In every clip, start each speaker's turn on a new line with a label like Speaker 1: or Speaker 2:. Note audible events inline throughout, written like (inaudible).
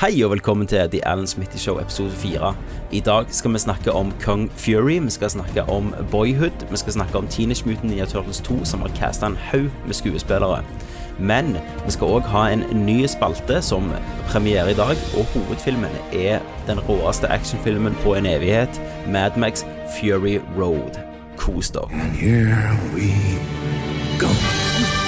Speaker 1: Hei og velkommen til The Alan Smitty Show episode 4. I dag skal vi snakke om Kong Fury, vi skal snakke om Boyhood, vi skal snakke om Teenage Mutant Ninja Turtles 2 som har casta en haug med skuespillere. Men vi skal òg ha en ny spalte som premiere i dag, og hovedfilmen er den råeste actionfilmen på en evighet, Mad Max Fury Road. Kos dere.
Speaker 2: Here we go.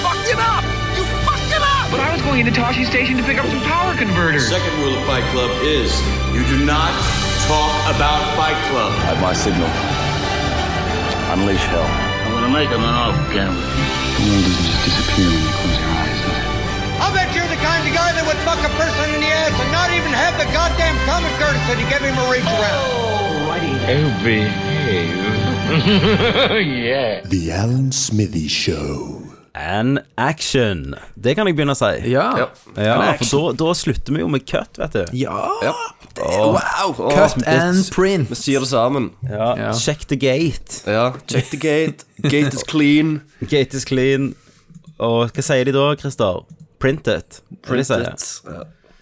Speaker 3: fucked it up! You fucked it up!
Speaker 4: But I was going into Toshi Station to pick up some power converters.
Speaker 5: Second rule of Fight Club is you do not talk about Fight Club.
Speaker 6: At my signal, unleash hell.
Speaker 7: I'm gonna make him an off camera.
Speaker 6: The world doesn't just disappear when you close your eyes, does it?
Speaker 8: I bet you're the kind of guy that would fuck a person in the ass and not even have the goddamn common courtesy to give him a reach around.
Speaker 4: Oh, behave. yeah.
Speaker 2: The Alan Smithy Show.
Speaker 1: And action. Det kan jeg begynne å si.
Speaker 9: Ja.
Speaker 1: Ja, for da, da slutter vi jo med cut, vet du.
Speaker 9: Wow! Cut
Speaker 1: Åh.
Speaker 9: and print.
Speaker 10: Vi syr det sammen.
Speaker 1: Ja.
Speaker 9: Ja.
Speaker 1: Check the gate.
Speaker 10: Ja, check the gate. Gate is
Speaker 9: (laughs)
Speaker 10: clean.
Speaker 1: Gate is clean. Og hva sier de da, Christer? Print it. Hva de sier.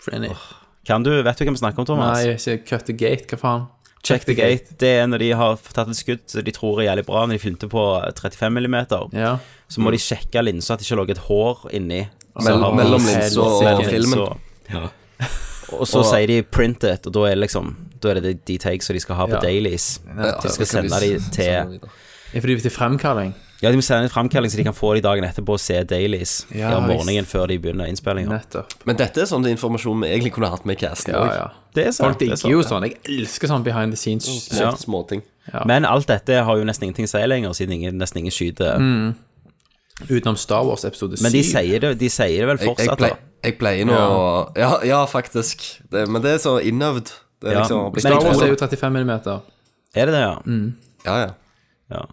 Speaker 9: Print it.
Speaker 1: Kan du, Vet du hva vi snakker om,
Speaker 10: altså.
Speaker 1: Thomas?
Speaker 9: Nei, jeg sier cut the gate, hva faen?
Speaker 1: Check the gate. Det er når de har tatt et skudd som de tror er jævlig bra, når de filmte på 35 mm.
Speaker 9: Ja.
Speaker 1: Så må de sjekke linsa at det ikke lå et hår inni. Så
Speaker 10: Mell-
Speaker 1: har man-
Speaker 10: mellom linsa og
Speaker 1: mellom linsa.
Speaker 10: filmen.
Speaker 1: Og så sier de 'print it', og da er, det liksom, da er det de- de takes som de skal ha på
Speaker 9: Ja.
Speaker 1: dailies. De skal sende de til
Speaker 9: Ja, fordi vi til fremkalling.
Speaker 1: Ja, de må sende en framkalling, så de kan få de dagen etterpå og se dailies
Speaker 9: Ja,
Speaker 1: ja, om
Speaker 9: visst.
Speaker 1: morgenen før de begynner innspillinga.
Speaker 9: Nettopp.
Speaker 10: Men dette er sånn informasjon vi egentlig kunne hatt med i casten.
Speaker 9: Ja,
Speaker 10: også.
Speaker 9: ja.
Speaker 1: Det er sant.
Speaker 9: Folk
Speaker 1: det er sant,
Speaker 9: digger jo
Speaker 1: det.
Speaker 9: sånn. Jeg elsker sånn behind the scenes.
Speaker 10: Små,
Speaker 1: Ja.
Speaker 10: Småting.
Speaker 1: Men alt dette har jo nesten ingenting å si lenger, siden ingen, nesten ingen skyter.
Speaker 10: Mm.
Speaker 9: Utenom Star Wars episode 7.
Speaker 1: Men de sier det, de sier det vel
Speaker 10: Jeg, jeg,
Speaker 1: fortsatt,
Speaker 10: plei,
Speaker 1: da.
Speaker 10: jeg pleier nå å ja. ja, faktisk. Det, men det er så innøvd. Det er
Speaker 1: Ja,
Speaker 10: liksom
Speaker 1: men
Speaker 10: Star
Speaker 9: Star
Speaker 1: jeg
Speaker 9: Wars
Speaker 1: tror-
Speaker 9: er jo 35 millimeter.
Speaker 1: Er det det, ja?
Speaker 10: Ja, ja.
Speaker 1: ja.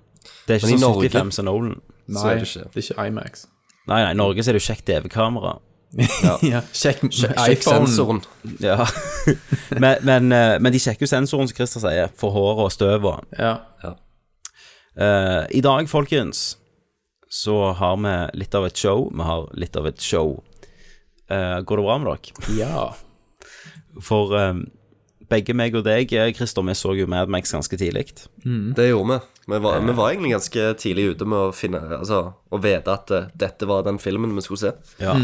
Speaker 1: Det er
Speaker 10: Men i
Speaker 1: ikke sånn
Speaker 10: Norge-
Speaker 1: 75 som Nolan.
Speaker 9: Nei,
Speaker 10: er
Speaker 9: det
Speaker 10: det
Speaker 9: er
Speaker 10: ikke.
Speaker 9: (laughs) ikke, Imax.
Speaker 1: Nei, nei, i Norge så er det jo kjekt DV-kamera.
Speaker 9: Ja. Sjekk
Speaker 10: Sjekk
Speaker 9: iPhone.
Speaker 10: sensoren.
Speaker 1: Ja. (laughs) men, men, eh, men de sjekker jo sensoren, som Christer sier, for håret og støvet.
Speaker 9: Ja.
Speaker 1: Eh, I dag, folkens, så har vi litt av et show. Vi har litt av et show. Eh, går det bra med dere?
Speaker 9: ja.
Speaker 1: For eh, begge meg og deg, eh, Christer, vi så jo Mad Max ganske tidlig.
Speaker 10: Det gjorde vi. Vi var, vi var egentlig ganske tidlig ute med å finne Altså, å vite at eh, dette var den filmen vi skulle se.
Speaker 1: Ja.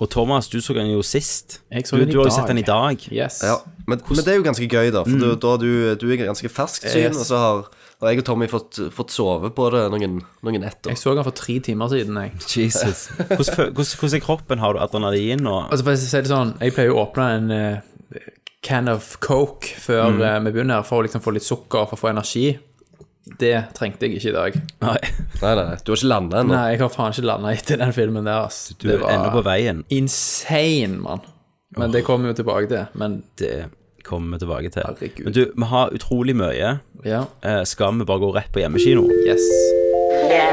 Speaker 1: Og Thomas, du så den jo sist.
Speaker 9: Mm. Jeg så
Speaker 1: du,
Speaker 9: den i
Speaker 1: du har jo
Speaker 9: dag.
Speaker 1: sett den i dag.
Speaker 9: Yes.
Speaker 10: Ja, men, men det er jo ganske gøy, da. For
Speaker 9: Mm.
Speaker 10: du, da har du, du er ganske ferskt syn,
Speaker 9: Yes.
Speaker 10: og så har, har jeg og Tommy fått, fått sove på det noen, noen netter.
Speaker 9: Jeg så den for tre timer siden, jeg.
Speaker 1: Jesus. (laughs) Hvordan, fø- hvordan, hvordan er kroppen? Har du adrenalin og
Speaker 9: Altså for å si det sånn, Jeg pleier jo å åpne en eh, can of coke før
Speaker 1: Mm.
Speaker 9: eh, vi begynner, for å liksom få litt sukker for å få energi. Det trengte jeg ikke i dag.
Speaker 1: Nei.
Speaker 10: Nei, nei, nei, du har ikke landa ennå.
Speaker 9: Nei, jeg har faen ikke landa etter den filmen der. ass.
Speaker 1: Du er ennå på veien.
Speaker 9: insane, mann. Men det kommer vi jo tilbake til. Men
Speaker 1: Det kommer vi tilbake til.
Speaker 9: Herregud.
Speaker 1: Men du, vi har utrolig mye.
Speaker 9: ja,
Speaker 1: Eh, skal vi bare gå rett på hjemmekino?
Speaker 9: yes.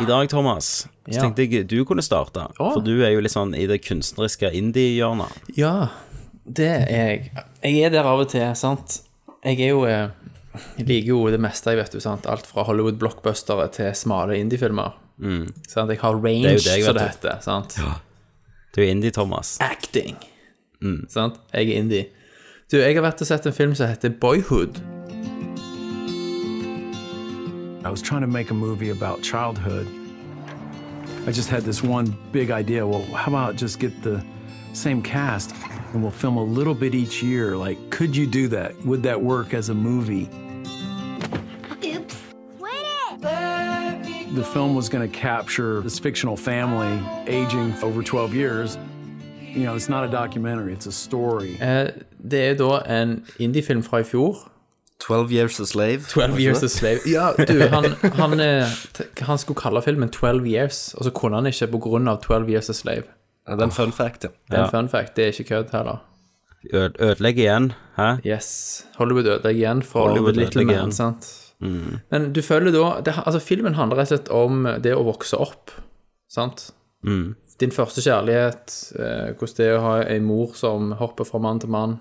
Speaker 1: I dag, Thomas, så
Speaker 9: Ja.
Speaker 1: tenkte jeg du kunne starte.
Speaker 9: Å.
Speaker 1: For du er jo litt sånn i det kunstneriske indie-hjørnet.
Speaker 9: Ja, det er jeg. Jeg er der av og til, sant. Jeg er jo eh, Jeg liker jo det meste, jeg vet du, sant. Alt fra Hollywood-blockbustere til smale indiefilmer. Sant? Jeg har range,
Speaker 1: Mm. Det er jo deg,
Speaker 9: som
Speaker 1: vet
Speaker 9: det heter. sant?
Speaker 1: Du er indie-Thomas.
Speaker 9: acting. Sant? Jeg er indie. Du, jeg har vært og sett en film som heter Boyhood.
Speaker 11: I was trying to make a movie about childhood. I just had this one big idea. Well, how about just get the same cast and we'll film a little bit each year? Like, could you do that? Would that work as a movie?
Speaker 3: Oops. Wait
Speaker 11: The film was going to capture this fictional family aging over 12 years. You know, it's not a documentary, it's a story.
Speaker 9: Eh, det er da en indiefilm fra i fjor.
Speaker 10: 12 Years a Slave.
Speaker 9: 12 Years a Slave. Ja, du, han, han, eh, t- han skulle kalle filmen 12 Years, og så kunne han ikke på grunn av 12 Years a Slave.
Speaker 10: Ja, det er en fun fact, ja.
Speaker 9: Det er en fun fact, det er ikke kødd heller.
Speaker 1: Ø- Ødelegg igjen. Hæ?
Speaker 9: Yes. Hollywood ødelegger igjen for
Speaker 1: Hollywood
Speaker 9: Little
Speaker 1: ødelegger
Speaker 9: Man,
Speaker 1: igjen. Mm.
Speaker 9: sant? Men du føler da det, Altså, filmen handler rett og slett om det å vokse opp, sant?
Speaker 1: Mm.
Speaker 9: Din første kjærlighet, eh, hvordan det er å ha ei mor som hopper fra mann til mann.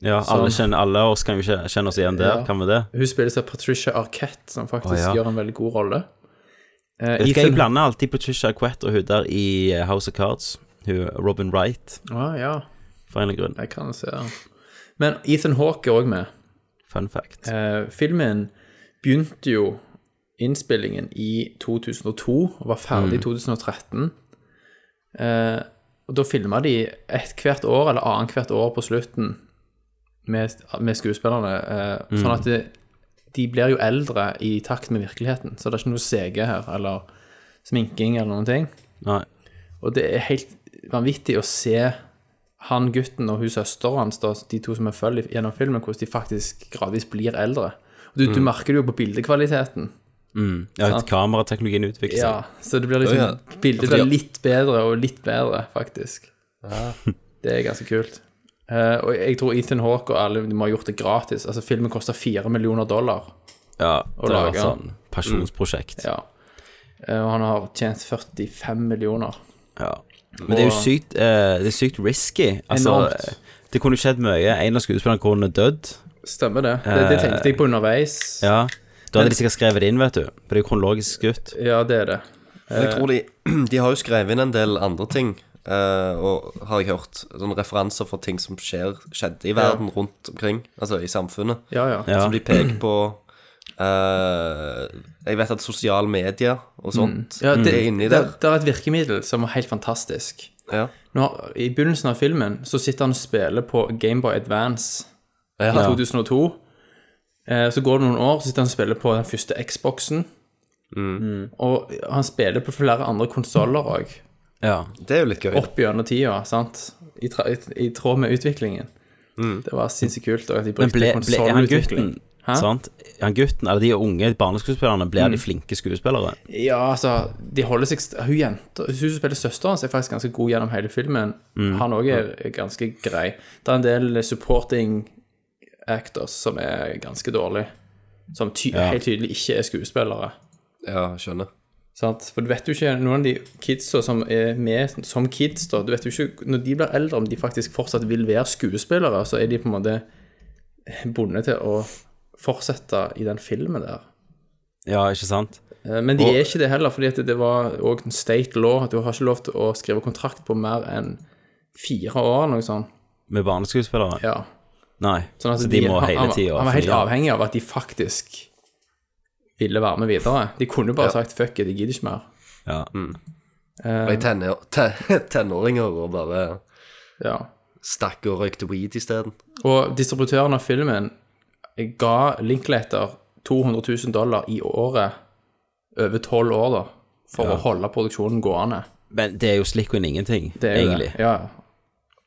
Speaker 1: Ja, alle,
Speaker 9: Sånn.
Speaker 1: kjenner, alle oss kan jo kje- kjenne oss igjen der,
Speaker 9: Ja.
Speaker 1: kan vi det?
Speaker 9: Hun spilles av Patricia Arquette, som faktisk
Speaker 1: Å, ja.
Speaker 9: gjør en veldig god rolle. Eh,
Speaker 1: Vet
Speaker 9: i
Speaker 1: du hva, Jeg
Speaker 9: film-
Speaker 1: blander alltid Patricia Quett og hun der i eh, House of Cards. Hun Robin Wright.
Speaker 9: Ah, ja.
Speaker 1: For en eller annen grunn.
Speaker 9: Jeg kan se den. Men Ethan Hawke er òg med.
Speaker 1: Fun fact.
Speaker 9: Eh, filmen begynte jo innspillingen i 2002 og var ferdig i 2013. Eh, og da filma de et hvert år eller annethvert år på slutten med, med skuespillerne. Eh, Sånn at det, de blir jo eldre i takt med virkeligheten. Så det er ikke noe CG her, eller sminking eller noen ting.
Speaker 1: Nei.
Speaker 9: Og det er helt vanvittig å se han gutten og hun søsteren hans, da, de to som er følger gjennom filmen, hvordan de faktisk gradvis blir eldre. Og du, du merker det jo på bildekvaliteten.
Speaker 1: Ja, at kamerateknologien utvikler seg.
Speaker 9: Ja, så det blir liksom
Speaker 10: Å, ja.
Speaker 9: Bildet
Speaker 10: Ja, fordi-
Speaker 9: blir litt bedre og litt bedre, faktisk. (laughs) Det er ganske kult. Eh, og jeg tror Ethan Hawke og alle de må ha gjort det gratis. Altså, filmen koster fire millioner dollar.
Speaker 1: Ja, det har
Speaker 9: lage
Speaker 1: vært sånn pasjonsprosjekt.
Speaker 9: Ja. Eh, og han har tjent 45 millioner.
Speaker 1: Ja. Men det er jo sykt, eh, det er sykt risky. Altså,
Speaker 9: Enormt.
Speaker 1: eh, det kunne skjedd mye. En av skuespillerne kunne dødd.
Speaker 9: Stemmer det. Det, det tenkte jeg på underveis.
Speaker 1: Ja. Da hadde de sikkert skrevet det inn, vet du. For det er jo kronologisk skutt.
Speaker 9: ja det er det.
Speaker 10: Men jeg tror de, de (clears throat) har jo skrevet inn en del andre ting, eh, og har jeg hørt sånne referanser for ting som skjer, skjedde i verden rundt omkring, altså i samfunnet,
Speaker 9: Ja, ja.
Speaker 1: Ja.
Speaker 10: som de peker på. eh, jeg vet at sosiale medier og sånt
Speaker 9: Mm. Ja, det,
Speaker 10: er inni
Speaker 9: det,
Speaker 10: der.
Speaker 9: det er et virkemiddel som er helt fantastisk.
Speaker 10: Ja.
Speaker 9: Nå, har- I begynnelsen av filmen så sitter han og spiller på Gameboy Advance i
Speaker 10: Ja.
Speaker 9: 2002. Eh, så går det noen år, så sitter han og spiller på den første Xboxen.
Speaker 10: Mm.
Speaker 9: Og han spiller på flere andre konsoller òg,
Speaker 1: Ja.
Speaker 10: Det er jo litt gøy.
Speaker 9: opp gjennom tida, sant? I, tra i, I tråd med utviklingen.
Speaker 10: Mm.
Speaker 9: Det var sinnssykt kult. Og at de
Speaker 1: Men
Speaker 9: brukte
Speaker 1: ble, ble er han gutten
Speaker 9: konsollutvikling. Hæ? Mm.
Speaker 1: Sant? Er Han gutten, eller de unge barneskuespillerne, blir de flinke skuespillere?
Speaker 9: Ja, altså, de holder seg st- Hun jenta, hun som spiller søsteren hans, er faktisk ganske god gjennom hele filmen. Han òg er er ganske grei. Det er en del supporting actors som er ganske dårlige. Som ty helt tydelig ikke er skuespillere.
Speaker 10: Ja, skjønner.
Speaker 9: Sant? For du vet jo ikke noen av de kidsa som er med som kids, da, du vet jo ikke når de blir eldre, om de faktisk fortsatt vil være skuespillere. Så er de på en måte bundet til å fortsette i den filmen der.
Speaker 1: Ja, ikke sant?
Speaker 9: Eh, Men de
Speaker 1: Og-
Speaker 9: er ikke det heller, fordi at det var òg en state law. at Du har ikke lov til å skrive kontrakt på mer enn fire år, noe sånt.
Speaker 1: Med barneskuespillere?
Speaker 9: Ja.
Speaker 1: Nei.
Speaker 9: Sånn at
Speaker 1: så de, må
Speaker 9: han-
Speaker 1: hele
Speaker 9: han-
Speaker 1: tida
Speaker 9: Han var helt avhengig av at de faktisk ville være med videre. De kunne jo bare sagt 'fuck it, jeg gidder ikke mer'.
Speaker 1: Ja.
Speaker 10: Og i tenner, te, (laughs) tenåringer og bare
Speaker 9: Ja.
Speaker 10: stakk og røykte weed isteden.
Speaker 9: Og distributøren av filmen ga Linklater 200 000 dollar i året over tolv år, da, for å holde produksjonen gående.
Speaker 1: Men det er jo slikk og ingenting,
Speaker 9: Det er jo
Speaker 1: egentlig.
Speaker 9: Det. Ja.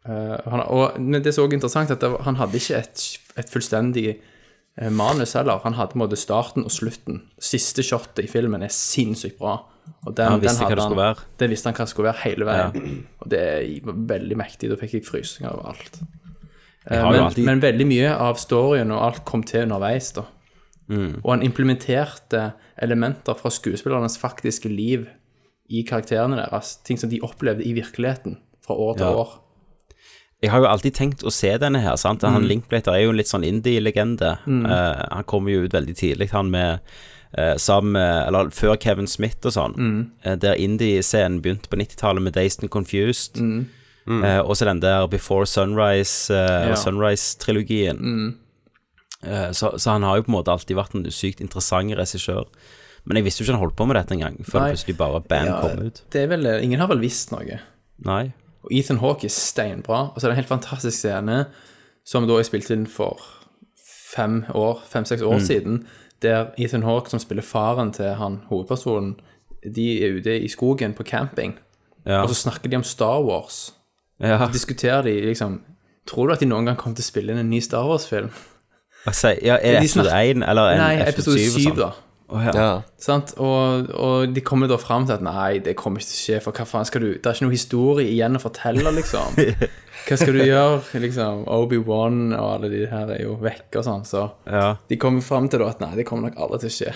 Speaker 9: Eh, han, og, men det er så også interessant at det, var- han hadde ikke et, et fullstendig eh, manus heller. Han hadde på en måte starten og slutten. Siste shotet i filmen er sinnssykt bra. Og den,
Speaker 1: Han visste
Speaker 9: den
Speaker 1: hva det
Speaker 9: hadde
Speaker 1: skulle
Speaker 9: han-
Speaker 1: være.
Speaker 9: Den visste han hva det skulle være hele veien. Og det var veldig mektig. Da fikk jeg frysninger over alt. Eh,
Speaker 1: har jo
Speaker 9: men,
Speaker 1: alltid-
Speaker 9: men veldig mye av storyen og alt kom til underveis, da.
Speaker 1: Mm.
Speaker 9: Og han implementerte elementer fra skuespillernes faktiske liv i karakterene deres. Ting som de opplevde i virkeligheten fra år til
Speaker 1: Ja.
Speaker 9: år.
Speaker 1: Jeg har jo alltid tenkt å se denne her, sant? Han
Speaker 9: Mm.
Speaker 1: Linklater er jo en litt sånn indie-legende. Eh, han kommer jo ut veldig tidlig, han med eh, Sammen med Eller før Kevin Smith og sånn.
Speaker 9: Mm.
Speaker 1: Eh, der indie-scenen begynte på 90-tallet med Dazed and Confused. Eh, og så den der Before Sunrise eh,
Speaker 9: Mm. Ja. Mm.
Speaker 1: og Sunrise-trilogien. Eh, så, så han har jo på en måte alltid vært en sykt interessant regissør. Men jeg visste jo ikke han holdt på med dette engang, før
Speaker 9: Nei.
Speaker 1: det plutselig bare bam
Speaker 9: Ja,
Speaker 1: kom ut.
Speaker 9: Det er vel, eh, ingen har vel visst noe.
Speaker 1: Nei.
Speaker 9: Og Ethan Hawke er steinbra. Og så er det en helt fantastisk scene som da jeg spilte inn for fem år, fem-seks
Speaker 1: Mm.
Speaker 9: år siden, der Ethan Hawke, som spiller faren til han hovedpersonen, de er ute i skogen på camping,
Speaker 1: Ja.
Speaker 9: og så snakker de om Star Wars. (laughs)
Speaker 1: ja.
Speaker 9: Diskuterer de liksom Tror du at de noen gang kommer til å spille inn en ny Star Wars-film?
Speaker 1: Altså, ja, er det
Speaker 9: De
Speaker 1: episode
Speaker 9: snakker-
Speaker 1: 1 eller en,
Speaker 9: Nei, episode syv, da.
Speaker 1: Å, ja.
Speaker 10: Ja.
Speaker 9: Sant? Og, og de kommer da fram til at nei, det kommer ikke til å skje, for hva faen skal du Det er ikke noe historie igjen å fortelle,
Speaker 1: (laughs)
Speaker 9: liksom. Hva skal du gjøre? Liksom, Obi-Wan og alle de her er jo vekk og sånn, så
Speaker 1: ja.
Speaker 9: de kommer fram til da at nei, det kommer nok aldri til å skje.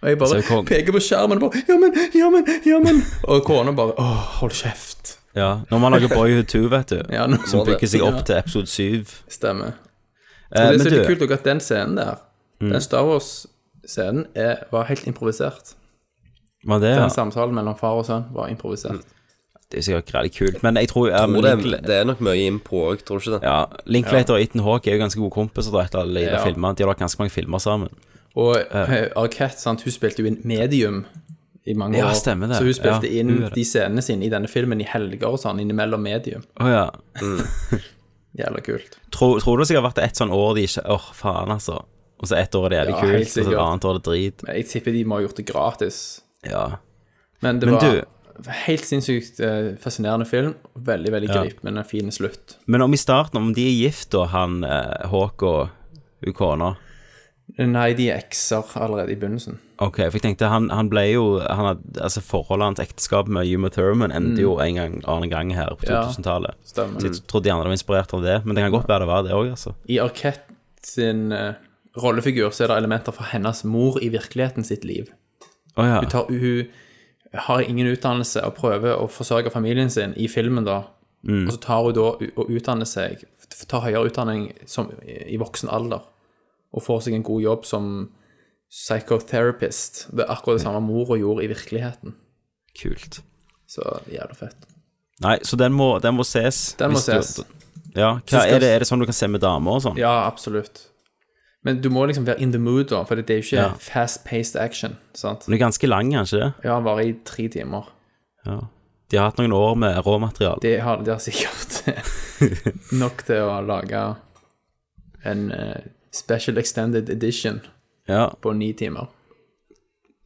Speaker 9: Og jeg bare
Speaker 1: Så kom-
Speaker 9: peker på skjermen og bare Ja, men, ja, men, ja, men. Og kona bare Å, hold kjeft.
Speaker 1: ja. Når man lager Boyhood 2, vet du,
Speaker 9: (laughs) Ja, nå
Speaker 1: som
Speaker 10: Må det.
Speaker 1: bygger seg opp
Speaker 9: Ja.
Speaker 1: til episode 7
Speaker 9: Stemmer.
Speaker 1: eh,
Speaker 9: det
Speaker 1: Men
Speaker 9: er så
Speaker 1: du, Mm.
Speaker 9: litt kult også at den scenen der, den Star Wars-scenen, er- var helt improvisert.
Speaker 1: var det
Speaker 9: Den
Speaker 1: ja. Mm.
Speaker 9: samtalen mellom far og sønn var improvisert.
Speaker 1: Det er sikkert veldig kult, men jeg tror, um,
Speaker 10: Tror det, det er nok mye impro òg, tror du ikke det?
Speaker 1: Ja, Linklater og Ethan Hawke er jo ganske gode kompiser. Da, etter alle de der
Speaker 9: Ja.
Speaker 1: filmene. De har lagt ganske mange filmer sammen.
Speaker 9: Og eh, Arquette, sant, hun spilte jo inn medium i mange
Speaker 1: Ja,
Speaker 9: år.
Speaker 1: stemmer det.
Speaker 9: Så hun spilte
Speaker 1: Ja, hun
Speaker 9: inn
Speaker 1: gjør det.
Speaker 9: de scenene sine i denne filmen i helger og sånn, innimellom medium.
Speaker 1: Å ja.
Speaker 9: Jævla kult.
Speaker 1: Tror, tror du det sikkert har vært et sånn år de ikke Åh, faen, altså. Og så ett år er det jævlig
Speaker 9: Ja, helt
Speaker 1: kult, og så et
Speaker 9: sikkert.
Speaker 1: annet år er det drit.
Speaker 9: Men jeg tipper de må ha gjort det gratis.
Speaker 1: Ja.
Speaker 9: Men det
Speaker 1: Men
Speaker 9: var
Speaker 1: du-
Speaker 9: helt sinnssykt eh, fascinerende film. Veldig, veldig
Speaker 1: Ja.
Speaker 9: gripende, fin slutt.
Speaker 1: Men om i starten, om de er gift, da, han eh, Hawke og hun kona
Speaker 9: Nei, de er ekser allerede i begynnelsen.
Speaker 1: Ok, for jeg tenkte han, han ble jo han hadde, Altså forholdet hans ekteskap med Uma Thurman endte jo en gang, annen gang her på
Speaker 9: Mm. Ja,
Speaker 1: 2000-tallet.
Speaker 9: stemmer.
Speaker 1: så jeg trodde gjerne det var inspirert av det, men det kan godt være det var det òg, altså.
Speaker 9: I Arquette sin eh, rollefigur så er det elementer fra hennes mor i virkeligheten sitt liv.
Speaker 1: Å ja.
Speaker 9: Hun, tar, hun har ingen utdannelse og prøver å forsørge familien sin i filmen, da.
Speaker 1: Mm.
Speaker 9: Og så tar hun da u- og utdanner seg, f- tar høyere utdanning som, i voksen alder. Og får seg en god jobb som psychotherapist. Det er akkurat det samme mora gjorde i virkeligheten.
Speaker 1: Kult.
Speaker 9: Så jævla fett.
Speaker 1: Nei, så den må, den må ses.
Speaker 9: Den må
Speaker 1: hvis du-
Speaker 9: ses.
Speaker 1: ja, hva, er, det, er det sånn du kan se med damer og sånn?
Speaker 9: Ja, absolutt. Men du må liksom være in the mood, da, for det er jo ikke
Speaker 1: Ja.
Speaker 9: fast-paced action. sant?
Speaker 1: Den er ganske lang, er den ikke det?
Speaker 9: Ja, han varer i tre timer.
Speaker 1: Ja. De har hatt noen år med råmateriale.
Speaker 9: Det har de har sikkert
Speaker 1: (laughs)
Speaker 9: nok til å lage en eh, special extended edition
Speaker 1: Ja.
Speaker 9: på ni timer.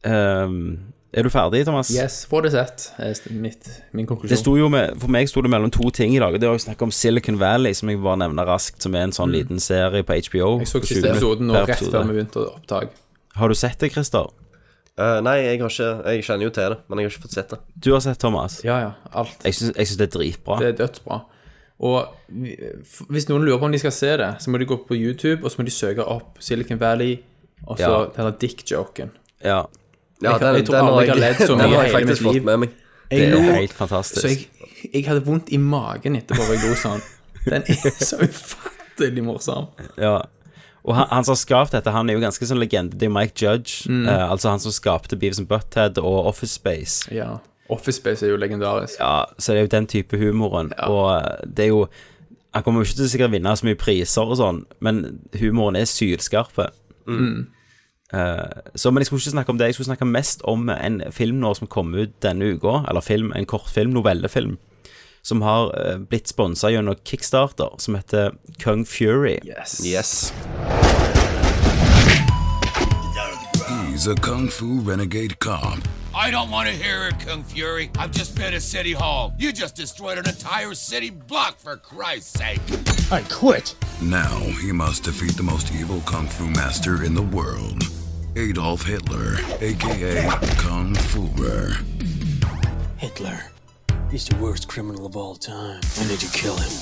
Speaker 1: ehm, er du ferdig, Thomas?
Speaker 9: Yes, få det sett, er st- mitt, min
Speaker 1: Det
Speaker 9: konklusjon.
Speaker 1: sto jo med, For meg sto det mellom to ting i dag. og Det er jo snakk om Silicon Valley, som jeg bare nevner raskt, som er en sånn liten serie på HBO.
Speaker 9: Mm. Jeg så
Speaker 1: på 20
Speaker 9: siste episoden nå
Speaker 1: minutter per
Speaker 9: rett
Speaker 1: episode.
Speaker 9: før vi begynte å opptak.
Speaker 1: Har du sett det, Christer?
Speaker 10: Eh, nei, jeg har ikke Jeg kjenner jo til det, men jeg har ikke fått sett det.
Speaker 1: Du har sett Thomas.
Speaker 9: Ja, ja, alt.
Speaker 1: Jeg syns jeg syns det er dritbra.
Speaker 9: Det er dødsbra. Og vi- f- hvis noen lurer på om de skal se det, så må de gå på YouTube, og så må de søke opp Silicon Valley, og så
Speaker 1: Ja.
Speaker 9: denne dick-joken.
Speaker 1: ja.
Speaker 10: Ja,
Speaker 9: Jeg- jeg tror aldri jeg har ledd så
Speaker 10: den
Speaker 9: mye
Speaker 10: har jeg
Speaker 9: i hele
Speaker 10: faktisk
Speaker 9: mitt
Speaker 10: fått
Speaker 9: liv.
Speaker 10: med meg.
Speaker 1: Det
Speaker 9: lo-
Speaker 1: er helt fantastisk.
Speaker 9: Så jeg, jeg hadde vondt i magen etterpå, og jeg lo sånn. Den er så ufattelig morsom.
Speaker 1: Ja. Og han, han som har skapt dette, han er jo ganske sånn legende. Det er jo Mike Judge.
Speaker 9: Mm.
Speaker 1: Eh, altså han som skapte Beavis and Butthead og Office Space.
Speaker 9: Ja. Office Space er jo legendarisk.
Speaker 1: Ja, så det er jo den type humoren. Og eh, det er jo Han kommer jo ikke til å sikkert vinne så mye priser og sånn, men humoren er sylskarpe. Eh, så, men jeg skulle ikke snakke om det. Jeg skulle snakke mest om en film nå som kom ut denne uka. Eller film, en kortfilm, novellefilm. Som har eh, blitt sponsa gjennom Kickstarter, som heter Kung Fury.
Speaker 10: Yes.
Speaker 2: He's a kung fu renegade cop
Speaker 12: I don't want to hear it, Kung Fury. I've just been at City Hall. You just destroyed an entire city block, for Christ's sake.
Speaker 2: I quit. Now he must defeat the most evil kung fu master in the world, Adolf Hitler, aka Kung Fuhrer.
Speaker 13: Hitler. He's the worst criminal of all time. I need to kill him.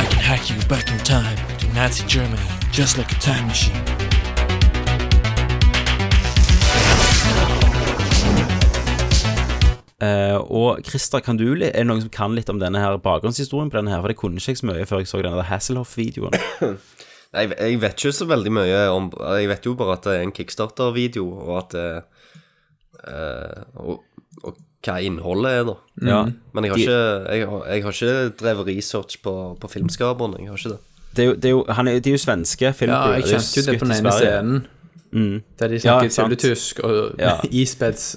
Speaker 13: I can hack you back in time to Nazi Germany, just like a time machine.
Speaker 1: Eh, og Christer, kan du, li- er det noen som kan litt om denne her bakgrunnshistorien på denne her? For det kunne ikke jeg så mye før jeg så denne Hasselhoff-videoen.
Speaker 10: Nei, Jeg, jeg vet ikke så veldig mye om Jeg vet jo bare at det er en kickstarter-video, og at det eh, og, og hva innholdet er, da.
Speaker 1: Ja.
Speaker 10: Men jeg har,
Speaker 1: De-
Speaker 10: ikke, jeg, har- jeg har ikke drevet research på, på filmskaperne. Jeg har ikke det.
Speaker 1: Det er jo, det er jo, han er, de er jo svenske
Speaker 9: Ja,
Speaker 1: filmcrew.
Speaker 9: jeg kjente jo det på den ene scenen. Der de
Speaker 1: Ja,
Speaker 9: snakker
Speaker 1: sant.
Speaker 9: tulletysk og
Speaker 1: Mm.
Speaker 9: (laughs)
Speaker 1: Ja.
Speaker 9: ispeds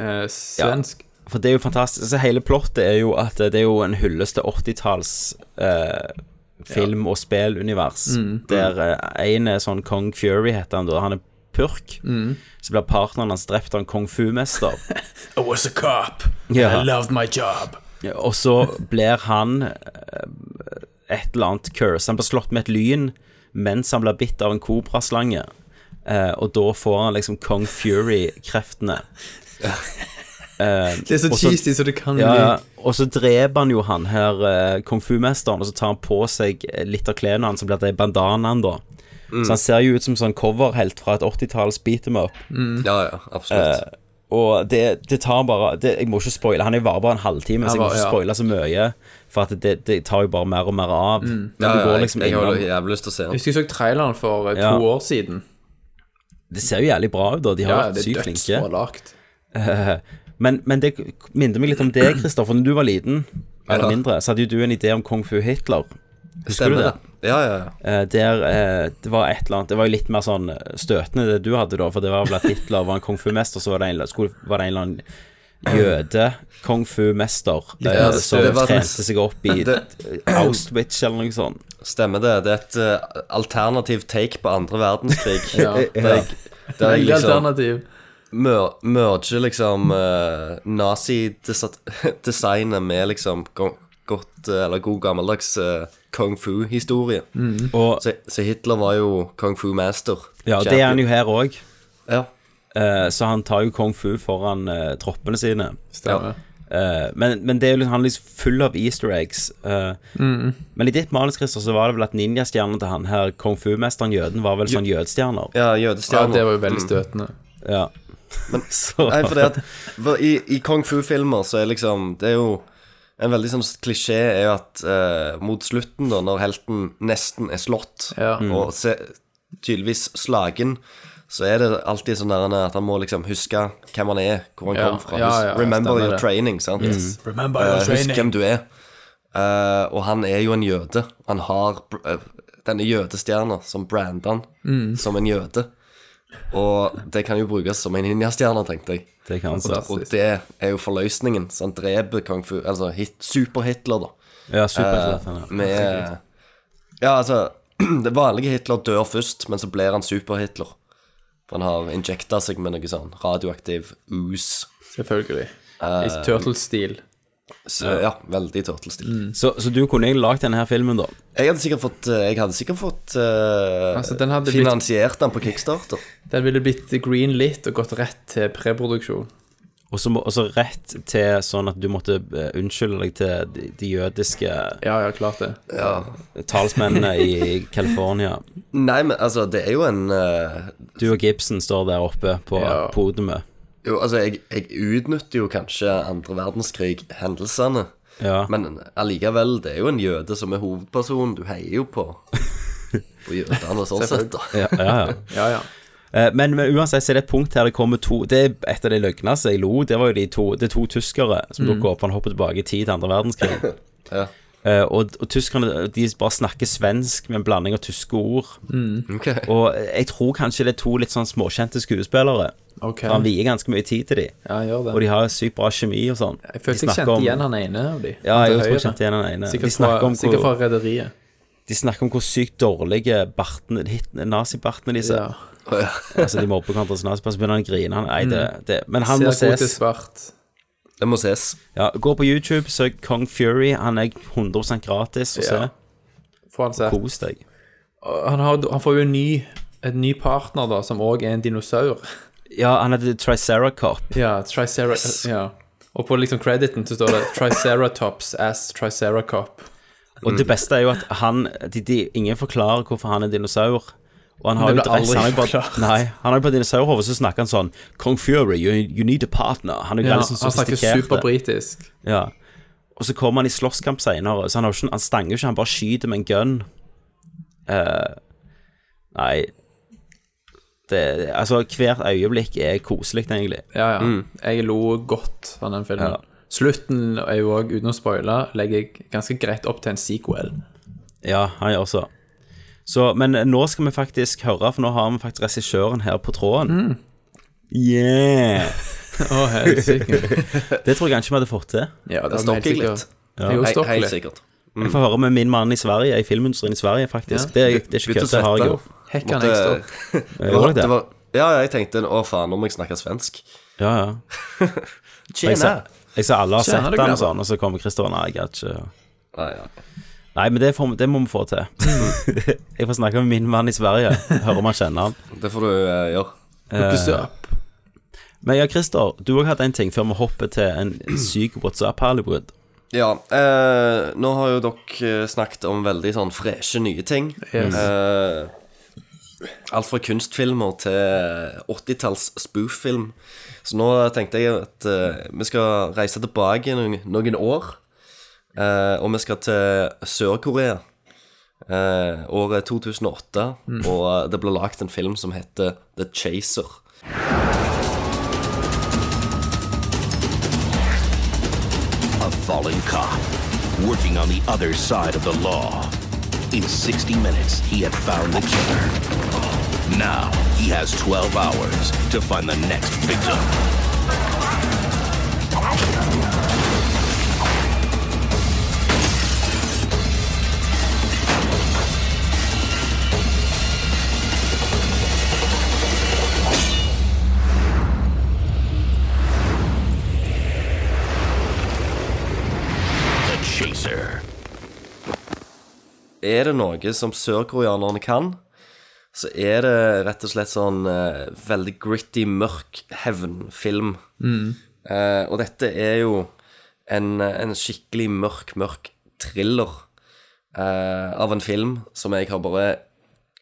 Speaker 9: eh, svensk.
Speaker 1: For det er jo fantastisk. Så hele plottet er jo at eh, det er jo en hyllest til 80-talls eh, film- og spillunivers.
Speaker 9: Mm.
Speaker 1: Der eh, en er sånn Kong Fury, heter han da. Han er purk.
Speaker 9: Mm.
Speaker 1: Så blir partneren hans drept av en kung
Speaker 9: (laughs)
Speaker 1: fu-mester.
Speaker 13: I was a cop.
Speaker 1: Ja.
Speaker 13: I loved my job.
Speaker 1: Ja, Og så blir han eh, et eller annet curse. Han blir slått med et lyn mens han blir bitt av en kobraslange. Eh, og da får han liksom Kong Fury-kreftene. Eh,
Speaker 9: Det er så
Speaker 1: og så-
Speaker 9: cheesy så det kan
Speaker 1: ja, ja.
Speaker 9: bli.
Speaker 1: Og så dreper han jo han her eh, kung fu-mesteren, og så tar han på seg eh, litt av klærne hans, så blir det bandanaen, da. Så han ser jo ut som sånn coverhelt fra et 80-talls beat em up.
Speaker 10: Ja, ja, absolutt.
Speaker 1: Eh, og det, det tar bare det, Jeg må ikke spoile. Han er jo bare, bare en halvtime, så jeg må
Speaker 9: var-
Speaker 1: ikke
Speaker 9: ja.
Speaker 1: spoile så mye. For at det, det tar jo bare mer og mer av. Men
Speaker 10: ja,
Speaker 1: du
Speaker 10: ja,
Speaker 1: går
Speaker 10: jeg,
Speaker 1: liksom
Speaker 10: jeg har
Speaker 1: innom
Speaker 10: jo jævlig lyst til å se
Speaker 9: Jeg
Speaker 10: den.
Speaker 9: husker jeg så traileren for eh, to
Speaker 1: Ja.
Speaker 9: år siden.
Speaker 1: Det ser jo jævlig bra ut, da. De har
Speaker 9: Ja,
Speaker 1: vært
Speaker 9: det er
Speaker 1: sykt flinke.
Speaker 9: dødsbra lagt.
Speaker 1: Men, men det minner meg litt om deg, Kristoffer. Når du var liten, eller mindre, så hadde jo du en idé om kung fu Hitler. Husker
Speaker 10: Stemmer
Speaker 1: du det?
Speaker 10: det. Ja, ja,
Speaker 1: Eh, Der eh, det var et eller annet Det var jo litt mer sånn støtende det du hadde, da. For det var vel at Hitler var en kung fu-mester, så var det en, skulle, var det en eller annen jøde kung fu-mester eh,
Speaker 10: Ja, det-
Speaker 1: som
Speaker 10: det var-
Speaker 1: trente seg opp i
Speaker 10: Det-
Speaker 1: Auschwitz eller noe sånt.
Speaker 10: Stemmer det. Det er et eh, alternativ take på andre verdenskrig.
Speaker 9: Ja.
Speaker 10: Der jeg, der jeg
Speaker 9: Veldig
Speaker 10: liksom
Speaker 9: alternativ.
Speaker 10: mer, merger liksom eh, nazi-designet med liksom go- godt, eh, eller god gammeldags eh, kung fu-historie.
Speaker 1: Mhm. Og-
Speaker 10: så, så Hitler var jo kung fu-master.
Speaker 1: Ja, det er han jo her òg.
Speaker 10: Ja.
Speaker 1: så han tar jo kung fu foran eh, troppene sine.
Speaker 9: Stemmer.
Speaker 1: Eh, men, men det er jo, litt- han er liksom full av easter eggs. eh,
Speaker 9: Mm.
Speaker 1: Men i ditt manus Christer, så var det vel at ninjastjernen til han her, kung fu-mesteren jøden, var vel sånn jødestjerner.
Speaker 10: Ja, jødestjerner.
Speaker 9: Ja, det var jo veldig støtende.
Speaker 1: Ja.
Speaker 10: Men,
Speaker 1: (laughs) Så-
Speaker 10: Nei, for det at for I, i kung fu-filmer så er liksom Det er jo En veldig sånn klisjé er jo at eh, mot slutten, da, når helten nesten er slått,
Speaker 9: Ja.
Speaker 10: og se, tydeligvis slagen, så er det alltid sånn der at han må liksom huske hvem han er, hvor han
Speaker 9: Ja,
Speaker 10: kom fra.
Speaker 9: ja,
Speaker 10: Hus-
Speaker 9: ja,
Speaker 10: Remember
Speaker 9: stemmer
Speaker 10: your
Speaker 9: det.
Speaker 10: training, sant?
Speaker 9: Yes. Remember your
Speaker 10: Eh,
Speaker 9: training.
Speaker 10: Husk hvem du er. Eh, og han er jo en jøde. Han har eh, denne jødestjerna som brander han
Speaker 9: Mm.
Speaker 10: som en jøde. Og det kan jo brukes som en ninjastjerne, tenkte jeg.
Speaker 1: Det kan
Speaker 10: og,
Speaker 1: ses.
Speaker 10: og det er jo forløsningen. Så han dreper kung fu Altså hit, Super-Hitler, da.
Speaker 1: Ja, Super-Hitler,
Speaker 10: Eh,
Speaker 1: han, ja.
Speaker 10: Med Ja, altså (clears throat) Det vanlige Hitler dør først, men så blir han Super-Hitler. For han har injekta seg med noe sånn radioaktiv ooze.
Speaker 9: Selvfølgelig. I
Speaker 10: Eh,
Speaker 9: Turtles-stil.
Speaker 10: Så, ja, veldig turtlestil.
Speaker 1: Så, så du kunne egentlig lagd denne her filmen, da?
Speaker 10: Jeg hadde sikkert fått, jeg hadde sikkert fått eh,
Speaker 9: Altså, den hadde blitt-
Speaker 10: finansiert den på Kickstarter.
Speaker 9: Den ville blitt greenlit og gått rett til preproduksjon.
Speaker 1: Og så må- og så rett til sånn at du måtte eh, unnskylde deg til de, de jødiske
Speaker 9: Ja, ja, klart det.
Speaker 1: talsmennene i (laughs) California.
Speaker 10: Nei, men altså, det er jo en eh,
Speaker 1: Du og Gibson står der oppe på podiumet.
Speaker 10: Jo, altså, jeg, jeg utnytter jo kanskje andre verdenskrig-hendelsene.
Speaker 1: Ja.
Speaker 10: Men allikevel, det er jo en jøde som er hovedpersonen. Du heier jo på,
Speaker 1: (laughs)
Speaker 10: på jødene sånn sett, da.
Speaker 1: Ja, ja. ja. Eh, Men, men uansett så er det et punkt her det kommer to Det er et av de løgneste jeg lo. Det var jo de to, det er to tyskere som
Speaker 9: Mm.
Speaker 1: dukker opp. Han hopper tilbake i tid til andre (laughs) verdenskrig.
Speaker 10: Ja.
Speaker 1: Eh, og, og tyskerne de bare snakker svensk med en blanding av tyske ord.
Speaker 9: Mm.
Speaker 10: Ok.
Speaker 1: Og jeg tror kanskje det er to litt sånn småkjente skuespillere.
Speaker 9: Ok.
Speaker 1: For han vier ganske mye tid til dem.
Speaker 9: Ja, gjør det.
Speaker 1: Og de har sykt bra kjemi og sånn.
Speaker 9: Jeg følte jeg kjente igjen han ene av de.
Speaker 1: Ja, jeg
Speaker 9: Han til
Speaker 1: tror jeg
Speaker 9: høyre.
Speaker 1: kjente igjen han ene. De
Speaker 9: Sikkert
Speaker 1: snakker
Speaker 9: fra,
Speaker 1: om
Speaker 9: sikkert fra
Speaker 1: hvor-
Speaker 9: rederiet.
Speaker 1: De snakker om hvor sykt dårlige bartene- hit- nazibartene disse
Speaker 9: Ja.
Speaker 1: (laughs) altså, de mobber hverandre som nazibarn, så begynner han å grine. Han, nei, det,
Speaker 9: Mm.
Speaker 1: det. Men han
Speaker 9: Ser
Speaker 1: må
Speaker 9: god til
Speaker 1: ses.
Speaker 9: svart.
Speaker 10: Det må ses.
Speaker 1: Ja, gå på YouTube, søk Kong Fury. Han er 100 gratis å
Speaker 9: Ja.
Speaker 1: se.
Speaker 9: Får han sett.
Speaker 1: Kos deg.
Speaker 9: Og Han, har, han får jo en ny, en ny partner, da, som òg er en dinosaur. (laughs)
Speaker 1: Ja, han heter Triceracop.
Speaker 9: Ja, Tricera... Ja. Og på liksom crediten så står det 'Triceratops as Triceracop'.
Speaker 1: Og
Speaker 9: Mm.
Speaker 1: det beste er jo at han de, de, Ingen forklarer hvorfor han er dinosaur. Og han har
Speaker 9: Det
Speaker 1: jo
Speaker 9: ble
Speaker 1: dress
Speaker 9: aldri
Speaker 1: Han har jo bare,
Speaker 9: forklart.
Speaker 1: nei, han har jo bare dinosaurhode, så snakker han sånn Kong Fury, you, you need a partner. Han er jo
Speaker 9: Ja,
Speaker 1: veldig sånn
Speaker 9: han snakker
Speaker 1: sofistikert.
Speaker 9: superbritisk.
Speaker 1: Ja. Og så kommer han i slåsskamp seinere, så han, har jo ikke, han stanger jo ikke, han bare skyter med en gun. Eh, nei det, Altså, hvert øyeblikk er koselig, egentlig.
Speaker 9: Ja, ja. Jeg lo godt av den filmen.
Speaker 1: Ja.
Speaker 9: Slutten er jo òg, uten å spoile, legger jeg ganske greit opp til en sequel.
Speaker 1: Ja, han gjør så. så. Men nå skal vi faktisk høre, for nå har vi faktisk regissøren her på tråden. Yeah!
Speaker 9: Mm. (laughs) Å, helsike.
Speaker 1: (laughs) det tror jeg kanskje vi hadde fått til.
Speaker 9: Ja,
Speaker 10: Det stokker jeg litt.
Speaker 1: Ja.
Speaker 9: Jeg er jo
Speaker 10: Hei-
Speaker 9: stokker
Speaker 10: Helt
Speaker 9: litt.
Speaker 10: sikkert.
Speaker 1: Jeg får høre med min mann i Sverige, i filmindustrien i Sverige, faktisk. Det, er- det er ikke kødd, det har jeg jo.
Speaker 9: Hekkan
Speaker 10: Måtte-
Speaker 9: jeg
Speaker 1: Jeg gjorde det.
Speaker 10: det var, ja, jeg tenkte Å, faen, nå må jeg snakke svensk.
Speaker 1: Ja, ja. Jeg sa, jeg sa alle har
Speaker 10: Tjena,
Speaker 1: sett
Speaker 10: du
Speaker 1: den
Speaker 10: gleder.
Speaker 1: og sånn, og så kommer Kristoffer Nei, jeg gadd ikke.
Speaker 10: Nei, ja.
Speaker 1: Nei, men det, får, det må vi få
Speaker 9: (laughs)
Speaker 1: til. jeg får snakke med min mann i Sverige, høre om han kjenner han.
Speaker 10: Det får du eh, gjøre.
Speaker 1: Eh,
Speaker 9: opp.
Speaker 1: Men ja, Christer, du òg hadde en ting før vi hopper til en syk WhatsApp Hollywood.
Speaker 10: Ja, eh, nå har jo dere eh, snakket om veldig sånn freshe nye ting.
Speaker 9: Yes.
Speaker 10: Eh, alt fra kunstfilmer til 80-talls spoof-film. Så nå tenkte jeg at eh, vi skal reise tilbake noen, noen år. eh, og vi skal til Sør-Korea. eh, året 2008.
Speaker 9: Mm.
Speaker 10: Og det ble lagt en film som heter The Chaser.
Speaker 14: fallen cop, working on the other side of the law. In 60 minutes, he had found the killer. Now, he has 12 hours to find the next victim. The Chaser.
Speaker 10: er det noe som sørkoreanerne kan, så er det rett og slett sånn eh, veldig gritty, mørk hevnfilm.
Speaker 9: Mm.
Speaker 10: Eh, og dette er jo en, en skikkelig mørk, mørk thriller eh, av en film som jeg har bare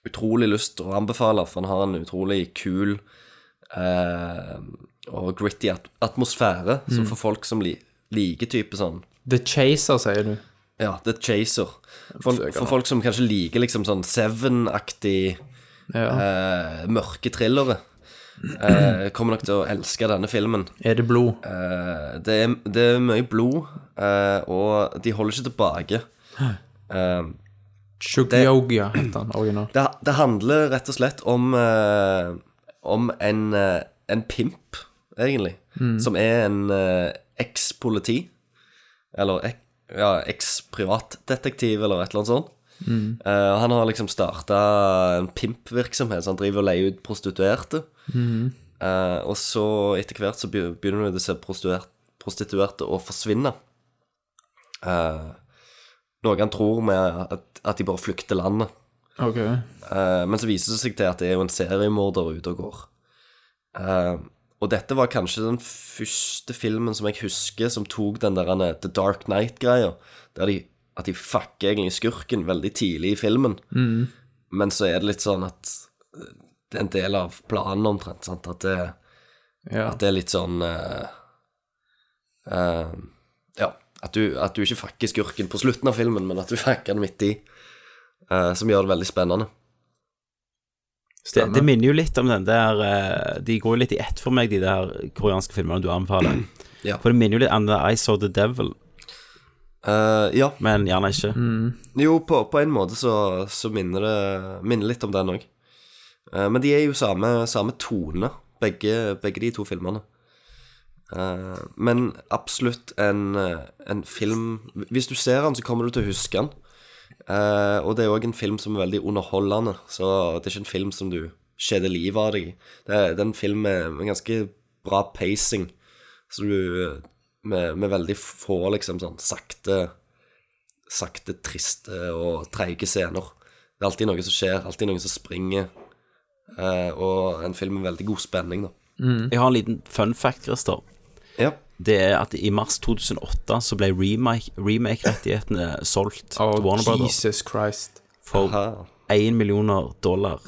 Speaker 10: utrolig lyst til å anbefale, for den har en utrolig kul eh, og gritty at atmosfære. Så
Speaker 9: Mm.
Speaker 10: for folk som li liker type sånn
Speaker 9: The Chaser, sier du.
Speaker 10: ja, The Chaser. For, for folk som kanskje liker liksom sånn Seven-aktig eh, mørke thrillere, eh, kommer nok til å elske denne filmen.
Speaker 9: Er det blod?
Speaker 10: Eh, det, er, det er mye blod, eh, og de holder ikke tilbake. Eh,
Speaker 9: Shugyoga heter han originalt.
Speaker 10: det, det handler rett og slett om eh, Om en, eh, en pimp, egentlig.
Speaker 9: Mm.
Speaker 10: Som er en eh, eks-politi. Eller ek, ja, eks-privatdetektiv, eller et eller annet sånt.
Speaker 9: Mm.
Speaker 10: Eh, han har liksom starta en pimpvirksomhet, så han driver og leier ut prostituerte.
Speaker 9: Mhm.
Speaker 10: Eh, og så etter hvert så be- begynner disse prostituerte, prostituerte å forsvinne. Eh, noe han tror med at, at de bare flykter landet.
Speaker 9: Ok.
Speaker 10: Eh, men så viser det seg til at det er jo en seriemorder ute og går. Eh, og dette var kanskje den første filmen som jeg husker som tok den der eh, The Dark Night-greia. Der de, at de fucker egentlig skurken veldig tidlig i filmen.
Speaker 9: Mm.
Speaker 10: Men så er det litt sånn at eh, det er en del av planen omtrent, sant? At det,
Speaker 9: Ja.
Speaker 10: at det er litt sånn eh, eh, Ja, at du, at du ikke fucker skurken på slutten av filmen, men at du fucker den midt i. eh, som gjør det veldig spennende.
Speaker 1: Det, det minner jo litt om den der eh, De går jo litt i ett for meg, de der koreanske filmene du anbefaler.
Speaker 10: Ja.
Speaker 1: For det minner jo litt om det I Saw The Devil.
Speaker 10: Eh, ja.
Speaker 1: Men gjerne ikke.
Speaker 10: Jo, på, på en måte så, så minner det minner litt om den òg. men de er jo samme, samme tone, begge, begge de to filmene. Eh, men absolutt en, eh, en film Hvis du ser den, så kommer du til å huske den. Eh, og det er òg en film som er veldig underholdende, så det er ikke en film som du kjeder livet av deg i. Det er det er en film med, med ganske bra pacing, så du eh, med, med veldig få liksom sånn sakte sakte, triste og treige scener. Det er alltid noe som skjer, alltid noen som springer. eh, og en film med veldig god spenning, da.
Speaker 9: Mm.
Speaker 1: Jeg har en liten fun fact, Christer. Det er at i mars 2008 så ble remake- remake-rettighetene solgt til Warner Brothers
Speaker 9: Jesus Christ.
Speaker 1: for 1 millioner dollar.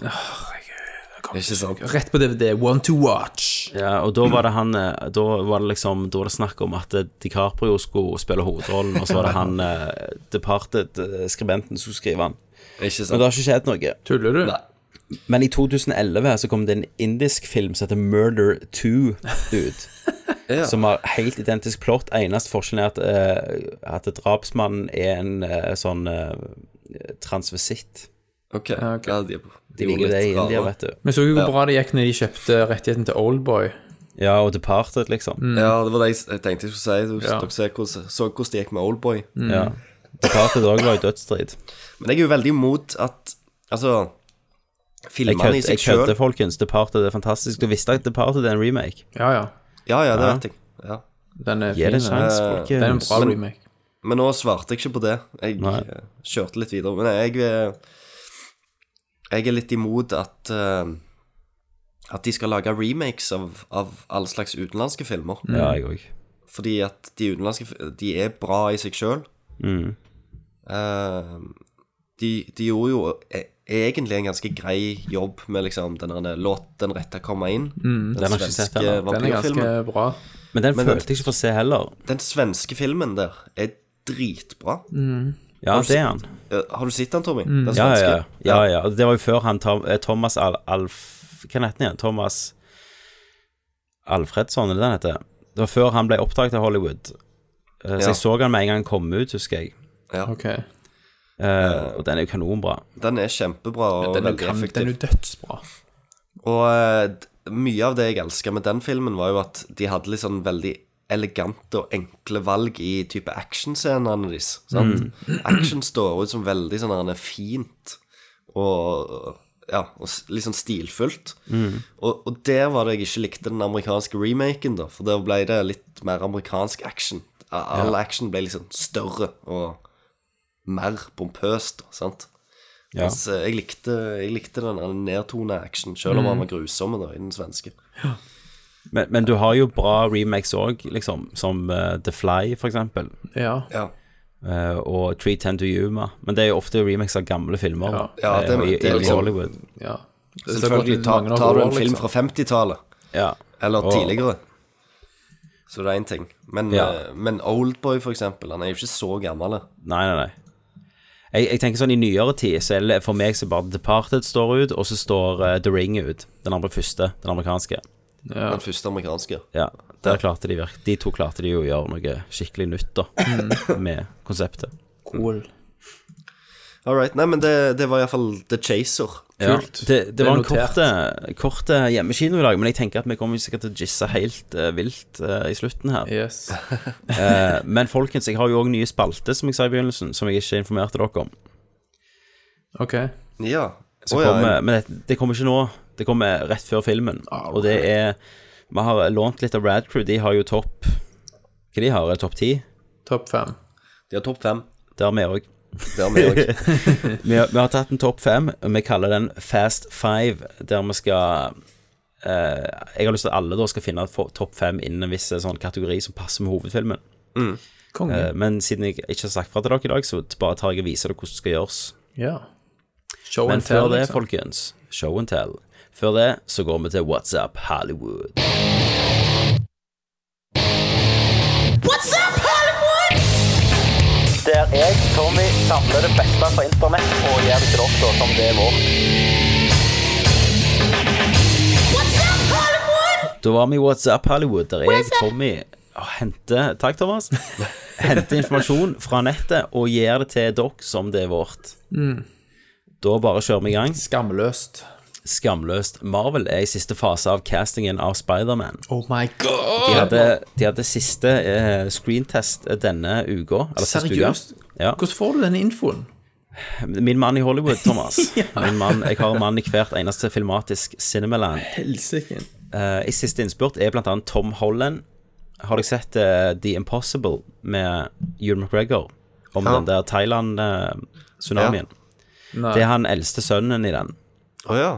Speaker 10: Ikke sant?
Speaker 9: Rett på DVD. One to watch.
Speaker 1: Ja, og da var det han eh, Da var det liksom Da var det snakk om at eh, DiCaprio skulle spille hovedrollen, og så var det han eh, Departed, eh, skribenten, som skulle skrive han.
Speaker 10: Ikke
Speaker 1: Men det har ikke skjedd noe.
Speaker 9: Tuller du?
Speaker 1: Men i 2011 så kom det en indisk film som heter Murder 2 ut.
Speaker 10: Ja.
Speaker 1: Som har helt identisk plott. Eneste forskjellen er at, eh, at drapsmannen er en eh, sånn uh, transvestitt.
Speaker 10: Ok. Ja, de,
Speaker 1: de liker det i India, vet du.
Speaker 9: Vi så jo hvor bra det gikk når de kjøpte rettigheten til Oldboy.
Speaker 1: Ja, og Departed, liksom.
Speaker 9: Mm.
Speaker 10: Ja, det var det jeg, jeg tenkte jeg skulle si. Du,
Speaker 9: Ja.
Speaker 10: Dere ser hvordan, så hvordan det gikk med Oldboy.
Speaker 1: Mm. Ja. Departed òg var i dødsstrid.
Speaker 10: Men jeg er jo veldig imot at Altså,
Speaker 1: Jeg
Speaker 10: filmene i
Speaker 1: kødder,
Speaker 10: seg
Speaker 1: jeg
Speaker 10: sjøl
Speaker 1: kødder folkens. Departed er fantastisk. Du visste at Departed er en remake.
Speaker 9: Ja, ja.
Speaker 10: Ja, ja, det
Speaker 1: Ja.
Speaker 10: vet jeg. Ja.
Speaker 9: Den er
Speaker 1: Gi det
Speaker 9: fin.
Speaker 1: en sjanse,
Speaker 9: den.
Speaker 1: folkens.
Speaker 9: Det er en bra
Speaker 10: Men-
Speaker 9: remake.
Speaker 10: Men nå svarte jeg ikke på det. Jeg
Speaker 1: Nei.
Speaker 10: eh, kjørte litt videre. Men jeg eh, Jeg er litt imot at eh, At de skal lage remakes av, av alle slags utenlandske filmer.
Speaker 1: Ja, jeg òg.
Speaker 10: Fordi at de utenlandske fi- De er bra i seg sjøl.
Speaker 1: Mm.
Speaker 10: de, de gjorde jo e egentlig en ganske grei jobb med liksom den derne 'Låt den rette komme inn'.
Speaker 1: Mm. Den har jeg ikke sett
Speaker 10: svenske
Speaker 1: ennå. Den er ganske
Speaker 10: vampyrfilmen.
Speaker 9: bra.
Speaker 1: Men den følte jeg ikke for å se heller.
Speaker 10: Den svenske filmen der er dritbra.
Speaker 9: Mm.
Speaker 1: Ja,
Speaker 10: Har du
Speaker 1: det er
Speaker 10: sett- Eh, Har du sett den, Tommy? Den
Speaker 1: Mm. Ja,
Speaker 10: svenske?
Speaker 1: ja, ja, ja. Det var jo før han Tom, eh, Thomas Al, Alf Hva heter han igjen? Thomas Alfredsson, er det den heter? Det var før han ble oppdaget av Hollywood. Eh, Så
Speaker 10: Ja.
Speaker 1: jeg så den med en gang den kom ut, husker jeg.
Speaker 10: Ja.
Speaker 9: Ok.
Speaker 1: Eh, og den er jo kanonbra.
Speaker 10: Den er kjempebra og
Speaker 9: Den er,
Speaker 10: veldig
Speaker 9: kan,
Speaker 10: effektiv.
Speaker 9: den er jo dødsbra.
Speaker 10: Og eh, d- mye av det jeg elska med den filmen, var jo at de hadde litt sånn veldig elegante og enkle valg i type actionscenene deres. Sant? Action står ut som veldig sånn her, fint og ja, og s- litt sånn stilfullt.
Speaker 15: Mm.
Speaker 10: Og, og der var det jeg ikke likte den amerikanske remaken, da. For der ble det litt mer amerikansk action. A- All action ble liksom større og mer pompøst, da, sant.
Speaker 1: Ja.
Speaker 10: Mens eh, jeg likte, jeg likte den der nedtone action, selv om
Speaker 1: Mm.
Speaker 10: han var grusom da, i den svenske.
Speaker 1: Men, men du har jo bra remakes òg, liksom, som eh, The Fly, for eksempel.
Speaker 9: Ja.
Speaker 1: Eh, og 310 to Yuma. Men det er jo ofte remakes av gamle filmer.
Speaker 10: Ja. Ja,
Speaker 1: eh,
Speaker 10: det-
Speaker 1: og i,
Speaker 10: det er
Speaker 1: i
Speaker 10: liksom-
Speaker 1: Hollywood.
Speaker 9: Ja.
Speaker 10: Selvfølgelig tar, tar du en
Speaker 1: liksom.
Speaker 10: film
Speaker 9: liksom.
Speaker 10: fra 50-tallet,
Speaker 1: Ja.
Speaker 10: eller
Speaker 1: Og-
Speaker 10: tidligere, så det er én ting. Men,
Speaker 1: Ja.
Speaker 10: eh, men Oldboy, for eksempel, han er jo ikke så gammel. eh, da.
Speaker 1: Nei, nei, nei. Jeg, jeg tenker sånn I nyere tid så er det for meg så bare Departed står ut, og så står eh, The Ring ut. Den andre første, den amerikanske.
Speaker 9: Ja.
Speaker 10: Den første amerikanske.
Speaker 1: Ja, der klarte de virk De to klarte de jo å gjøre noe skikkelig nytt, da, med konseptet.
Speaker 9: Cool.
Speaker 10: All right. Nei, men det, det var iallfall The Chaser.
Speaker 1: Ja, det, det var en
Speaker 10: notert.
Speaker 1: korte, korte hjemmekino i dag, men jeg tenker at vi kommer sikkert til å jisse helt eh, vilt eh, i slutten her. (laughs)
Speaker 9: Yes.
Speaker 1: Eh, men folkens, jeg har jo òg nye spalter, som jeg sa i begynnelsen, som jeg ikke informerte dere om.
Speaker 9: Ok.
Speaker 10: Ja.
Speaker 1: Så
Speaker 10: Å, ja,
Speaker 1: kommer,
Speaker 10: ja.
Speaker 1: Men det, det kommer ikke nå. Det kommer rett før filmen.
Speaker 10: Ah,
Speaker 1: Og det er Vi har lånt litt av Radcrew. De har jo topp Hva de har? Er det topp ti?
Speaker 9: Topp fem.
Speaker 10: De har topp fem.
Speaker 1: Det har vi òg.
Speaker 10: Det har vi
Speaker 1: (laughs)
Speaker 10: også.
Speaker 1: vi, har- vi har tatt en topp fem. og Vi kaller den Fast Five, der vi skal eh, Jeg har lyst til at alle da skal finne for- topp fem innen en viss eh, sånn kategori som passer med hovedfilmen.
Speaker 9: Konge.
Speaker 1: Eh, men siden jeg ikke har sagt fra til dere i dag, så bare tar jeg og viser dere hvordan det skal gjøres.
Speaker 9: Ja. Show
Speaker 1: Men
Speaker 9: and tell,
Speaker 1: før det,
Speaker 9: liksom.
Speaker 1: folkens, show and tell. Før det så går vi til What's Up Hollywood.
Speaker 3: What's up, Hollywood?
Speaker 1: Der jeg, Tommy, samler det beste fra internett og gjør det til dere som det er vårt. Da var vi i What's Up Hollywood, der jeg, Tommy, henter Takk, Thomas. henter informasjon fra nettet og gir det til dere som det er vårt.
Speaker 9: Mm.
Speaker 1: Da bare kjører vi i gang.
Speaker 9: Skamløst.
Speaker 1: Skamløst. Marvel er i siste fase av castingen av Spiderman.
Speaker 9: Oh my
Speaker 1: De
Speaker 9: god!
Speaker 1: hadde, de hadde siste eh, screentest denne uka. eller siste uka.
Speaker 9: Seriøst?
Speaker 1: Ja.
Speaker 9: Hvordan får du den infoen?
Speaker 1: Min mann i Hollywood,
Speaker 9: (laughs)
Speaker 1: Thomas. Min mann, jeg har en mann i hvert eneste filmatisk Cinemaland.
Speaker 9: Helsike.
Speaker 1: Eh, I siste innspurt er blant annet Tom Holland. Har dere sett eh, The Impossible med Ewan McGregor? Om
Speaker 10: Ja.
Speaker 1: den der Thailand-tsunamien.
Speaker 10: Nei.
Speaker 1: Det er han eldste sønnen i den.
Speaker 10: Å ja.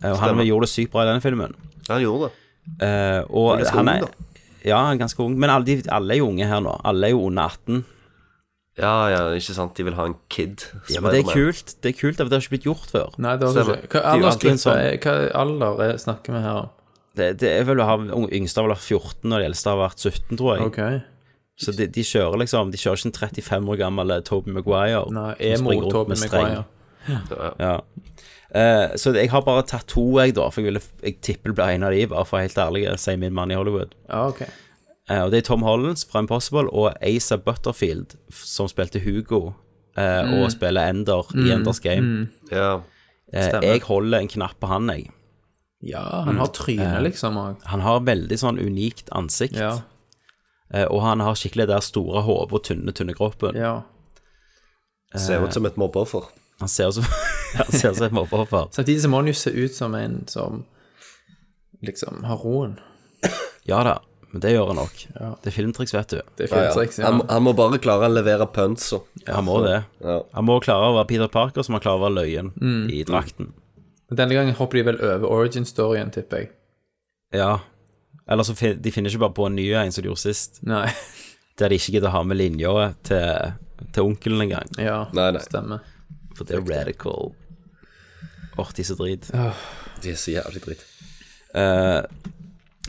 Speaker 1: Eh, og han
Speaker 10: Stemmer.
Speaker 1: gjorde det sykt bra i den filmen.
Speaker 10: Han gjorde det.
Speaker 1: Eh, og
Speaker 10: Han er ganske
Speaker 1: han er,
Speaker 10: ung,
Speaker 1: Ja, han er ganske ung. Men alle, de, alle er jo unge her nå. Alle er jo under 18.
Speaker 10: Ja, ja, ikke sant. De vil ha en kid.
Speaker 1: Ja, men det er
Speaker 10: Spider-Man.
Speaker 1: kult. Det er kult, for det har ikke blitt gjort før.
Speaker 9: Nei, det har du
Speaker 1: Stemmer.
Speaker 9: ikke. Hva
Speaker 1: Det er jo alltid en
Speaker 9: aldersgruppe
Speaker 1: sånn-
Speaker 9: er- hva alder er, snakker vi her om?
Speaker 1: Det, det er vel å ha ung- yngste har vel vært 14, og de eldste har vært 17, tror jeg.
Speaker 9: Ok.
Speaker 1: Så de, de kjører liksom De kjører ikke en 35 år gammel eh, Tobey Maguire.
Speaker 9: Nei,
Speaker 1: som
Speaker 9: emo
Speaker 1: springer rundt
Speaker 9: Tobey
Speaker 1: med streng.
Speaker 9: Maguire.
Speaker 1: Ja. Eh, så jeg har bare tatt to, jeg, da. For jeg, ville, jeg tipper det blir en av de, bare for å være helt ærlig, eh, sier min mann i Hollywood.
Speaker 9: Ja, ok.
Speaker 1: Eh, og det er Tom Hollands fra Impossible og Asa Butterfield, f- som spilte Hugo, eh,
Speaker 10: Mm.
Speaker 1: og spiller Ender
Speaker 10: Mm,
Speaker 1: i Enders Game.
Speaker 10: mm. Ja.
Speaker 1: Eh,
Speaker 10: Stemmer.
Speaker 1: jeg holder en knapp på han, jeg.
Speaker 9: Ja, han har trynet,
Speaker 1: Eh,
Speaker 9: liksom. Og...
Speaker 1: Han har veldig sånn unikt ansikt. Eh, og han har skikkelig det der store hodet og tynne, tynne kroppen.
Speaker 9: Ja.
Speaker 1: Eh.
Speaker 10: Ser ut som et mobbeoffer.
Speaker 1: Han ser ut som (laughs) Han ser ut som et mobbeoffer.
Speaker 9: Samtidig så må han jo se ut som en som liksom har roen.
Speaker 1: Ja da, men det gjør han nok.
Speaker 9: Ja.
Speaker 1: Det er filmtriks, vet du.
Speaker 9: Det er filmtriks, ja.
Speaker 10: Han, han må bare klare å levere punts. og-
Speaker 1: Han må det.
Speaker 10: Ja.
Speaker 1: Han må klare å være Peter Parker, som han klarer å være løyen
Speaker 9: Mm.
Speaker 1: i drakten.
Speaker 9: Men Denne gangen hopper de vel over origin-storyen, tipper jeg.
Speaker 1: Ja. Eller så fin de finner ikke bare på en ny en som de gjorde sist.
Speaker 9: Nei. (laughs)
Speaker 1: Der de ikke gidder å ha med linja til, til onkelen engang.
Speaker 9: Ja,
Speaker 10: Nei, nei.
Speaker 9: stemmer.
Speaker 1: For det er radical. Åh, de er så drit.
Speaker 10: De er så jævlig dritt.
Speaker 1: Eh,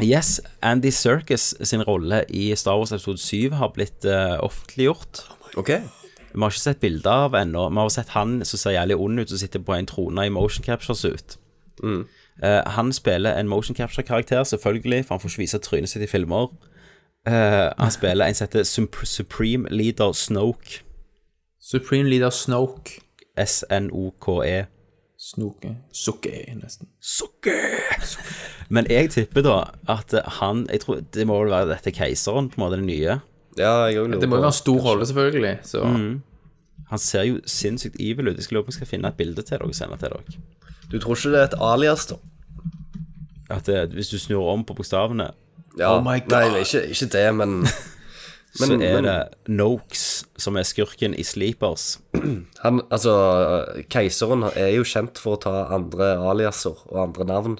Speaker 1: yes, Andy Serkis sin rolle i Star Wars episode 7 har blitt eh, offentliggjort. Vi har ikke sett bilder av ennå. Vi har sett han som ser jævlig ond ut, som sitter på en trone i motion capture-suit. Eh, han spiller en motion capture-karakter, selvfølgelig, for han får ikke vise trynet sitt i filmer. Eh, han spiller en som heter Sup- Supreme Leader Snoke.
Speaker 9: Supreme Leader Snoke.
Speaker 1: S-N-O-K-E.
Speaker 9: Snoke. Sukke, nesten.
Speaker 1: Men jeg tipper da at han Jeg tror det må vel være dette keiseren, på en måte, den nye.
Speaker 9: Det må jo være en stor rolle, selvfølgelig. Så.
Speaker 1: Mhm. Han ser jo sinnssykt evil ut. Jeg skal lurer på om jeg skal finne et bilde til dere og sende til dere.
Speaker 10: Du tror ikke det er et alias, da?
Speaker 1: At det, hvis du snur om på bokstavene,
Speaker 10: Ja,
Speaker 1: Oh my
Speaker 10: Nei, ikke, ikke det, (laughs) men
Speaker 1: så er det Noakes som er skurken i Sleepers.
Speaker 10: han, altså, Keiseren er jo kjent for å ta andre aliaser og andre navn.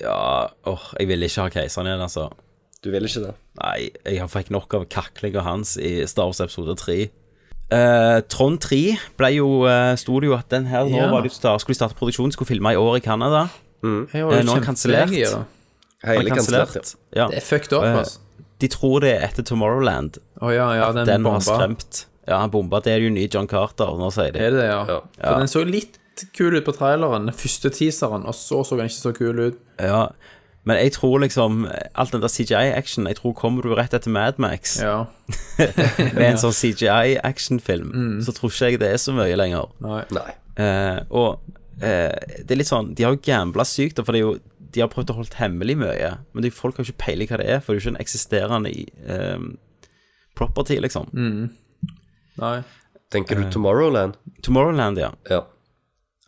Speaker 1: Ja, Ah, åh, jeg vil ikke ha keiseren igjen, altså.
Speaker 10: Du vil ikke det?
Speaker 1: Nei, jeg har fikk nok av kaklinga hans i Star Wars episode 3. Eh, Trond 3 ble jo, eh, sto det jo at den her nå
Speaker 9: Ja.
Speaker 1: var det jo start, skulle starte produksjon, skulle filme i år i Canada.
Speaker 9: Jeg var jo
Speaker 1: Eh, nå er den kansellert.
Speaker 9: kjempelenge, ja.
Speaker 1: Den er kansellert, ja.
Speaker 9: Det er fucked up,
Speaker 1: Eh,
Speaker 9: altså.
Speaker 1: De tror det er etter Tomorrowland.
Speaker 9: Å ja, ja,
Speaker 1: at
Speaker 9: den,
Speaker 1: den har
Speaker 9: bomba.
Speaker 1: skremt. Ja, han bomba. Det er jo ny John Carter, nå sier de.
Speaker 9: Er det det, ja?
Speaker 1: Ja.
Speaker 9: For den så litt kul ut på traileren, den første teaseren, og så så den ikke så kul ut.
Speaker 1: Ja, men jeg tror liksom Alt den der CGI-action Jeg tror kommer du rett etter Mad Max
Speaker 9: Ja.
Speaker 1: Med en sånn CGI-actionfilm
Speaker 9: Mm.
Speaker 1: Så tror ikke jeg det er så mye lenger
Speaker 9: Nei.
Speaker 1: Eh, Og eh, det er litt sånn De har jo gambla sykt da, For det er jo De har prøvd å holde hemmelig mye Men de, folk har jo ikke peilig hva det er For det er jo ikke en eksisterende eh, property liksom
Speaker 9: Nei.
Speaker 10: Tenker du Tomorrowland?
Speaker 1: Tomorrowland, ja
Speaker 10: Ja.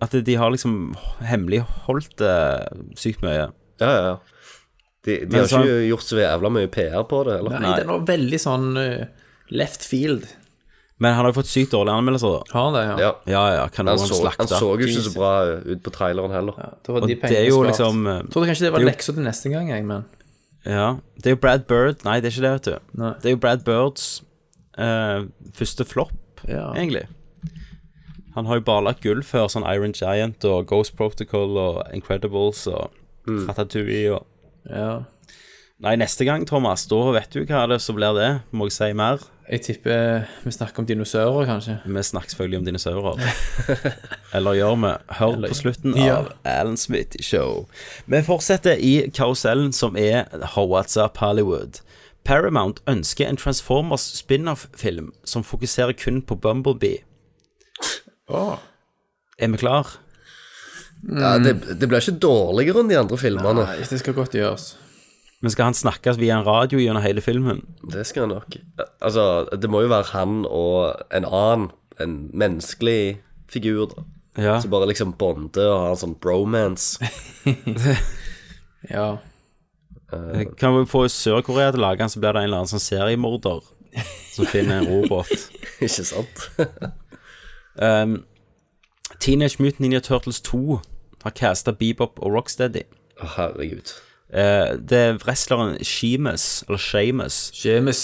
Speaker 1: At de har liksom hemmelig holdt det sykt mye
Speaker 10: Ja, ja, ja. De, de
Speaker 1: Men
Speaker 10: har
Speaker 1: sånn-
Speaker 10: ikke gjort så jævla mye PR på det, eller?
Speaker 9: Nei, den var veldig sånn eh, left field.
Speaker 1: Men han har jo fått sykt dårlige anmeldelser da
Speaker 9: Har det, ja.
Speaker 10: Ja.
Speaker 1: Ja, ja, kan
Speaker 10: Han
Speaker 1: noen
Speaker 10: så,
Speaker 1: slakte
Speaker 10: han så jo ikke så bra ut på traileren heller.
Speaker 9: Det var
Speaker 1: Og
Speaker 9: de
Speaker 1: det er
Speaker 9: pengene
Speaker 1: jo
Speaker 9: spart.
Speaker 1: liksom, eh,
Speaker 9: Trodde kanskje det var
Speaker 1: det er jo-
Speaker 9: leksa til neste gang, jeg, men
Speaker 1: Ja, det er jo Brad Bird Nei, det er ikke det, vet du.
Speaker 9: Nei.
Speaker 1: Det er jo Brad Birds eh, første flopp,
Speaker 9: Ja.
Speaker 1: egentlig. Han har jo bare lagt gull før, sånn Iron Giant og Ghost Protocol og Incredibles og Ratatouille og
Speaker 9: ja.
Speaker 1: Nei, neste gang, Thomas, da vet du hva det er som blir det. Må jeg si mer?
Speaker 9: Jeg tipper vi snakker om dinosaurer, kanskje.
Speaker 1: Vi snakker selvfølgelig om dinosaurer. Eller gjør vi? Hør på slutten
Speaker 9: Ja.
Speaker 1: av Alan Smith Show. Vi fortsetter i karusellen som er What's Up Hollywood. Paramount ønsker en Transformers spin-off-film som fokuserer kun på Bumblebee. Ah.
Speaker 9: Åh.
Speaker 1: Er vi klar?
Speaker 10: Ja, det, det ble ikke dårligere enn de andre filmene.
Speaker 9: Nei, det skal godt gjøres.
Speaker 1: Men skal han snakkes via en radio gjennom hele filmen?
Speaker 10: Det skal jeg nok. Altså, det må jo være han og en annen, en menneskelig figur, da.
Speaker 1: Ja.
Speaker 10: Som bare liksom bonder og har en sånn (laughs) bromance.
Speaker 9: Ja.
Speaker 1: Kan vi få Sør-Korea til å lage den, så blir det en eller annen sånn seriemorder som finner en robot.
Speaker 10: Ikke sant?
Speaker 1: Um, Teenage Mutant Ninja Turtles 2 har casta Bebop og Rocksteady.
Speaker 10: Å, Herregud.
Speaker 1: Eh, det er wrestleren Sheamus, eller Sheamus.
Speaker 9: James.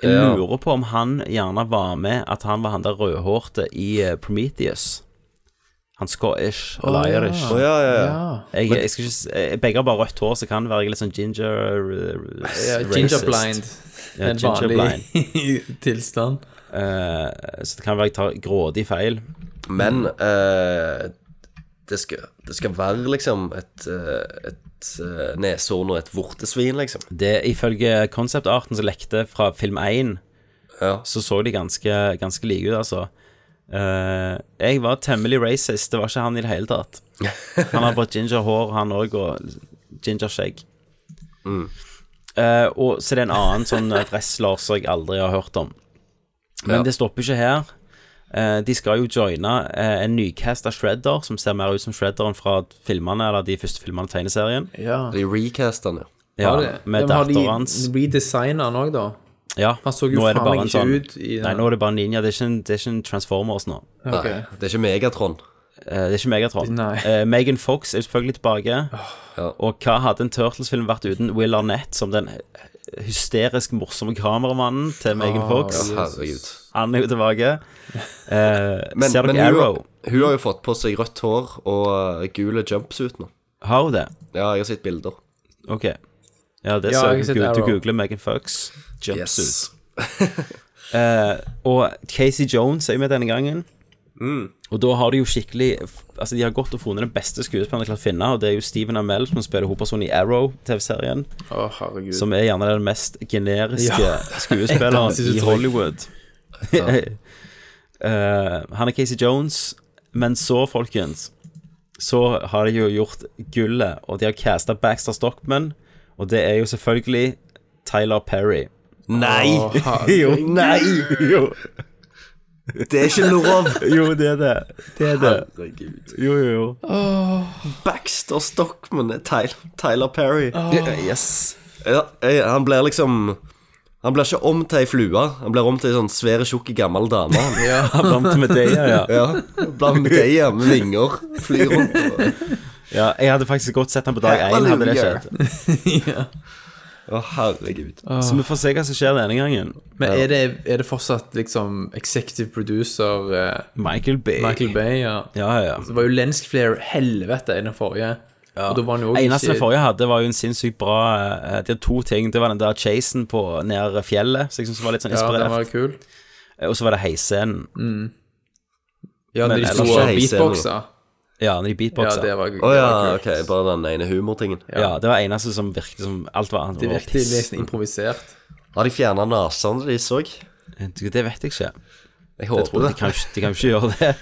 Speaker 1: Jeg
Speaker 10: Ja.
Speaker 1: lurer på om han gjerne var med, at han var han der rødhårte i eh, Prometheus. Han Scottish eller Irish.
Speaker 10: Å, ja, ja, ja.
Speaker 1: Jeg, jeg skal ikke, s- eh, begge har bare rødt hår, så kan det være jeg er litt sånn ginger eh,
Speaker 9: Ja,
Speaker 1: racist.
Speaker 9: ginger blind.
Speaker 1: Ja,
Speaker 9: en
Speaker 1: ginger (laughs)
Speaker 9: vanlig tilstand.
Speaker 1: Eh, så det kan være jeg tar grådig feil.
Speaker 10: Men eh, det, skal, det skal være liksom et, eh, et eh, neshorn og et vortesvin, liksom.
Speaker 1: Det Ifølge konseptarten som lekte fra film 1,
Speaker 10: Ja.
Speaker 1: så så de ganske, ganske like ut, altså. Eh, jeg var temmelig racist, det var ikke han i det hele
Speaker 9: (laughs)
Speaker 1: tatt. Han har bare ginger hår, han òg, og ginger skjegg.
Speaker 9: Mm.
Speaker 1: Eh, og så er det en annen sånn eh, wrestler som jeg aldri har hørt om. Men
Speaker 10: Ja.
Speaker 1: det stopper ikke her. Eh, de skal jo joine eh, en nycasta Shredder, som ser mer ut som Shredderen fra filmene, eller de første filmene i tegneserien.
Speaker 9: Ja.
Speaker 10: De recaster den, ja.
Speaker 1: Ja,
Speaker 9: Har de-
Speaker 1: med
Speaker 9: de har de
Speaker 1: datteren hans.
Speaker 9: Redesigna den òg, da.
Speaker 1: Ja,
Speaker 9: Han så jo
Speaker 1: nå er det
Speaker 9: faen meg
Speaker 1: bare en
Speaker 9: ikke
Speaker 1: sånn
Speaker 9: ut i den.
Speaker 1: Nei, nå er det bare ninja. Det er ikke en, det er ikke en Transformers nå.
Speaker 9: Ok.
Speaker 10: Nei, det er ikke Megatron.
Speaker 1: Eh, Det er ikke Megatron.
Speaker 9: Nei.
Speaker 1: Eh, Megan Fox er selvfølgelig tilbake.
Speaker 10: Ja.
Speaker 1: Og hva hadde en Turtles-film vært uten Will Arnett som den hysterisk morsomme kameramannen til Megan Fox?
Speaker 10: Herregud.
Speaker 1: Han er jo tilbake. Eh,
Speaker 10: Men,
Speaker 1: ser
Speaker 10: men
Speaker 1: dere
Speaker 10: hun,
Speaker 1: Arrow?
Speaker 10: hun har jo fått på seg rødt hår og eh, gule jumpsuit nå.
Speaker 1: Har hun det?
Speaker 10: Ja, jeg har sett bilder.
Speaker 1: Ok. Ja, det
Speaker 9: Ja,
Speaker 1: så
Speaker 9: jeg har sett
Speaker 1: du, du
Speaker 9: Arrow.
Speaker 1: googler Megan Fox. Jumpsuit.
Speaker 10: Yes. Mm.
Speaker 1: Eh, og Casey Jones er jo med denne gangen. Og da har de jo skikkelig Altså, de har gått og funnet den beste skuespilleren de har klart å finne, og det er jo Steven Amell, som spiller hovedpersonen i Arrow-TV-serien.
Speaker 9: Å, herregud.
Speaker 1: Som er gjerne den mest generiske
Speaker 9: Ja.
Speaker 1: skuespilleren
Speaker 9: Det er
Speaker 1: i
Speaker 9: så
Speaker 1: Hollywood.
Speaker 9: Ja.
Speaker 1: (laughs) Eh, han er Casey Jones, men så, folkens Så har de jo gjort gullet, og de har casta Baxter Stockman, og det er jo selvfølgelig Tyler Perry.
Speaker 10: Nei! Å,
Speaker 1: (laughs)
Speaker 10: herregud.
Speaker 1: jo, nei! Jo.
Speaker 10: Det er ikke lov!
Speaker 1: jo, det er det. Det er det.
Speaker 10: Herregud.
Speaker 1: Jo, jo, jo.
Speaker 10: Baxter Stockman er Tyler, Tyler Perry.
Speaker 1: Åh. Yes.
Speaker 10: Ja, jeg, han blir liksom Han blir ikke om til ei flue. Han blir om til ei sånn svære, tjukk, gammel dame. Han.
Speaker 1: (laughs) Ja. Han blir om til Medea, ja.
Speaker 10: ja
Speaker 1: (laughs)
Speaker 10: blant Medea med vinger. Flyr rundt. Og...
Speaker 1: Ja, jeg hadde faktisk godt sett han på dag én, hadde det skjedd.
Speaker 9: ja.
Speaker 10: Å, herregud.
Speaker 1: Så vi får se hva som skjer denne gangen.
Speaker 9: Men er det, er det fortsatt liksom executive producer eh,
Speaker 1: Michael Bay.
Speaker 9: Michael Bay, Altså, ja.
Speaker 1: Ja, ja.
Speaker 9: Så det var jo Lensflare helvete i den forrige. Og da var han jo også
Speaker 1: Eneste
Speaker 9: ikke-
Speaker 1: den forrige hadde, var jo en sinnssykt bra eh, De hadde to ting. Det var den der chasen på ned fjellet, som jeg syns var litt sånn
Speaker 9: Ja,
Speaker 1: inspirert.
Speaker 9: den var kul.
Speaker 1: Eh, Og så var det heisscenen.
Speaker 9: Ja,
Speaker 1: Men
Speaker 9: de
Speaker 1: ellers
Speaker 9: store
Speaker 1: ikke heisscenen.
Speaker 9: beatboxer.
Speaker 1: Ja, når de beatboxa.
Speaker 9: Ja, det var- det
Speaker 10: Å ja,
Speaker 9: var
Speaker 10: ok. Bare den ene humortingen.
Speaker 1: Ja. det var eneste som virket som alt var
Speaker 9: Det
Speaker 1: var
Speaker 9: virket
Speaker 1: piss.
Speaker 9: nesten improvisert.
Speaker 10: Har de fjerna nesene de så?
Speaker 1: Eh, Du, Det vet jeg ikke.
Speaker 10: Jeg
Speaker 1: Det
Speaker 10: håper
Speaker 1: tror jeg,
Speaker 10: det.
Speaker 1: de, kan, ikke- de kan ikke gjøre
Speaker 10: (laughs)
Speaker 1: det.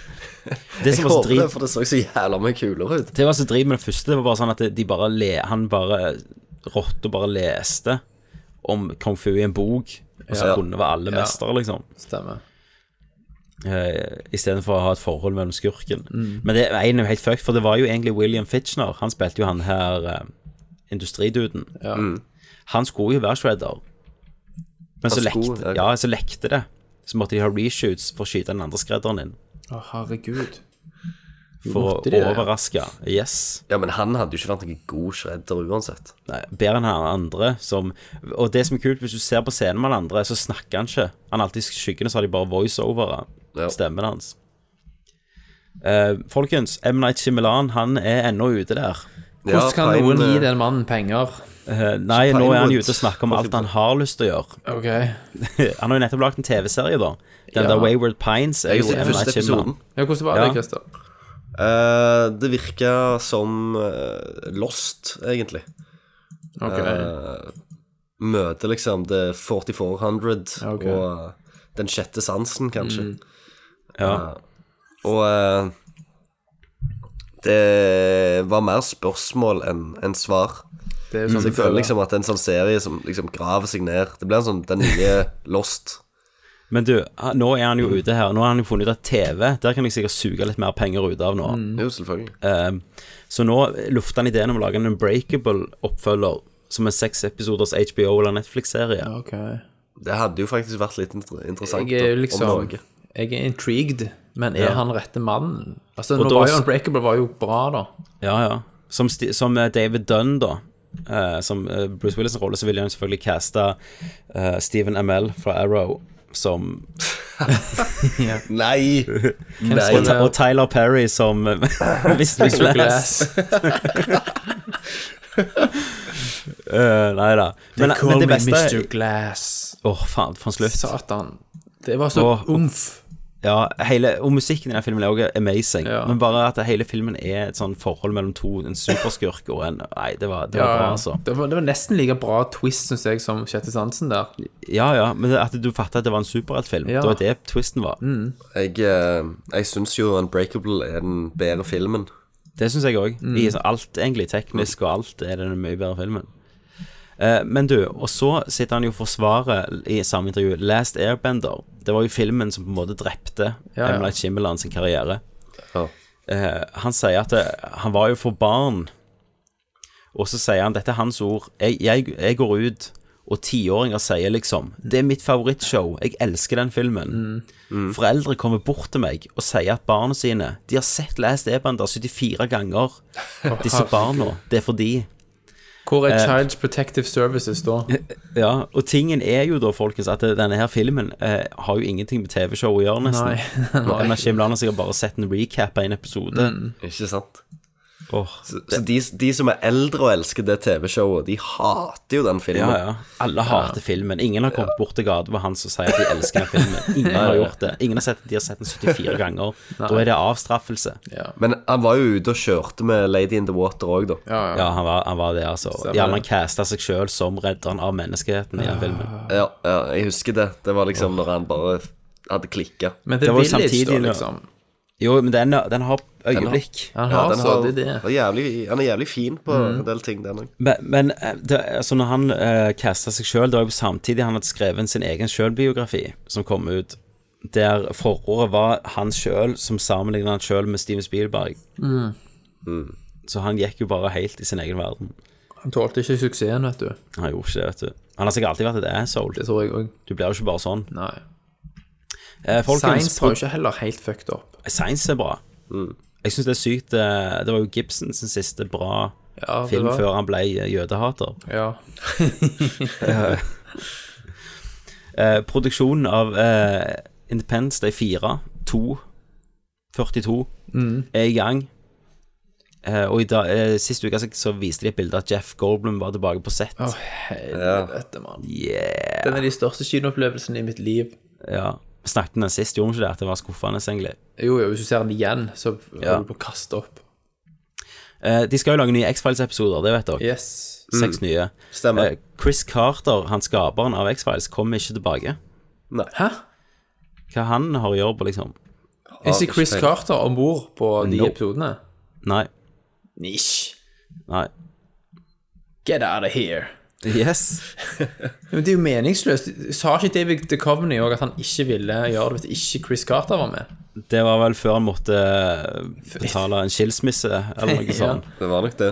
Speaker 1: Det
Speaker 10: jeg
Speaker 1: som var så
Speaker 10: håper
Speaker 1: drit
Speaker 10: det, for det så så jævla mye kulere ut.
Speaker 1: Det var så drit med det første. Det var bare sånn at de bare le, han bare rått og bare leste om kung fu i en bok, og så
Speaker 9: Ja.
Speaker 1: kunne være alle
Speaker 9: Ja.
Speaker 1: mestere, liksom.
Speaker 9: Stemmer.
Speaker 1: Eh, Istedenfor å ha et forhold mellom skurken.
Speaker 9: Mm.
Speaker 1: Men det ene er jo helt fucked, for det var jo egentlig William Fitchner. Han spilte jo han her eh, industriduden.
Speaker 9: Ja.
Speaker 10: Mm.
Speaker 1: Han skulle jo være shredder, men
Speaker 10: Han
Speaker 1: så
Speaker 10: skulle,
Speaker 1: lekte,
Speaker 10: ja.
Speaker 1: ja, så lekte det. Så måtte de ha reshoots for å skyte den andre skredderen inn.
Speaker 9: Å, herregud.
Speaker 1: For
Speaker 9: Måtte
Speaker 1: å
Speaker 9: de det, ja?
Speaker 1: overraske. Yes.
Speaker 10: Ja, men han hadde jo ikke vært noen god shredder uansett.
Speaker 1: Nei, bedre enn han andre som Og det som er kult, hvis du ser på scenen med han andre, så snakker han ikke. Han er alltid i skyggene, så har de bare voiceovere.
Speaker 10: Ja.
Speaker 1: Stemmen hans. Eh, folkens, M. Night Shyamalan, han er ennå ute der.
Speaker 10: Ja,
Speaker 9: Hvordan kan
Speaker 10: Pine,
Speaker 9: noen gi
Speaker 10: eh,
Speaker 9: den mannen penger?
Speaker 1: Eh, nei, nå er han
Speaker 10: Pinewood.
Speaker 1: ute og snakker om alt han har lyst til å gjøre. (laughs)
Speaker 9: Ok.
Speaker 1: han har jo nettopp lagd en TV-serie, da. Den
Speaker 9: Ja.
Speaker 1: der Wayward Pines er
Speaker 10: Jeg
Speaker 1: jo
Speaker 10: har
Speaker 1: M.
Speaker 10: sett
Speaker 1: Night
Speaker 10: første
Speaker 1: Shyamalan.
Speaker 10: episoden.
Speaker 9: Ja, hvordan var det,
Speaker 1: Ja.
Speaker 9: Christer?
Speaker 10: Eh, det virka som eh, Lost, egentlig.
Speaker 9: Ok.
Speaker 10: Eh, møter liksom The 4400
Speaker 9: Ok. Mm.
Speaker 10: og eh, Den sjette sansen, kanskje.
Speaker 1: Ja.
Speaker 10: Og eh, det var mer spørsmål enn enn svar.
Speaker 9: Det er jo
Speaker 10: Så
Speaker 9: sånn
Speaker 10: jeg føler liksom at det er en sånn serie som liksom graver seg ned. Det blir en sånn den
Speaker 9: (laughs)
Speaker 10: nye Lost.
Speaker 1: Men du, han- nå er han jo ute her. Nå har han jo funnet ut at TV, der kan jeg sikkert suge litt mer penger ut av nå.
Speaker 10: Jo, selvfølgelig.
Speaker 1: Ehm, Så nå lufter han ideen om å lage en Unbreakable-oppfølger som en seks episoders HBO eller Netflix-serie.
Speaker 9: Ok.
Speaker 10: Det hadde jo faktisk vært litt inter- interessant
Speaker 9: Jeg er
Speaker 10: om- om
Speaker 9: liksom
Speaker 10: Norge.
Speaker 9: Jeg er intrigued, men er
Speaker 1: Ja.
Speaker 9: han rette mannen? Altså,
Speaker 1: Og
Speaker 9: nå
Speaker 1: da
Speaker 9: var jo
Speaker 1: s-
Speaker 9: Unbreakable var jo bra, da.
Speaker 1: Ja, ja. Som, sti- som eh, David Dunn, da. eh, som eh, Bruce Willis' rolle, så ville han selvfølgelig caste eh, Stephen Amell fra Arrow som
Speaker 10: Nei! Nei.
Speaker 1: og, Ty- og Tyler Perry som (laughs) Visste du ikke Eh, Nei da. Men, men det beste
Speaker 9: Mr.
Speaker 1: Åh,
Speaker 9: Glass.
Speaker 1: faen, for en slutt.
Speaker 9: Satan. Det var så
Speaker 1: Åh.
Speaker 9: umf.
Speaker 1: Ja, hele, og musikken i den filmen er også amazing.
Speaker 9: Ja.
Speaker 1: Men bare at hele filmen er et sånn forhold mellom to, en superskurk og en Nei, det var, det var bra, altså.
Speaker 9: det, var, det var nesten like bra twist, syns jeg, som Sjette sansen der.
Speaker 1: Ja, ja, men at du fattet at det var en superheltfilm.
Speaker 9: Ja. Mm.
Speaker 1: Det var det twisten var.
Speaker 10: Jeg, eh, jeg syns jo Unbreakable er den bedre filmen.
Speaker 1: Det syns jeg òg.
Speaker 9: Mm.
Speaker 1: Alt egentlig teknisk og alt er den mye bedre filmen. Eh, men du, og så sitter han jo og forsvarer i samme intervju Last Airbender. Det var jo filmen som på en måte drepte
Speaker 9: Ja, ja.
Speaker 1: M. Night Shyamalan sin karriere.
Speaker 10: Ja.
Speaker 1: Eh, han sier at det, han var jo for barn. Og så sier han, dette er hans ord, jeg, jeg, jeg går ut, og tiåringer sier liksom, det er mitt favorittshow, jeg elsker den filmen.
Speaker 9: Mm.
Speaker 1: Foreldre kommer bort til meg og sier at barna sine, de har sett Last Ebander 74 ganger,
Speaker 9: (laughs)
Speaker 1: disse barna, det er for de.
Speaker 9: Hvor
Speaker 1: Eh,
Speaker 9: er Child Protective Services
Speaker 1: (laughs)
Speaker 9: da?
Speaker 1: Ja, og tingen er jo da, folkens, at denne her filmen eh, har jo ingenting med TV-show å gjøre nesten.
Speaker 9: Nei. (laughs)
Speaker 1: Nei. Kim Lander sikkert bare sett en recap av en episode.
Speaker 10: Ikke sant?
Speaker 9: Mm.
Speaker 10: så så de, de som er eldre og elsker det TV-showet, de hater jo den filmen.
Speaker 1: Ja, ja. Alle hater filmen. Ingen har kommet bort til gata med han som sier at de elsker den filmen. (laughs) Ingen
Speaker 10: Nei,
Speaker 1: har
Speaker 10: nei.
Speaker 1: gjort det. Ingen har sett De har sett den 74 ganger. Da er det avstraffelse.
Speaker 10: Men han var jo ute og kjørte med Lady in the Water òg, da.
Speaker 1: Ja, han, var, han var det, Ah. altså.
Speaker 10: Stemmer
Speaker 1: Ja,
Speaker 10: det.
Speaker 1: han casta seg sjøl som redderen av menneskeheten i den filmen.
Speaker 10: Ja, ja, jeg husker det. Det var liksom når han bare hadde klikka.
Speaker 1: Men The Det var jo Village, samtidig da, når- liksom. Jo, men den, den har øyeblikk.
Speaker 10: Den har, ja,
Speaker 9: altså
Speaker 10: den har, var Jævlig, han er jævlig fin på
Speaker 9: Mm.
Speaker 10: en del ting, den òg.
Speaker 1: Men, men eh, det, altså når han uh, casta seg sjøl, det var jo samtidig han hadde skrevet sin egen sjølbiografi som kom ut, der forordet var han sjøl som sammenligna han sjøl med Steven Spielberg.
Speaker 9: Mm.
Speaker 1: Så han gikk jo bare helt i sin egen verden.
Speaker 9: Han tålte ikke suksessen, vet du.
Speaker 1: Han gjorde ikke det, vet du. Han har sikkert alltid vært et asshole.
Speaker 9: Det tror jeg òg.
Speaker 1: Du blir jo ikke bare sånn.
Speaker 9: Nei.
Speaker 1: Eh, folkens,
Speaker 9: Science var jo ikke heller helt fucked up.
Speaker 1: Science er bra. Mm. Jeg syns det er sykt eh, Det var jo Gibson sin siste bra
Speaker 9: Ja, det
Speaker 1: film
Speaker 9: var-
Speaker 1: før han ble eh, jødehater.
Speaker 9: Ja.
Speaker 1: Eh, eh, produksjonen av eh, Independence Day 4, 2, 42
Speaker 9: Mm.
Speaker 1: er i gang. Eh, og i dag, eh, Sist uke så- så viste de et bilde av Jeff Goldblum var tilbake på sett.
Speaker 9: Å, helvete, mann.
Speaker 1: Yeah.
Speaker 9: Den er de største kinoopplevelsene i mitt liv.
Speaker 1: Ja. Vi Snakket om den sist, gjorde vi ikke det? At det var skuffende, egentlig.
Speaker 9: Jo, jo, hvis du ser den igjen, så
Speaker 1: Ja.
Speaker 9: holder du på å kaste opp.
Speaker 1: Eh, de skal jo lage nye X-Files-episoder, det vet dere.
Speaker 9: Yes.
Speaker 1: Seks
Speaker 9: Mm.
Speaker 1: nye.
Speaker 10: Stemmer.
Speaker 1: Eh, Chris Carter, han skaperen av X-Files, kommer ikke tilbake.
Speaker 9: Hæ?
Speaker 1: Hva han har å gjøre på, liksom?
Speaker 9: Er ikke Chris Carter om bord på de
Speaker 1: Nope.
Speaker 9: episodene?
Speaker 1: Nei.
Speaker 9: Nish.
Speaker 1: Nei.
Speaker 9: Get out of here.
Speaker 1: Yes.
Speaker 9: Men det er jo meningsløst. Sa ikke David Duchovny òg at han ikke ville gjøre det hvis ikke Chris Carter var med?
Speaker 1: Det var vel før han måtte betale en skilsmisse, eller noe
Speaker 9: (laughs) Ja.
Speaker 1: sånt.
Speaker 10: Det var nok det.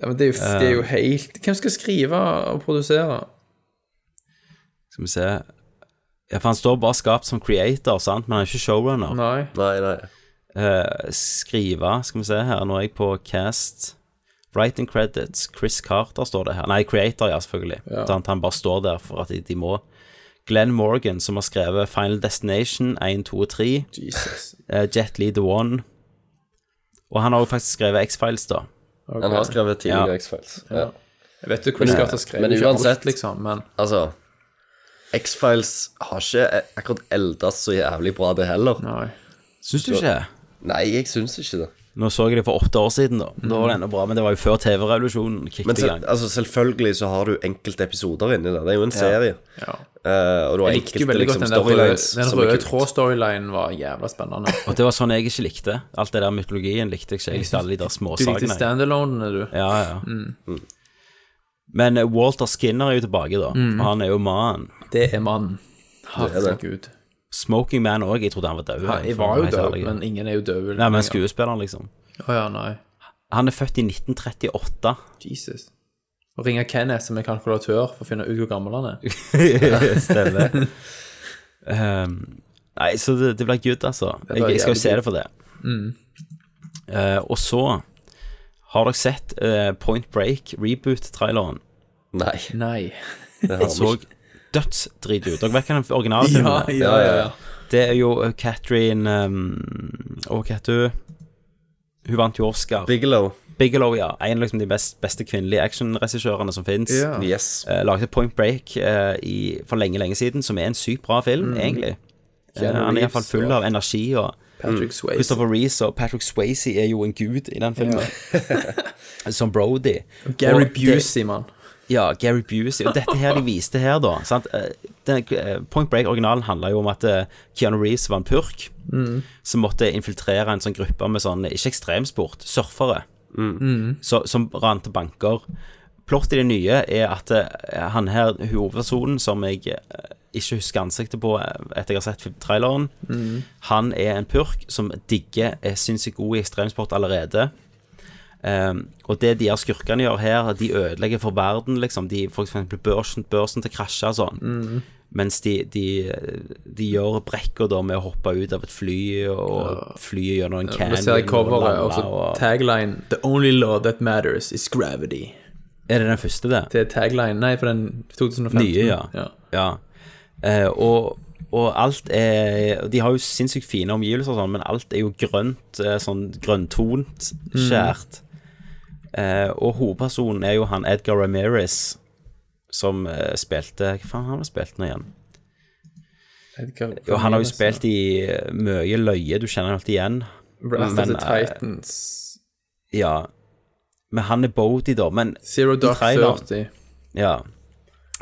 Speaker 9: Ja, men det er, jo, det er jo helt Hvem skal skrive og produsere?
Speaker 1: Skal vi se Ja, for han står bare skapt som creator, sant? men han er ikke showrunner.
Speaker 9: Nei.
Speaker 10: Nei, nei.
Speaker 1: Eh, skrive, skal vi se her, nå er jeg på cast. Writing credits, Chris Carter står det her. Nei, creator, ja, selvfølgelig.
Speaker 9: Ja.
Speaker 1: Sant? Han bare står der for at de, de må. Glenn Morgan, som har skrevet Final Destination 1, 2 og 3.
Speaker 9: Jesus.
Speaker 1: Eh, Jet Lee The One. Og han har jo faktisk skrevet X-Files, da.
Speaker 10: Han har skrevet tidligere X-Files. Ja.
Speaker 9: Jeg vet jo Chris
Speaker 10: Men-
Speaker 9: Carter skrev
Speaker 10: men
Speaker 9: ikke alt,
Speaker 10: uansett-
Speaker 9: liksom, men
Speaker 10: Altså, X-Files har ikke akkurat eldes så jævlig bra, det heller.
Speaker 9: Nei.
Speaker 1: Syns du ikke det?
Speaker 10: Nei, jeg syns ikke det.
Speaker 1: Nå så jeg det for åtte år siden, da. Da var det enda bra, men det var jo før TV-revolusjonen
Speaker 10: Men
Speaker 1: kicket i
Speaker 10: sel
Speaker 1: gang.
Speaker 10: altså, selvfølgelig så har du enkelte episoder inni det. Det er jo en serie.
Speaker 9: Ja.
Speaker 10: Eh, og du har
Speaker 9: Jeg likte jo
Speaker 10: enkelte
Speaker 9: veldig godt
Speaker 10: liksom,
Speaker 9: den der røde,
Speaker 10: storylines
Speaker 9: den
Speaker 10: som er
Speaker 9: røde
Speaker 10: kult.
Speaker 9: tråd-storylinen var jævla spennende.
Speaker 1: Og det var sånn jeg ikke likte. Alt det der mytologien likte jeg ikke. Jeg likte alle de der
Speaker 9: Du likte Mm.
Speaker 1: småsakene.
Speaker 9: standalone-ene, du.
Speaker 1: Ja, ja. Men eh, Walter Skinner er jo tilbake, da.
Speaker 9: Mm.
Speaker 1: Han er jo mannen.
Speaker 9: Det er mannen. Herregud.
Speaker 1: Smoking Man òg. Jeg trodde han var død.
Speaker 9: Han- Jeg var jo død, men ingen er jo død.
Speaker 1: Nei, men skuespilleren, liksom.
Speaker 9: Å ja, nei.
Speaker 1: Han er født i 1938.
Speaker 9: Jesus. Å ringe Kenneth som er kalkulatør for å finne ut hvor gammel han er. (laughs)
Speaker 1: Stemmer. (laughs) Ehm, nei, så det, det blir good, altså.
Speaker 9: Det blir
Speaker 1: Jeg, jeg skal
Speaker 9: jævlig
Speaker 1: jo se
Speaker 9: good.
Speaker 1: det for det.
Speaker 9: Mm.
Speaker 1: Eh, og så har dere sett eh, Point Break reboot-traileren.
Speaker 10: (laughs) Nei.
Speaker 9: Nei.
Speaker 10: Det har
Speaker 1: Den så
Speaker 10: vi ikke.
Speaker 1: dødsdrit ut. Dere vet hva den originale filmen er?
Speaker 9: (laughs) Ja, ja, ja.
Speaker 1: Det er jo eh, Catherine um, Og hva heter hun? Hun vant jo Oscar.
Speaker 10: Bigelow.
Speaker 1: Bigelow, ja. En av liksom, de best, beste kvinnelige actionregissørene som fins.
Speaker 10: Ja. Yes.
Speaker 1: lagde Point Break eh, i, for lenge, lenge siden, som er en sykt bra film,
Speaker 9: Mm.
Speaker 1: egentlig. Eh,
Speaker 9: Keanu
Speaker 1: han er
Speaker 9: Reeves
Speaker 1: iallfall full
Speaker 9: og-
Speaker 1: av energi og
Speaker 9: Patrick Swayze.
Speaker 1: Christopher Reece og Patrick Swayze er jo en gud i den filmen. (laughs) som Brody.
Speaker 9: Gary
Speaker 1: Og det-
Speaker 9: Busey, mann.
Speaker 1: ja, Gary Busey. Og dette her de viste her, da. Sant? Eh, Den, eh, Point Break-originalen handla jo om at eh, Keanu Reeves var en purk
Speaker 9: Mm.
Speaker 1: som måtte infiltrere en sånn gruppe med sånn, ikke ekstremsport, surfere,
Speaker 9: Mm.
Speaker 1: så, som rante banker. Plott i det nye er at eh, han her, hovedpersonen, som jeg eh, ikke husker ansiktet på eh, etter jeg har sett traileren,
Speaker 9: Mm.
Speaker 1: han er en purk som digger, er sinnssykt god i ekstremsport allerede. Ehm, og det de her skurkene gjør her, de ødelegger for verden, liksom. De for eksempel børsen, børsen til krasja og sånn.
Speaker 9: Mm.
Speaker 1: Mens de, de, de gjør brekker da med å hoppe ut av et fly, og flyet gjennom en
Speaker 9: Ja,
Speaker 1: canyon.
Speaker 9: Nå ser jeg coveret, altså.
Speaker 1: og
Speaker 9: og
Speaker 1: lander,
Speaker 9: så
Speaker 1: og-
Speaker 9: tagline The only law that matters is gravity.
Speaker 1: Er det den første, det?
Speaker 9: Det er tagline, nei, på den 2015.
Speaker 1: Nye, ja. ja. Eh, og, og alt er De har jo sinnssykt fine omgivelser, og sånn, men alt er jo grønt, eh, sånn grønntont,
Speaker 9: Mhm.
Speaker 1: skjært. Eh, og hovedpersonen er jo han Edgar Ramirez, som eh, spilte Hva faen har han spilt nå igjen?
Speaker 9: Edgar
Speaker 1: Jo, han har jo
Speaker 9: Ramirez,
Speaker 1: spilt i eh, mye løye, du kjenner han alltid igjen.
Speaker 9: Wrath of the
Speaker 1: eh,
Speaker 9: Titans.
Speaker 1: ja. Men han er Bodie, da. Men
Speaker 9: Zero
Speaker 1: i
Speaker 9: Dark
Speaker 1: traileren-
Speaker 9: Thirty.
Speaker 1: Ja.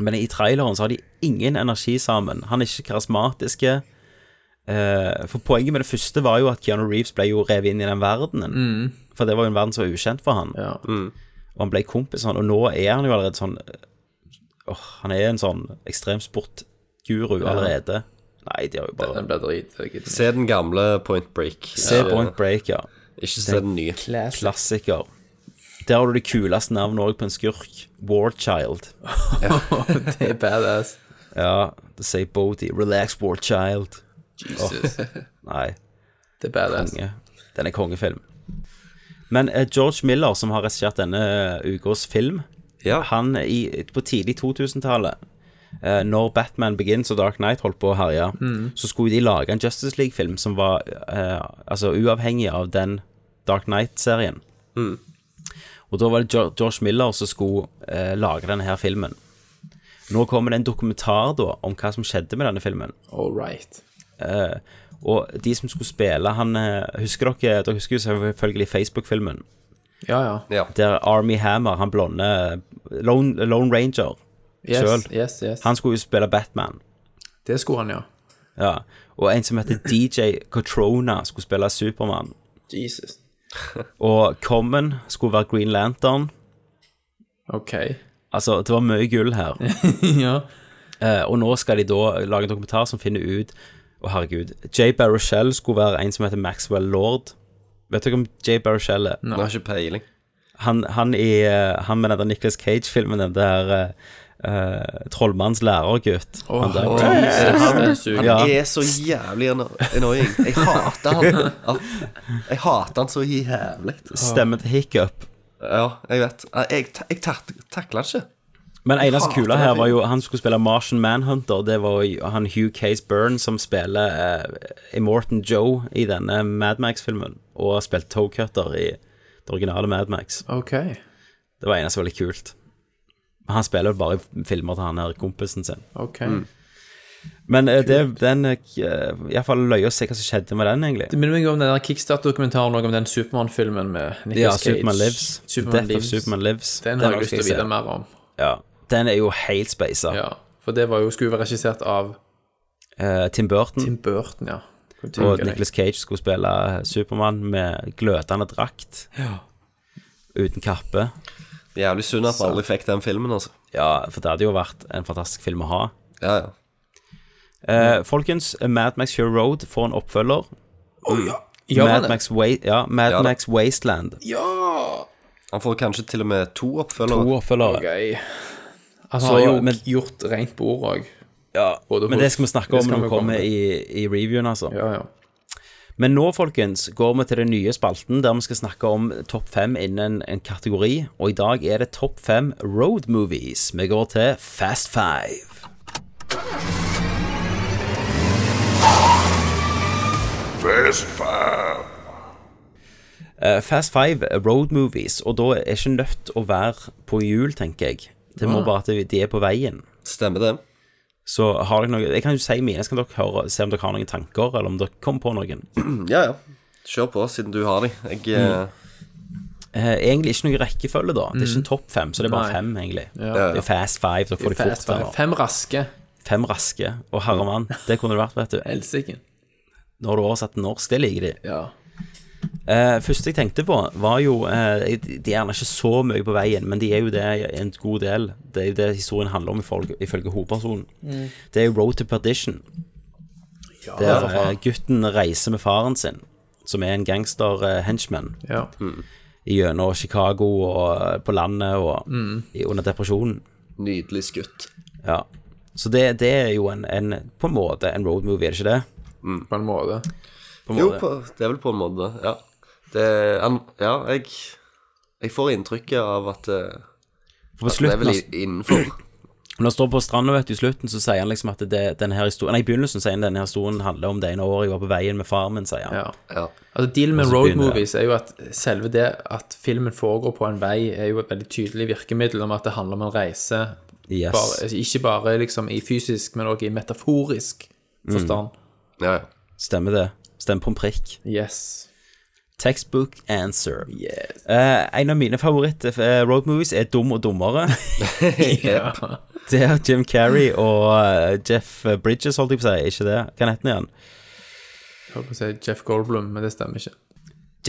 Speaker 1: Men i traileren så har de ingen energi sammen. Han er ikke karismatiske. Eh, for poenget med det første var jo at Keanu Reeves ble jo revet inn i den verdenen.
Speaker 9: Mm.
Speaker 1: For det var jo en verden som var ukjent for han. Og han ble kompis sånn, og nå er han jo allerede sånn Åh, han er en sånn ekstremsportguru
Speaker 10: Ja.
Speaker 1: allerede. Nei, de har jo bare
Speaker 9: Den ble drit.
Speaker 10: Se den gamle Point Break.
Speaker 1: Se
Speaker 10: Ja.
Speaker 1: Point Break, ja.
Speaker 10: Ikke se
Speaker 1: Det er
Speaker 10: den nye.
Speaker 1: Classic. Klassiker. Der har du det kuleste navnet òg på en skurk. Warchild.
Speaker 9: (laughs) det er badass.
Speaker 1: Ja, det sier Bodhi. Relax, Warchild.
Speaker 9: Jesus.
Speaker 1: Åh, nei.
Speaker 9: Det er badass.
Speaker 1: Konge. Den er kongefilm. Men eh, George Miller, som har regissert denne ukas film, han eh, i, på tidlig 2000-tallet eh, når Batman Begins og Dark Knight holdt på å herje,
Speaker 9: Mm.
Speaker 1: så skulle de lage en Justice League-film som var eh, altså uavhengig av den Dark Knight-serien. Og da var det Jo- George Miller som skulle eh, lage denne her filmen. Nå kommer det en dokumentar da om hva som skjedde med denne filmen.
Speaker 9: All right.
Speaker 1: Eh, og de som skulle spille han, eh, Husker dere dere husker jo selvfølgelig Facebook-filmen?
Speaker 9: Ja, ja.
Speaker 1: Der Army Hammer, han blonde Lone, Lone Ranger
Speaker 9: Yes,
Speaker 1: selv,
Speaker 9: yes, yes.
Speaker 1: han skulle jo spille Batman.
Speaker 9: Det skulle han, ja.
Speaker 1: Ja. Og en som heter DJ Cotrona, skulle spille Supermann.
Speaker 9: Jesus.
Speaker 1: Og Common skulle være Green Lantern. (laughs)
Speaker 9: Ok.
Speaker 1: Altså, det var mye gull her.
Speaker 9: ja.
Speaker 1: Eh, og nå skal de da lage en dokumentar som finner ut Å, herregud. Jay Baruchel skulle være en som heter Maxwell Lord. Vet dere om Jay Baruchel er?
Speaker 10: Jeg har ikke peiling.
Speaker 1: Han, han, i, eh, han med den der Nicolas Cage-filmen, den der uh, trollmannens lærergutt.
Speaker 10: Åh,
Speaker 1: han der.
Speaker 10: åh, er det han?
Speaker 1: Ja.
Speaker 10: han er så jævlig anno- annoying. Jeg hater han. Al- Jeg hater han så jævlig.
Speaker 1: Stemmen til hiccup.
Speaker 10: Ja, jeg vet. Jeg, ta- jeg tak- takler han ikke.
Speaker 1: Men eneste
Speaker 10: Hater
Speaker 1: kula
Speaker 10: den
Speaker 1: her var
Speaker 10: filmen.
Speaker 1: jo han skulle spille Martian Manhunter. Det var jo han Hugh Case Byrne som spiller eh, Immortan Joe i denne Mad Max-filmen. Og har spilt Toecutter i det originale Mad Max.
Speaker 9: Ok.
Speaker 1: Det var eneste veldig kult. Men han spiller jo bare i filmer til han her kompisen sin.
Speaker 9: Ok.
Speaker 1: Mm. Men eh, det, den eh, Iallfall løy å se hva som skjedde med den, egentlig.
Speaker 9: Det minner meg om den der Kickstart-dokumentaren også om den Supermann-filmen med Nicolas
Speaker 1: Ja,
Speaker 9: Cage.
Speaker 1: Superman Lives.
Speaker 9: Superman
Speaker 1: Death
Speaker 9: Lives.
Speaker 1: of Superman Lives.
Speaker 9: Den har jeg
Speaker 1: også
Speaker 9: lyst til å
Speaker 1: skal
Speaker 9: vite
Speaker 1: se.
Speaker 9: mer om.
Speaker 1: Ja. Den er jo helt speisa.
Speaker 9: For det var jo skulle være regissert av
Speaker 1: Eh, Tim Burton.
Speaker 9: Tim Burton, ja.
Speaker 1: Og Nicolas Cage skulle spille Supermann med glødende drakt.
Speaker 9: Ja.
Speaker 1: Uten kappe.
Speaker 10: Jævlig synd at vi
Speaker 1: Så.
Speaker 10: aldri fikk den filmen, altså.
Speaker 1: Ja, for det hadde jo vært en fantastisk film å ha.
Speaker 10: Ja, ja.
Speaker 1: Eh, folkens, Mad Max Fury Road får en oppfølger.
Speaker 10: Gjør han
Speaker 1: Mad
Speaker 10: det?
Speaker 1: Max, Wa ja, Mad
Speaker 10: Ja da.
Speaker 1: Max Wasteland.
Speaker 10: Han får kanskje til og med to oppfølgere.
Speaker 1: To oppfølgere.
Speaker 9: Han
Speaker 1: Så-
Speaker 9: har jo
Speaker 1: men-
Speaker 9: gjort rent bord òg.
Speaker 1: Ja, Men det skal vi snakke om når vi kommer
Speaker 9: i
Speaker 1: i, i reviewen, altså.
Speaker 9: Ja, ja.
Speaker 1: Men nå, folkens, går vi til den nye spalten der vi skal snakke om topp fem innen en kategori. Og i dag er det topp fem road movies. Vi går til Fast Five.
Speaker 15: Fast Five.
Speaker 1: Eh, Fast Five er road movies, og da er ikke nødt å være på hjul, tenker jeg. Det må
Speaker 10: Ah.
Speaker 1: bare at de er på veien.
Speaker 10: Stemmer det.
Speaker 1: Så har dere noe Jeg kan jo si mine, så kan dere høre, se om dere har noen tanker, eller om dere kommer på noen.
Speaker 10: Ja, ja. Kjør på, siden du har de. Jeg eh,
Speaker 1: Eh, egentlig ikke noen rekkefølge, da. Det er ikke en topp fem, så det er bare
Speaker 9: Mm. Nei.
Speaker 1: fem, egentlig.
Speaker 9: Ja.
Speaker 1: Det er Fast Five, så
Speaker 9: Det er
Speaker 1: får de
Speaker 9: fast
Speaker 1: fort
Speaker 9: five.
Speaker 1: der.
Speaker 9: Fem raske.
Speaker 1: Fem raske og herre
Speaker 9: (laughs)
Speaker 1: mann. Det kunne det vært, vet du.
Speaker 9: Helsike.
Speaker 1: Nå har du oversatt til norsk, det liker de.
Speaker 9: Ja.
Speaker 1: Eh, første jeg tenkte på, var jo eh, De er gjerne ikke så mye på veien, men de er jo det en god del. Det er jo det historien handler om ifølge, ifølge hovedpersonen.
Speaker 9: Mm.
Speaker 1: Det er jo Road to Perdition.
Speaker 9: Ja,
Speaker 1: der
Speaker 9: for faen.
Speaker 1: eh, gutten reiser med faren sin, som er en gangster-henchman,
Speaker 9: Ja.
Speaker 1: gjennom Chicago og eh, på landet og
Speaker 10: Mm.
Speaker 1: i- under depresjonen.
Speaker 10: Nydelig skutt.
Speaker 1: Ja. Så det, det er jo en, en, på en måte en road movie, er det ikke det?
Speaker 9: På en måte.
Speaker 1: På en
Speaker 10: Jo,
Speaker 1: måte.
Speaker 10: på, det er vel på en måte, ja. Det, han, ja, jeg, jeg får inntrykket av at eh,
Speaker 1: For på
Speaker 10: at det er
Speaker 1: slutten altså.
Speaker 10: vel
Speaker 1: av-
Speaker 10: i- innenfor
Speaker 1: Når han står på stranda vet du, i slutten, så sier han liksom at det, denne her historien Nei, i begynnelsen sier han denne historien handler om det ene året jeg var på veien med faren min, sier han.
Speaker 9: Ja. Ja. Altså, Dealen med road movies er jo at selve det at filmen foregår på en vei, er jo et veldig tydelig virkemiddel om at det handler om en reise.
Speaker 1: Yes.
Speaker 9: Bare, altså, ikke bare liksom i fysisk, men også i metaforisk forstand.
Speaker 1: Mm. Ja, Stemmer det. Stemmer på en prikk.
Speaker 9: Yes.
Speaker 1: Textbook answer.
Speaker 9: Yes.
Speaker 1: Eh, en av mine favoritt-roadmovies er Dum og dummere. (laughs)
Speaker 9: ja.
Speaker 1: Det er Jim Carrey og eh, Jeff Bridges, holdt jeg på å si. Ikke det? Hva heter han igjen?
Speaker 9: Jeg holdt på å si Jeff Goldblum, men det stemmer ikke.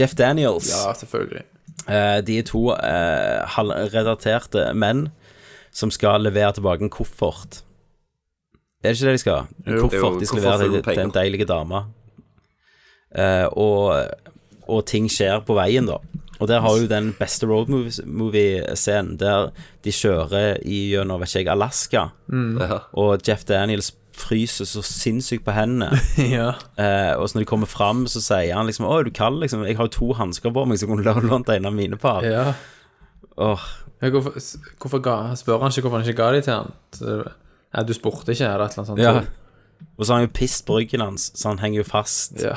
Speaker 1: Jeff Daniels.
Speaker 9: Ja,
Speaker 1: (laughs)
Speaker 9: selvfølgelig.
Speaker 1: Eh, de er to eh, halvredaterte menn som skal levere tilbake en koffert. Er det ikke det de skal? En
Speaker 10: Jo.
Speaker 1: koffert de skal levere til,
Speaker 10: Jo, koffert full av
Speaker 1: til en
Speaker 10: penger.
Speaker 1: deilig dame. Eh, og, og ting skjer på veien, da. Og der har du den beste roadmovie-scenen, der de kjører i gjennom, vet ikke jeg, Alaska.
Speaker 9: Mm. Ja.
Speaker 1: Og Jeff Daniels fryser så sinnssykt på
Speaker 10: (laughs)
Speaker 1: hendene.
Speaker 9: ja.
Speaker 1: Eh, og så når de kommer fram, så sier han liksom Å, er du kald, liksom? Jeg har jo to hansker på meg, så kunne du lånt en av mine par.
Speaker 9: ja.
Speaker 1: Åh,
Speaker 9: Ja, Hvorfor, hvorfor ga, spør han ikke hvorfor han ikke ga de til han? Så- Nei, du spurte ikke, eller et eller annet sånt?
Speaker 1: ja. Og så har han jo pisset på ryggen hans, så han henger jo fast.
Speaker 9: Ja.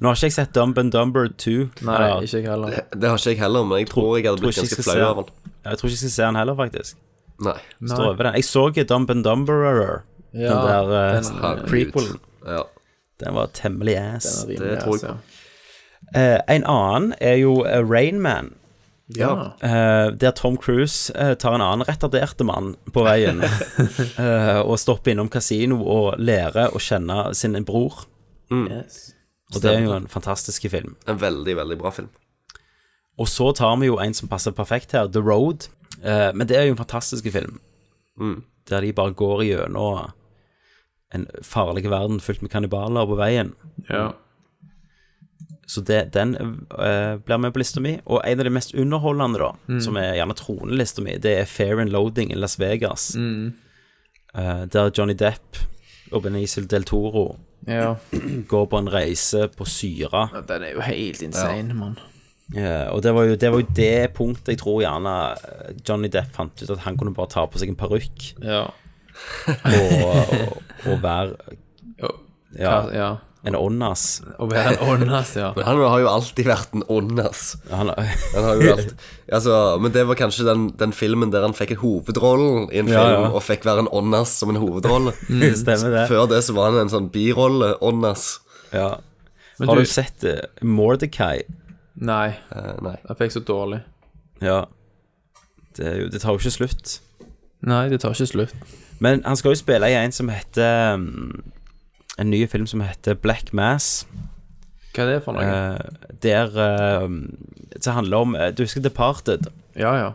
Speaker 1: Nå har ikke jeg sett Dumb and Dumber 2.
Speaker 9: Nei,
Speaker 1: eller-
Speaker 9: ikke jeg heller.
Speaker 10: Det, det har ikke jeg heller, men jeg tror, jeg hadde
Speaker 1: tror
Speaker 10: blitt
Speaker 1: ikke jeg
Speaker 10: ganske
Speaker 1: skal
Speaker 10: flau
Speaker 1: se
Speaker 10: av
Speaker 1: den.
Speaker 10: den.
Speaker 1: Ja, Jeg tror ikke jeg skal se den heller, faktisk.
Speaker 10: Nei.
Speaker 1: Står over den. Jeg så ikke Dumb and Dumberer,
Speaker 9: Ja,
Speaker 1: den der eh,
Speaker 9: den- Herregud.
Speaker 1: prequelen.
Speaker 10: Ja.
Speaker 1: Den var temmelig ass.
Speaker 9: Den er rimelig
Speaker 1: Det tror
Speaker 9: ass,
Speaker 1: jeg. Eh, en annen er jo eh, Rain Man.
Speaker 9: Ja.
Speaker 1: Eh, der Tom Cruise eh, tar en annen retarderte mann på
Speaker 9: (laughs)
Speaker 1: veien eh, og stopper innom kasino og lærer å kjenne sin bror. Mm.
Speaker 9: Yes.
Speaker 1: Og det er jo en fantastisk film.
Speaker 10: En veldig, veldig bra film.
Speaker 1: Og så tar vi jo en som passer perfekt her, The Road. Eh, men det er jo en fantastisk film, der de bare går gjennom en farlig verden fylt med kannibaler på veien.
Speaker 9: Ja.
Speaker 1: Så det, den eh, blir med på lista mi. Og en av de mest underholdende, da, som er gjerne tronelista mi, det er Fair and Loading i Las Vegas. Eh, der Johnny Depp og Benisil del Toro
Speaker 9: Ja.
Speaker 1: går på en reise på syre.
Speaker 9: Den er jo helt insane, mann.
Speaker 1: Ja, Eh, og det var, jo, det var jo det punktet jeg tror gjerne eh, Johnny Depp fant ut at han kunne bare ta på seg en parykk
Speaker 9: Ja.
Speaker 1: og, og, og være ja,
Speaker 9: Hva- ja.
Speaker 1: en åndas.
Speaker 9: Å være en åndas, ja.
Speaker 10: Men han har jo alltid vært altså. en ånd, ass.
Speaker 1: Han, (laughs)
Speaker 10: Han har jo alt altså, Men det var kanskje den, den filmen der han fikk hovedrollen i en film,
Speaker 1: Ja, ja.
Speaker 10: og fikk være en åndas som en
Speaker 1: (laughs)
Speaker 10: hovedrolle.
Speaker 1: Mm, stemmer det.
Speaker 10: Før det så var han en sånn birolle, åndas.
Speaker 1: ja.
Speaker 9: Men
Speaker 1: Har
Speaker 9: du-
Speaker 1: du sett eh, Mordecai?
Speaker 9: Nei,
Speaker 10: Eh, nei.
Speaker 9: jeg fikk så dårlig.
Speaker 1: Ja. Det, er jo, det tar jo ikke slutt.
Speaker 9: Nei, det tar ikke slutt.
Speaker 1: Men han skal jo spille i en som heter um, En ny film som heter Black Mass.
Speaker 9: Hva er det for noe?
Speaker 1: Eh, der eh, Det handler om eh, Du husker Departed?
Speaker 9: ja, ja.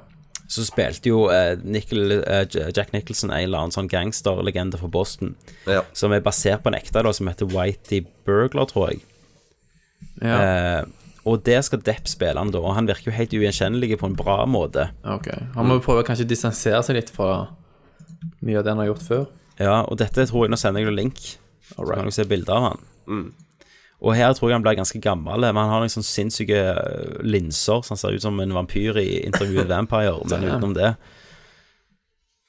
Speaker 1: Så spilte jo eh, Nickel, eh, J- Jack Nicholson en eller annen sånn gangsterlegende fra Boston.
Speaker 10: Ja.
Speaker 1: Som er basert på en ekte da, som heter Whitey Burglar, tror jeg.
Speaker 9: ja.
Speaker 1: Eh, og der skal Depp spille han da. Og han virker jo helt ugjenkjennelig på en bra måte.
Speaker 9: Ok. Han må jo prøve å kanskje distansere seg litt fra mye av det han har gjort før.
Speaker 1: Ja, og dette tror jeg Nå sender jeg deg link. Så
Speaker 9: Alright.
Speaker 1: kan du se bilder av han.
Speaker 10: Mm.
Speaker 1: Og her tror jeg han blir ganske gammel, men han har noen sånn sinnssyke øh, linser, så han ser ut som en vampyr i intervjuet Vampire, men
Speaker 9: Damn.
Speaker 1: utenom det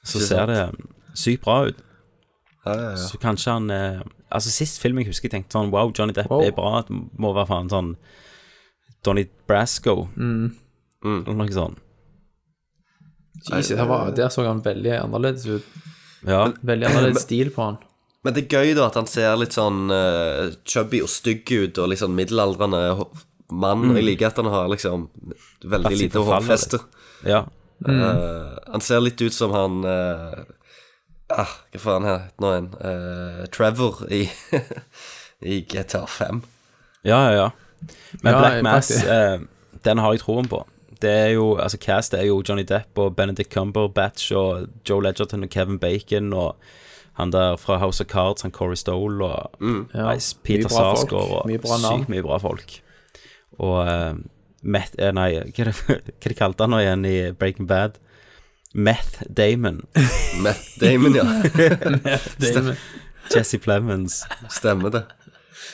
Speaker 1: så
Speaker 10: Ikke
Speaker 1: ser
Speaker 10: sant.
Speaker 1: det sykt bra ut.
Speaker 10: Ja, ja, ja.
Speaker 1: Så kanskje han eh, Altså, sist film jeg husker, jeg tenkte sånn Wow, Johnny Depp
Speaker 9: Wow.
Speaker 1: er bra, det må være faen sånn Donny Brasco
Speaker 10: Mm.
Speaker 1: eller noe sånt.
Speaker 9: Jesus, her
Speaker 1: eh.
Speaker 9: var, der så han veldig annerledes ut.
Speaker 1: Ja.
Speaker 9: Veldig annerledes stil på han.
Speaker 10: Men det er gøy, da, at han ser litt sånn eh, chubby og stygg ut, og litt sånn middelaldrende ho- mann.
Speaker 1: Mm.
Speaker 10: Jeg liker at han har liksom
Speaker 1: Latt
Speaker 10: veldig
Speaker 1: seg
Speaker 10: lite
Speaker 1: forfalle
Speaker 10: hårfeste.
Speaker 1: ja.
Speaker 10: Eh, han ser litt ut som han eh, ah, Hva faen her nå igjen? Eh, Trevor i, (laughs) i GTA 5.
Speaker 1: Ja, ja, ja. Men
Speaker 9: Ja,
Speaker 1: Black Mass,
Speaker 9: faktisk.
Speaker 1: eh, den har jeg troen på. Det er jo, altså Cast er jo Johnny Depp og Benedict Cumberbatch og Joe Ledgerton og Kevin Bacon og han der fra House of Cards, han Corey Stole og
Speaker 9: Ja,
Speaker 10: Mm.
Speaker 1: nei, Peter
Speaker 9: mye bra folk.
Speaker 1: Sarsgaard og
Speaker 9: Mye bra navn.
Speaker 1: sykt mye bra folk. Og eh, Meth eh, Nei, hva er det- (laughs) hva de kalte han nå igjen i Breaking Bad? Meth Damon.
Speaker 10: Matt Damon, ja.
Speaker 1: (laughs)
Speaker 9: Damon.
Speaker 1: Jesse Plemons.
Speaker 10: Stemmer det.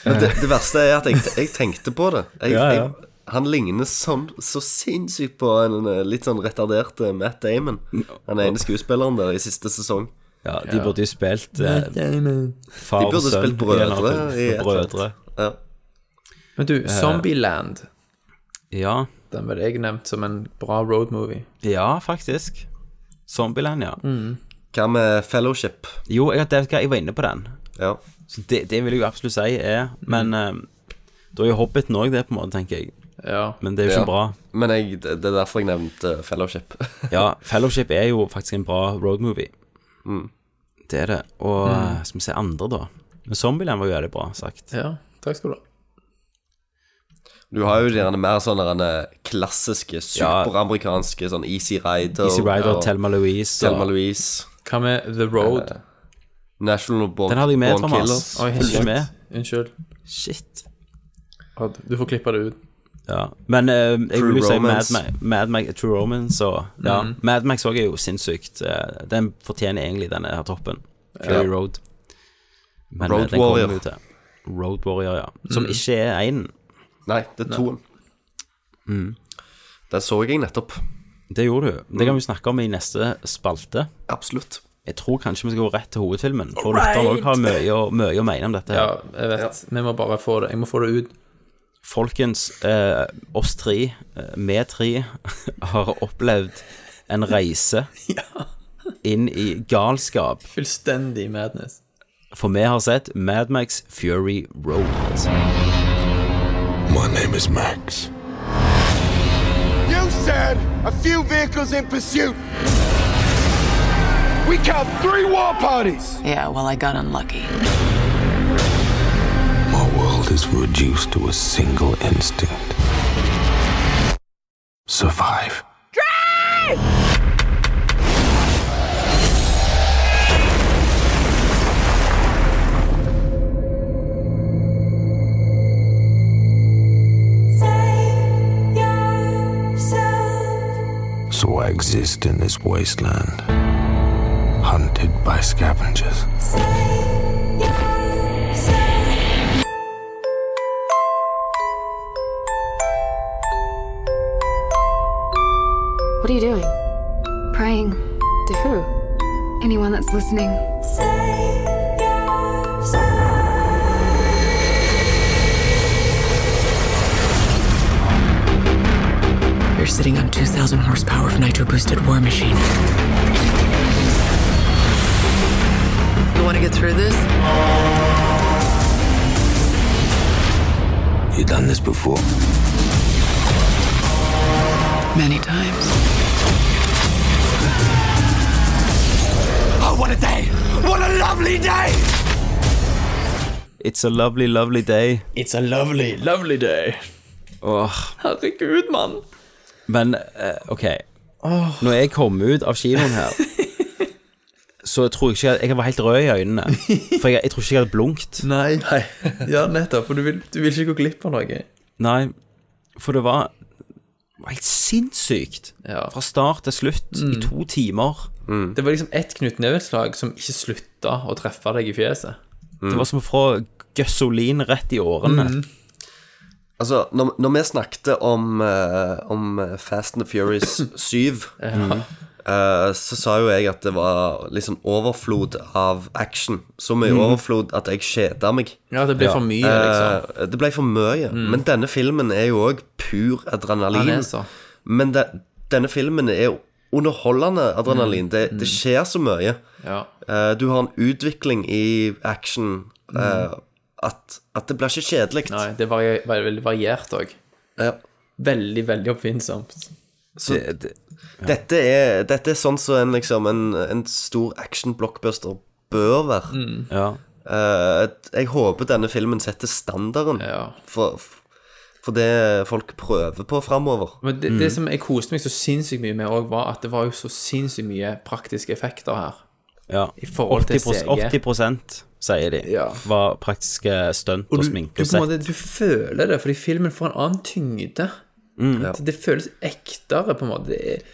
Speaker 10: Men det, det verste er at jeg, jeg tenkte på det. Jeg,
Speaker 1: Ja, ja.
Speaker 10: Jeg, han ligner sånn, så sinnssykt på en eh, litt sånn retardert eh, Matt Damon. Han ene skuespilleren der i siste sesong.
Speaker 1: Ja, de burde jo spilt eh,
Speaker 10: Matt Damon.
Speaker 1: far
Speaker 10: De
Speaker 1: og
Speaker 10: burde
Speaker 1: sønn i
Speaker 10: spilt
Speaker 1: en
Speaker 10: brødre
Speaker 1: eller annen
Speaker 10: i
Speaker 1: film.
Speaker 10: et eller annet.
Speaker 1: Brødre.
Speaker 10: Ja.
Speaker 9: Men du,
Speaker 1: Eh,
Speaker 9: Zombieland,
Speaker 1: Ja,
Speaker 9: den ble jeg nevnt som en bra road movie.
Speaker 1: ja faktisk. Zombieland, ja.
Speaker 10: Hva med Fellowship?
Speaker 1: Jo, jeg, det, jeg var inne på den.
Speaker 10: Ja.
Speaker 1: Så det, det vil jeg jo absolutt si er Men
Speaker 10: Mm.
Speaker 1: eh, da er jo Hobbiten òg det, på en måte, tenker jeg. Men det er jo ikke
Speaker 10: Ja.
Speaker 1: bra.
Speaker 10: Men jeg, det det er derfor jeg nevnte eh, Fellowship. (laughs)
Speaker 1: Ja, Fellowship er jo faktisk en bra roadmovie.
Speaker 10: Mm.
Speaker 1: Det er det. Og eh, skal vi se andre, da. Men Zombieland var jo veldig bra sagt.
Speaker 9: Ja, takk skal du ha.
Speaker 10: Du har jo gjerne mer sånne derne klassiske, superamerikanske sånn Easy Rider.
Speaker 1: Easy Rider,
Speaker 10: og-
Speaker 1: Thelma Louise og-
Speaker 10: Thelma Louise.
Speaker 9: Hva med The Road?
Speaker 10: Eh, National Born,
Speaker 1: Den hadde jeg med,
Speaker 10: Born
Speaker 1: Thomas.
Speaker 10: Killers.
Speaker 1: Oi, helt med.
Speaker 9: Unnskyld.
Speaker 1: Shit.
Speaker 9: Odd, Du får klippe det ut.
Speaker 1: Ja. Men eh, jeg
Speaker 10: True
Speaker 1: vil jo si Mad,
Speaker 10: Romance. Mhm.
Speaker 1: Ma- Mad Max eh, True Romance og ja.
Speaker 9: Mm.
Speaker 1: Mad Max òg er jo sinnssykt. Eh, Den fortjener egentlig denne her toppen. Fury
Speaker 10: Ja.
Speaker 1: Road. Men
Speaker 10: Road
Speaker 1: Road den Warrior.
Speaker 10: Warrior.
Speaker 1: Kommer vi jo til. Road Warrior, ja. Som
Speaker 10: Mm.
Speaker 1: ikke er einen.
Speaker 10: Nei, det er toen.
Speaker 1: Mm.
Speaker 10: Den så jeg nettopp.
Speaker 1: Det gjorde du.
Speaker 10: Mhm.
Speaker 1: Det kan vi snakke om i neste spalte.
Speaker 10: Absolutt.
Speaker 1: Jeg tror kanskje vi skal gå rett til hovedfilmen, for lytteren òg har mye, å- mye å mene om dette. her
Speaker 9: Ja, jeg vet. Vi må bare få det Jeg må få det ut.
Speaker 1: Folkens, eh, oss tre, eh, vi tre, (laughs) har opplevd en reise inn i galskap.
Speaker 9: Fullstendig madness.
Speaker 1: For vi har sett Mad Max Fury Road.
Speaker 15: My name is Max.
Speaker 12: You said a few vehicles in pursuit. We count three war parties.
Speaker 16: Yeah, well, I got unlucky.
Speaker 15: My world is reduced to a single instinct survive. So I exist in this wasteland, hunted by scavengers.
Speaker 17: What are you doing? Praying. To who? Anyone that's listening.
Speaker 16: You're sitting on 2,000 horsepower of nitro boosted war machine. You want to get through this?
Speaker 15: You done this before?
Speaker 16: Many times.
Speaker 15: Oh, what a day! What a lovely day!
Speaker 1: It's a lovely, lovely day.
Speaker 9: It's a lovely, lovely day.
Speaker 1: Åh,
Speaker 9: Herregud, mann.
Speaker 1: men eh, OK.
Speaker 9: Åh.
Speaker 1: Når jeg kom ut av kinoen her, så tror jeg ikke at Jeg var helt rød i øynene. For jeg, jeg tror ikke jeg hadde blunkt.
Speaker 9: Nei. (laughs) Ja, nettopp. For du vil, du vil ikke gå glipp av noe.
Speaker 1: Nei, for det var det var helt sinnssykt. Fra start til slutt, i to timer.
Speaker 9: Det var liksom ett knyttneveslag som ikke slutta å treffe deg i fjeset.
Speaker 1: Det var som å få gøssolin rett i årene.
Speaker 10: Altså, når, når vi snakket om, eh, om Fast and the
Speaker 16: (coughs)
Speaker 10: Furious 7,
Speaker 9: Ja.
Speaker 10: eh, så sa jo jeg at det var liksom overflod av action. Så mye
Speaker 16: Mm.
Speaker 9: Mhm.
Speaker 10: overflod at jeg kjeda meg.
Speaker 9: Ja, det ble for mye, liksom.
Speaker 10: Eh, det ble for mye. Men denne filmen er jo òg pur adrenalin.
Speaker 9: Han Mm. er så.
Speaker 10: Men de, denne filmen er jo underholdende adrenalin.
Speaker 9: Mm.
Speaker 10: Det, det skjer så mye.
Speaker 9: Ja.
Speaker 10: Eh, du har en utvikling i action eh,
Speaker 9: Mm.
Speaker 10: at, at det blir ikke kjedelig.
Speaker 9: Nei, det var, var veldig variert òg. Veldig, veldig oppfinnsomt.
Speaker 10: Så Dette, er, dette er sånn som en, liksom, en, en stor action-blockbuster bør være.
Speaker 9: Mm.
Speaker 1: Ja.
Speaker 10: Eh, jeg håper denne filmen setter standarden for, for det folk prøver på framover.
Speaker 9: Men det, det som jeg koste meg så sinnssykt mye med òg, var at det var jo så sinnssykt mye praktiske effekter her.
Speaker 1: Ja.
Speaker 9: I forhold til
Speaker 1: 80%,
Speaker 9: CG.
Speaker 1: 80 sier de, var praktiske stunt og,
Speaker 9: Og du, du,
Speaker 1: sminke.
Speaker 9: på en måte, du føler det, fordi filmen får en annen tyngde.
Speaker 1: Mm.
Speaker 9: At Det føles ektere, på en måte. Det er,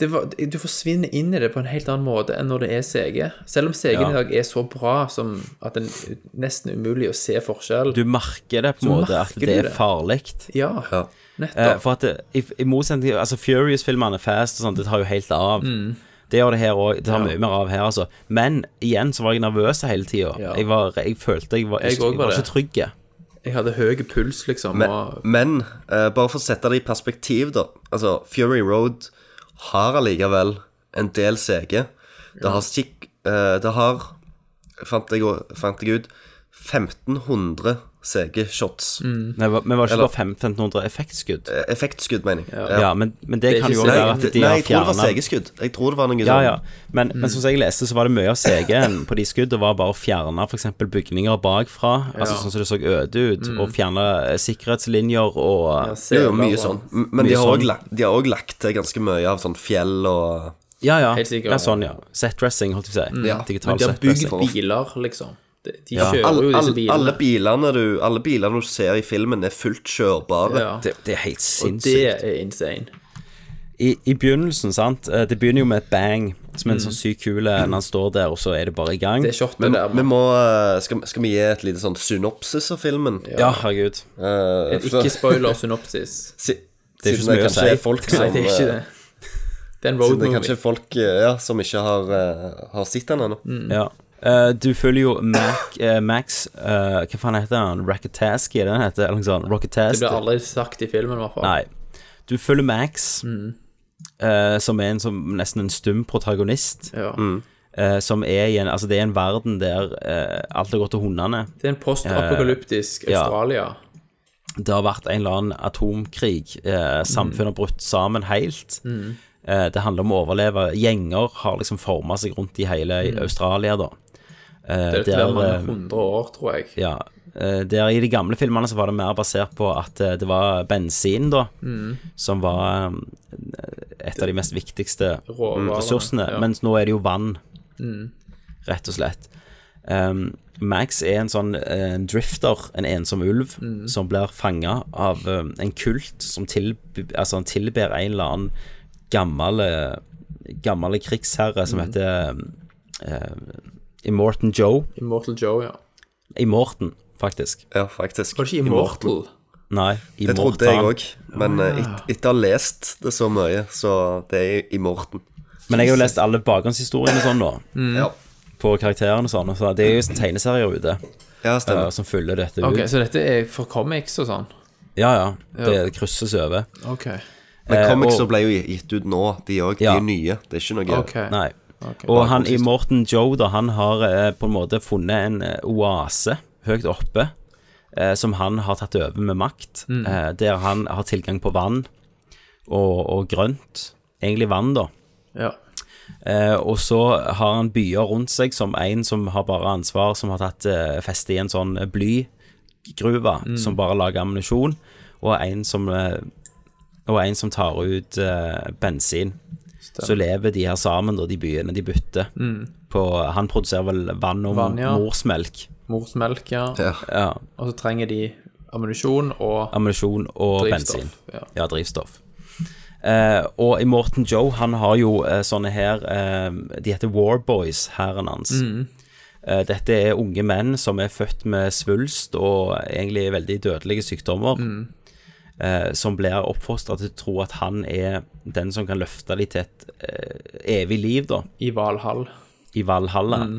Speaker 9: det var, du forsvinner inn i det på en helt annen måte enn når det er CG. Selv om CG-en
Speaker 1: Ja.
Speaker 9: i dag er så bra som at det er nesten umulig å se forskjell.
Speaker 1: Du merker det på en
Speaker 9: Så
Speaker 1: måte, at
Speaker 9: merker
Speaker 1: det
Speaker 9: du
Speaker 1: er
Speaker 9: det.
Speaker 1: farlig.
Speaker 9: Ja,
Speaker 1: Eh,
Speaker 9: nettopp.
Speaker 1: for at det, i, i motsetning altså Furious-filmene, Fast og sånn, det tar jo helt av.
Speaker 9: Mm.
Speaker 1: Det gjør det her òg. Det tar
Speaker 9: Ja.
Speaker 1: mye mer av her, altså. Men igjen så var jeg nervøs hele tida.
Speaker 9: Ja.
Speaker 1: Jeg, var- jeg følte jeg var,
Speaker 9: Jeg
Speaker 1: ikke,
Speaker 9: også
Speaker 1: jeg
Speaker 9: var
Speaker 1: var
Speaker 9: det.
Speaker 1: ikke trygg.
Speaker 9: Jeg hadde høy puls, liksom.
Speaker 10: Men,
Speaker 9: og,
Speaker 10: men eh, bare for å sette det i perspektiv, da. Altså, Fury Road har allikevel en del CG. Det har sikk... eh, det har, fant jeg, å- fant jeg ut, 1500 CG-shots.
Speaker 9: Mm.
Speaker 1: Nei, va- men var det ikke
Speaker 10: Eller-
Speaker 1: bare 5 1500 effektskudd?
Speaker 10: Eh, Effektskudd, mener jeg.
Speaker 1: Ja, men, men det,
Speaker 10: Det er
Speaker 1: kan
Speaker 10: ikke
Speaker 1: jo
Speaker 10: CG.
Speaker 1: være at de
Speaker 10: Nei,
Speaker 1: har
Speaker 10: jeg tror det var
Speaker 1: fjernet-
Speaker 10: CG-skudd. Jeg tror det var noe
Speaker 1: Ja,
Speaker 10: sånn.
Speaker 1: ja. Men, men som jeg leste, så var det mye av CG-en på de skuddene var bare å fjerne f.eks. bygninger bakfra, altså
Speaker 10: Ja.
Speaker 1: sånn som det så øde ut,
Speaker 10: Mm.
Speaker 1: og fjerne eh, sikkerhetslinjer og eh,
Speaker 10: Jo, jo, mye sånn. M- Men de
Speaker 1: Mye
Speaker 10: har
Speaker 1: sånn.
Speaker 10: også lagt, de har også lagt til ganske mye av sånn fjell og
Speaker 1: Ja, ja.
Speaker 10: Helt sikkert.
Speaker 1: ja sånn, ja. Set-dressing, holdt jeg på å si.
Speaker 10: Ja.
Speaker 1: Digital
Speaker 9: men de har bygd
Speaker 1: set-dressing.
Speaker 9: biler, liksom. De, de
Speaker 10: Ja.
Speaker 9: kjører
Speaker 10: alle,
Speaker 9: jo disse
Speaker 10: alle-
Speaker 9: bilene.
Speaker 10: Alle bilene, du, alle bilene du ser i filmen, er fullt kjørbare.
Speaker 9: Ja.
Speaker 1: Det, er helt
Speaker 9: og det er insane.
Speaker 1: I, I begynnelsen, sant, eh, det begynner jo med et bang, som er en
Speaker 10: Mm.
Speaker 1: sånn syk kule, når han står der, og så er det bare i gang.
Speaker 10: Men vi må, eh, skal, skal vi gi et lite sånn synopsis av filmen?
Speaker 1: Ja, herregud.
Speaker 10: Eh,
Speaker 9: En
Speaker 10: for-
Speaker 9: ikke-spoiler synopsis.
Speaker 10: (laughs) Si,
Speaker 1: Det er ikke så
Speaker 10: siden
Speaker 1: mye
Speaker 10: det
Speaker 1: å si.
Speaker 10: kanskje er folk
Speaker 1: Nei, det
Speaker 10: som
Speaker 1: er ikke
Speaker 10: eh,
Speaker 1: det. Det er en road
Speaker 10: (laughs) siden det
Speaker 1: movie.
Speaker 10: kanskje er folk eh, ja, som ikke har, eh, har sett den ennå.
Speaker 1: Ja. Eh, du følger jo Mac, eh, Max eh, Hva faen heter han? Racketaski, er det han heter? Eller noe sånt.
Speaker 9: Det
Speaker 1: Rocketask.
Speaker 9: blir aldri sagt i filmen, i hvert fall.
Speaker 1: Nei. Du følger Max, eh, som er en som, nesten en stum protagonist.
Speaker 10: Mm.
Speaker 1: eh, som er i en Altså, det er en verden der eh, alt har gått til hundene.
Speaker 9: Det er en postapokalyptisk
Speaker 1: Eh, ja.
Speaker 9: Australia.
Speaker 1: Det har vært en eller annen atomkrig. Eh, samfunnet har brutt sammen helt.
Speaker 9: Mm.
Speaker 1: Eh, det handler om å overleve. Gjenger har liksom forma seg rundt i hele
Speaker 9: Mm.
Speaker 1: Australia, da. Eh,
Speaker 9: Det er flere mange
Speaker 1: eh,
Speaker 9: hundre år, tror jeg.
Speaker 1: Ja. eh, Der I de gamle filmene så var det mer basert på at eh, det var bensin, da,
Speaker 9: Mm.
Speaker 1: som var eh, et av de mest viktigste
Speaker 9: Råvarene,
Speaker 1: Mm. ressursene.
Speaker 9: ja.
Speaker 1: Mens nå er det jo vann,
Speaker 9: Mm.
Speaker 1: rett og slett. Um, Max er en sånn eh, en drifter, en ensom ulv,
Speaker 9: Mm.
Speaker 1: som blir fanga av eh, en kult som tilby, altså han tilber en eller annen gammel, eh, gammel krigsherre som
Speaker 9: Mm.
Speaker 1: heter eh, Immortan Joe.
Speaker 9: Immortal Joe, ja.
Speaker 1: Immortan, faktisk.
Speaker 10: Ja, faktisk.
Speaker 9: Var det ikke Immortal?
Speaker 1: Nei,
Speaker 10: Det trodde
Speaker 1: Immortan.
Speaker 10: jeg
Speaker 1: Ah.
Speaker 10: òg, men eh, et, etter å ha lest det så mye, så det er i Morten.
Speaker 1: Men jeg har jo lest alle bakgrunnshistoriene sånn nå.
Speaker 10: Mm. Ja.
Speaker 1: På karakterene og sånn. og Så det er jo sånn tegneserier ute
Speaker 10: Ja, stemmer.
Speaker 1: eh, som følger dette
Speaker 9: Ok,
Speaker 1: ut.
Speaker 9: Så dette er for comics og sånn?
Speaker 1: Ja, ja.
Speaker 9: Ja.
Speaker 1: Det krysses over.
Speaker 9: Ok.
Speaker 10: Men
Speaker 1: Eh,
Speaker 10: comicser
Speaker 1: og-
Speaker 10: ble jo gitt ut nå, de òg.
Speaker 1: Ja.
Speaker 10: De er nye. Det er ikke noe
Speaker 1: Nei.
Speaker 9: Ok.
Speaker 1: Og han i Morten Joe, da, han har eh, på en måte funnet en eh, oase høyt oppe eh, som han har tatt over med makt,
Speaker 9: Mm.
Speaker 1: eh, der han har tilgang på vann og, og grønt. Egentlig vann, da.
Speaker 9: Ja.
Speaker 1: Eh, og så har han byer rundt seg som en som har bare ansvar, som har tatt eh, feste i en sånn eh, blygruve
Speaker 9: Mm.
Speaker 1: som bare lager ammunisjon, og en som, eh, og en som tar ut eh, bensin.
Speaker 9: Stemmer.
Speaker 1: Så lever de her sammen, da, de byene de bytter.
Speaker 9: Mm.
Speaker 1: På, han produserer vel vann og
Speaker 9: Vann, ja.
Speaker 1: morsmelk.
Speaker 9: Morsmelk, ja.
Speaker 1: Ja. Ja.
Speaker 9: Og så trenger de ammunisjon og
Speaker 1: ammunisjon og
Speaker 9: Drivstoff,
Speaker 1: bensin.
Speaker 9: ja.
Speaker 1: Ja, drivstoff. Eh, og Immortan Joe, han har jo eh, sånne her eh, De heter Warboys, hæren hans.
Speaker 9: Mhm.
Speaker 1: Eh, dette er unge menn som er født med svulst og egentlig veldig dødelige sykdommer. Eh, som blir oppfostra til å tro at han er den som kan løfte dem til et eh, evig liv, da.
Speaker 9: I Valhall.
Speaker 1: I Valhalla.
Speaker 9: Mm.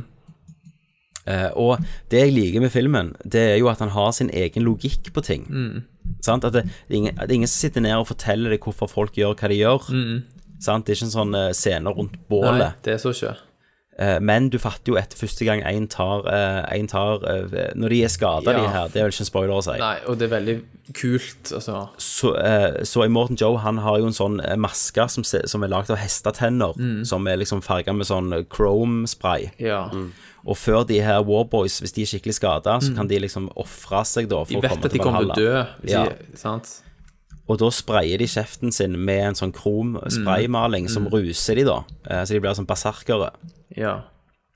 Speaker 1: Eh, og det jeg liker med filmen, det er jo at han har sin egen logikk på ting.
Speaker 9: Mm.
Speaker 1: Sant? At det, det, er ingen, at det er ingen som sitter ned og forteller deg hvorfor folk gjør hva de gjør.
Speaker 9: Mm.
Speaker 1: Sant? Det er ikke en sånn eh, scene rundt
Speaker 9: Nei,
Speaker 1: bålet.
Speaker 9: det er så ikke.
Speaker 1: Eh, men du fatter jo etter første gang én tar, eh, en tar eh, Når de er skada,
Speaker 9: Ja.
Speaker 1: de her, det er vel ikke en spoiler å si.
Speaker 9: Nei, og det er veldig kult, altså.
Speaker 1: Så, eh, så i Morten Joe han har jo en sånn eh, maske som, se- som er lagd av hestetenner,
Speaker 9: Mm.
Speaker 1: som er liksom farga med sånn eh, chrome-spray.
Speaker 9: Ja.
Speaker 1: Og før de her Warboys, hvis de er skikkelig skada, så
Speaker 9: Mm.
Speaker 1: kan de liksom ofre seg da for
Speaker 9: De
Speaker 1: å komme
Speaker 9: vet at de
Speaker 1: til
Speaker 9: kommer til å dø,
Speaker 1: Valhalla.
Speaker 9: hvis
Speaker 1: Ja.
Speaker 9: de, sant?
Speaker 1: Og da sprayer de kjeften sin med en sånn krom spraymaling som
Speaker 9: Mm.
Speaker 1: ruser de da. Eh, Så de blir sånn berserkere.
Speaker 9: Ja.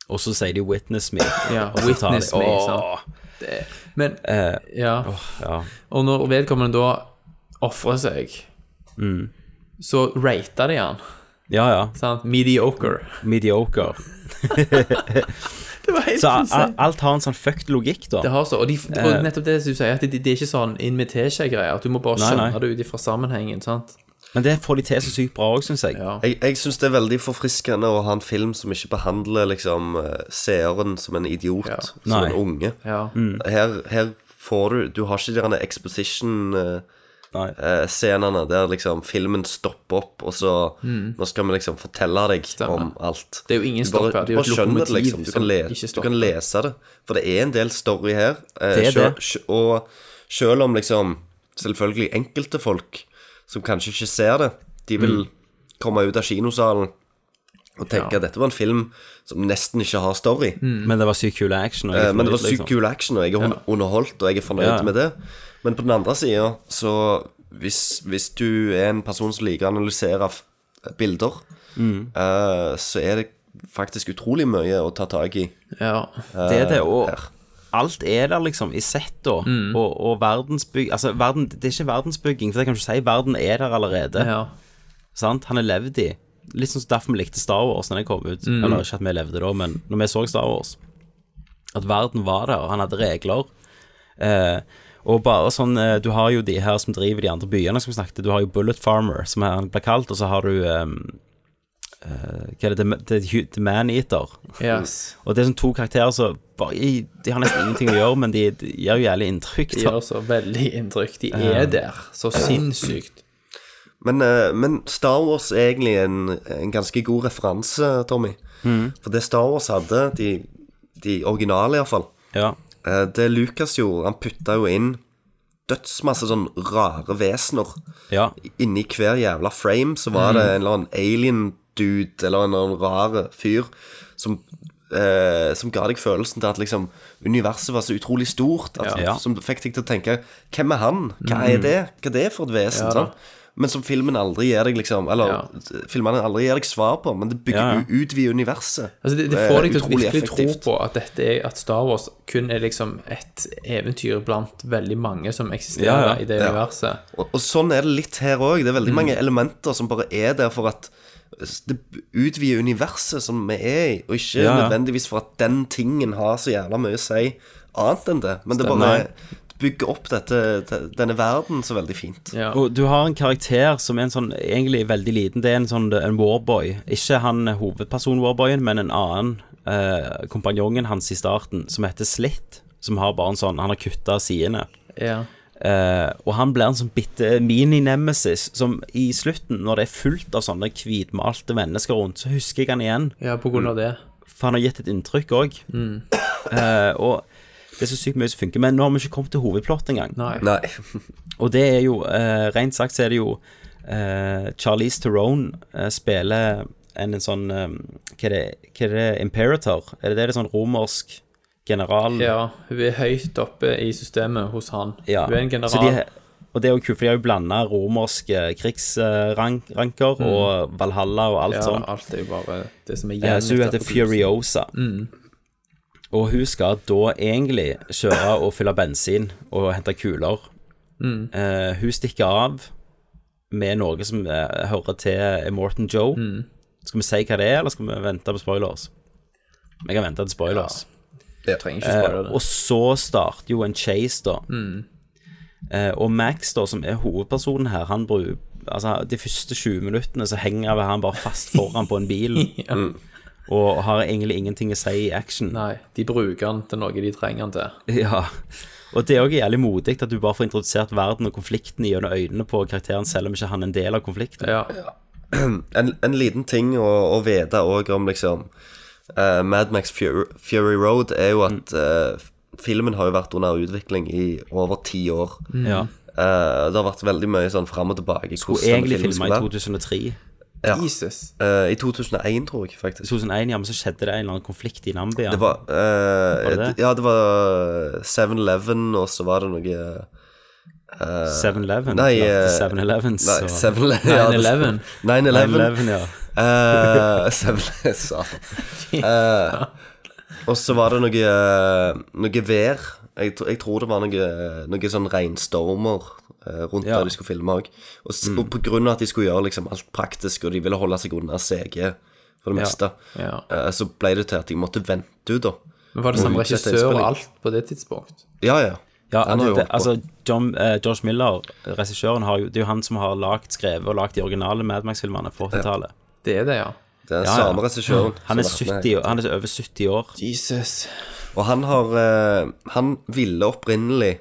Speaker 1: Og så sier de 'witness
Speaker 9: (laughs)
Speaker 1: me'.
Speaker 9: Ja,
Speaker 1: Og så tar de-
Speaker 9: witness me,
Speaker 1: Åh.
Speaker 9: sant? Det, men,
Speaker 1: Eh,
Speaker 9: ja.
Speaker 1: åh, ja.
Speaker 9: Og når vedkommende da offrer seg,
Speaker 1: Mm.
Speaker 9: så rater de han.
Speaker 1: Ja, ja.
Speaker 9: Sant?
Speaker 1: (laughs)
Speaker 9: Mediocre.
Speaker 1: Mediocre.
Speaker 9: Det var helt
Speaker 1: så
Speaker 9: (laughs) insane.
Speaker 1: a- alt har en sånn fucked logikk, da.
Speaker 9: ah, Det har så, og, de,
Speaker 1: Eh.
Speaker 9: og nettopp det som du sier, at det, det er ikke sånn inn med teskje-greier. Du må bare
Speaker 1: Nei,
Speaker 9: skjønne
Speaker 1: nei.
Speaker 9: det ut ifra sammenhengen. sant?
Speaker 1: Men det får de til så sykt bra òg, syns jeg.
Speaker 10: Jeg, jeg syns det er veldig forfriskende å ha en film som ikke behandler liksom eh, seeren som en idiot, som
Speaker 1: Nei.
Speaker 10: en unge.
Speaker 9: Ja.
Speaker 10: Her, her får du Du har ikke de eh,
Speaker 1: eh,
Speaker 10: exposition-scenene der liksom filmen stopper opp, og så
Speaker 9: Mm.
Speaker 10: Nå skal vi liksom fortelle deg om alt.
Speaker 9: Det er jo ingen
Speaker 10: du bare,
Speaker 9: stopp her, det er
Speaker 10: du
Speaker 9: jo
Speaker 10: bare
Speaker 9: et
Speaker 10: skjønner det,
Speaker 9: lokomotiv
Speaker 10: liksom. Du
Speaker 9: som
Speaker 10: kan, le,
Speaker 9: ikke
Speaker 10: du
Speaker 9: stopper.
Speaker 10: kan lese det. For det er en del story her. eh,
Speaker 1: Det er
Speaker 10: sjø-
Speaker 1: det.
Speaker 10: sj- Og selv om liksom selvfølgelig enkelte folk som kanskje ikke ser det, de vil
Speaker 1: Mm.
Speaker 10: komme ut av kinosalen og tenke
Speaker 1: Ja.
Speaker 10: at dette var en film som nesten ikke har story.
Speaker 9: Mm.
Speaker 1: Men det var sykt kul action. og jeg er
Speaker 10: Eh, Men det var
Speaker 1: fornøyd,
Speaker 10: sykt
Speaker 1: liksom.
Speaker 10: kul action, og jeg er hun- underholdt, og jeg er fornøyd
Speaker 1: Ja.
Speaker 10: med det. Men på den andre sida, så hvis, hvis du er en person som liker å analysere f- bilder,
Speaker 1: Mm.
Speaker 10: eh, så er det faktisk utrolig mye å ta tak i.
Speaker 9: Ja,
Speaker 10: eh,
Speaker 1: Det er det, og
Speaker 10: her.
Speaker 1: alt er der, liksom, i sett og,
Speaker 10: Mm.
Speaker 1: og, og verdensbygg Altså, verden, det er ikke verdensbygging, for det kan du ikke si. Verden er der allerede.
Speaker 9: Ja.
Speaker 1: Sant? Han er levd i. Litt sånn som derfor vi likte Star Wars når den kom ut.
Speaker 9: Mm.
Speaker 1: Eller ikke at vi levde da, men når vi så Star Wars. At verden var der, og han hadde regler. Eh, og bare sånn eh, Du har jo de her som driver de andre byene, som vi snakket Du har jo Bullet Farmer, som han ble kalt, og så har du eh, eh, Hva er det? The- The, Hu- the Man-Eater.
Speaker 9: Yes.
Speaker 1: og det er sånn to karakterer som bare i- De har nesten ingenting å gjøre, men de, de gjør jo jævlig inntrykk.
Speaker 9: De
Speaker 1: da.
Speaker 9: gjør så veldig inntrykk. De
Speaker 1: Ja.
Speaker 9: er der så sinnssykt.
Speaker 10: Men, eh, men Star Wars er egentlig en, en ganske god referanse, Tommy.
Speaker 1: Mhm.
Speaker 10: For det Star Wars hadde, de, de originale iallfall
Speaker 1: ja.
Speaker 10: eh, Det Lucas gjorde, han putta jo inn dødsmasse sånn rare vesener.
Speaker 1: Ja.
Speaker 10: Inni hver jævla frame så var
Speaker 1: Mhm.
Speaker 9: Mm.
Speaker 10: det en eller annen alien-dude eller en eller annen rar fyr som eh, som ga deg følelsen til at liksom universet var så utrolig stort. At,
Speaker 1: Ja.
Speaker 10: Som fikk deg til å tenke Hvem er han? Hva er
Speaker 1: Mhm.
Speaker 9: Mm.
Speaker 10: det? Hva er det for et vesen?
Speaker 1: Ja da.
Speaker 10: sant? Men som filmen aldri gir deg liksom Eller filmene aldri gir deg svar på, men det
Speaker 1: Ja,
Speaker 10: bygger
Speaker 1: ja.
Speaker 10: u- ut via universet.
Speaker 9: Altså det, det
Speaker 10: er
Speaker 9: får deg til å
Speaker 10: utrolig
Speaker 9: virkelig
Speaker 10: effektivt.
Speaker 9: tro på at, dette er, at Star Wars kun er liksom et eventyr blant veldig mange som eksisterer i det
Speaker 10: Ja.
Speaker 9: universet.
Speaker 10: Og, og sånn er det litt her òg. Det er veldig
Speaker 1: Mm.
Speaker 10: mange elementer som bare er der for at det utvider universet som vi er i, og ikke
Speaker 1: Ja, ja.
Speaker 10: nødvendigvis for at den tingen har så jævla mye å si annet enn det. Men det
Speaker 1: Stemmer.
Speaker 10: bare bygger opp dette, denne verden så veldig fint.
Speaker 1: Og du har en karakter som er en sånn egentlig veldig liten. Det er en sånn en warboy. Ikke han hovedperson-warboyen, men en annen eh, kompanjongen hans i starten, som heter Slitt. Som har bare en sånn Han har kutta sidene.
Speaker 9: Ja.
Speaker 1: Eh, og han blir en sånn bitte mini-nemesis som i slutten, når det er fullt av sånne hvitmalte mennesker rundt, så husker jeg han igjen.
Speaker 9: Ja, på grunn av det.
Speaker 1: For han har gitt et inntrykk òg.
Speaker 9: Mm.
Speaker 1: og det er så sykt mye som funker. Men nå har vi ikke kommet til hovedplott engang.
Speaker 9: Nei.
Speaker 1: Og det er jo, eh, rent sagt så er det jo eh, Charlize Theron eh, spiller en, en sånn eh, hva, er det, hva er det? Imperator? Er det det? det er sånn romersk general?
Speaker 9: Ja, hun er høyt oppe i systemet hos han.
Speaker 1: Ja.
Speaker 9: Hun er en
Speaker 1: Så de,
Speaker 9: general.
Speaker 1: og det er jo kult, for de har jo blanda romerske krigsranker
Speaker 9: Mm.
Speaker 1: og Valhalla og alt
Speaker 9: ja,
Speaker 1: sånt.
Speaker 9: alt er jo bare det som er
Speaker 1: Eh,
Speaker 9: igjen.
Speaker 1: sånn. Så hun
Speaker 9: etter
Speaker 1: heter
Speaker 9: apokalypsen.
Speaker 1: Furiosa.
Speaker 9: Mm.
Speaker 1: Og hun skal da egentlig kjøre og fylle bensin og hente kuler.
Speaker 9: Mm.
Speaker 1: Eh, hun stikker av med noe som eh, hører til Morton Joe.
Speaker 9: Mm.
Speaker 1: Skal vi si hva det er, eller skal vi vente på spoilers? Vi kan vente til spoilers.
Speaker 9: Jeg trenger ikke spoile
Speaker 1: Eh,
Speaker 9: (laughs) det.
Speaker 1: og så starter jo en chase, da.
Speaker 9: Mm.
Speaker 1: Eh, og Max, da, som er hovedpersonen her, han bruker Altså, de første 20 minuttene så henger han bare fast foran på en
Speaker 9: (laughs)
Speaker 1: bil. Mm. Og har egentlig ingenting å si i action.
Speaker 9: Nei, de bruker han til noe de trenger han til.
Speaker 1: (laughs) Ja. Og det er òg jævlig modig at du bare får introdusert verden og konflikten gjennom øynene på karakteren, selv om ikke han er en del av konflikten.
Speaker 10: en, en liten ting å, å vite òg om liksom eh, Mad Max Fury, Fury Road er jo at
Speaker 1: Mm.
Speaker 10: eh, filmen har jo vært under utvikling i over ti år.
Speaker 1: Mm. Ja.
Speaker 10: Eh, det har vært veldig mye sånn fram og tilbake. i
Speaker 1: Skulle
Speaker 10: hvordan denne
Speaker 1: egentlig
Speaker 10: filmen
Speaker 1: filma
Speaker 10: skulle
Speaker 1: i
Speaker 10: være.
Speaker 1: 2003.
Speaker 10: Ja.
Speaker 9: Jesus.
Speaker 10: Eh, I 2001, tror jeg, faktisk.
Speaker 1: 2001, ja, men så skjedde det en eller annen konflikt i Nambia.
Speaker 10: Det var, eh,
Speaker 1: Var det det?
Speaker 10: Ja, det var 7-Eleven, og så var det noe eh,
Speaker 1: 7-Eleven?
Speaker 10: Nei,
Speaker 1: Ja,
Speaker 10: eh,
Speaker 1: til 7-Elevens,
Speaker 10: Nei,
Speaker 1: og-
Speaker 10: 7-Eleven, ja, det-
Speaker 9: 9-11.
Speaker 10: 9-11.
Speaker 1: 9-11, ja.
Speaker 10: Eh, 7-Eleven, (laughs) satan. Eh, Og så var det noe, eh, noe vær. Jeg, tr- jeg tror det var noe, noe sånn regnstormer eh, rundt der de skulle filme òg. Og, s-
Speaker 9: Mm.
Speaker 10: og på grunn av at de skulle gjøre liksom alt praktisk, og de ville holde seg unna CG for det
Speaker 9: Ja.
Speaker 10: meste, eh, så ble det til at jeg måtte vente ut, da.
Speaker 9: Men var det samme
Speaker 10: Og utsette
Speaker 9: regissør og
Speaker 10: innspilling.
Speaker 9: alt på det tidspunkt?
Speaker 10: Ja, ja.
Speaker 1: Ja,
Speaker 10: Han har jo
Speaker 1: det,
Speaker 10: holdt på.
Speaker 1: altså John, eh, George Miller, regissøren, har jo, det er jo han som har lagt, skrevet og lagt de originale Mad Max-filmene på 80-tallet.
Speaker 9: Det er det, ja.
Speaker 10: Det er den samme regissøren
Speaker 1: Han er,
Speaker 10: som har vært med.
Speaker 1: 70, år- han er over 70 år.
Speaker 9: Jesus.
Speaker 10: Og han har eh, Han ville opprinnelig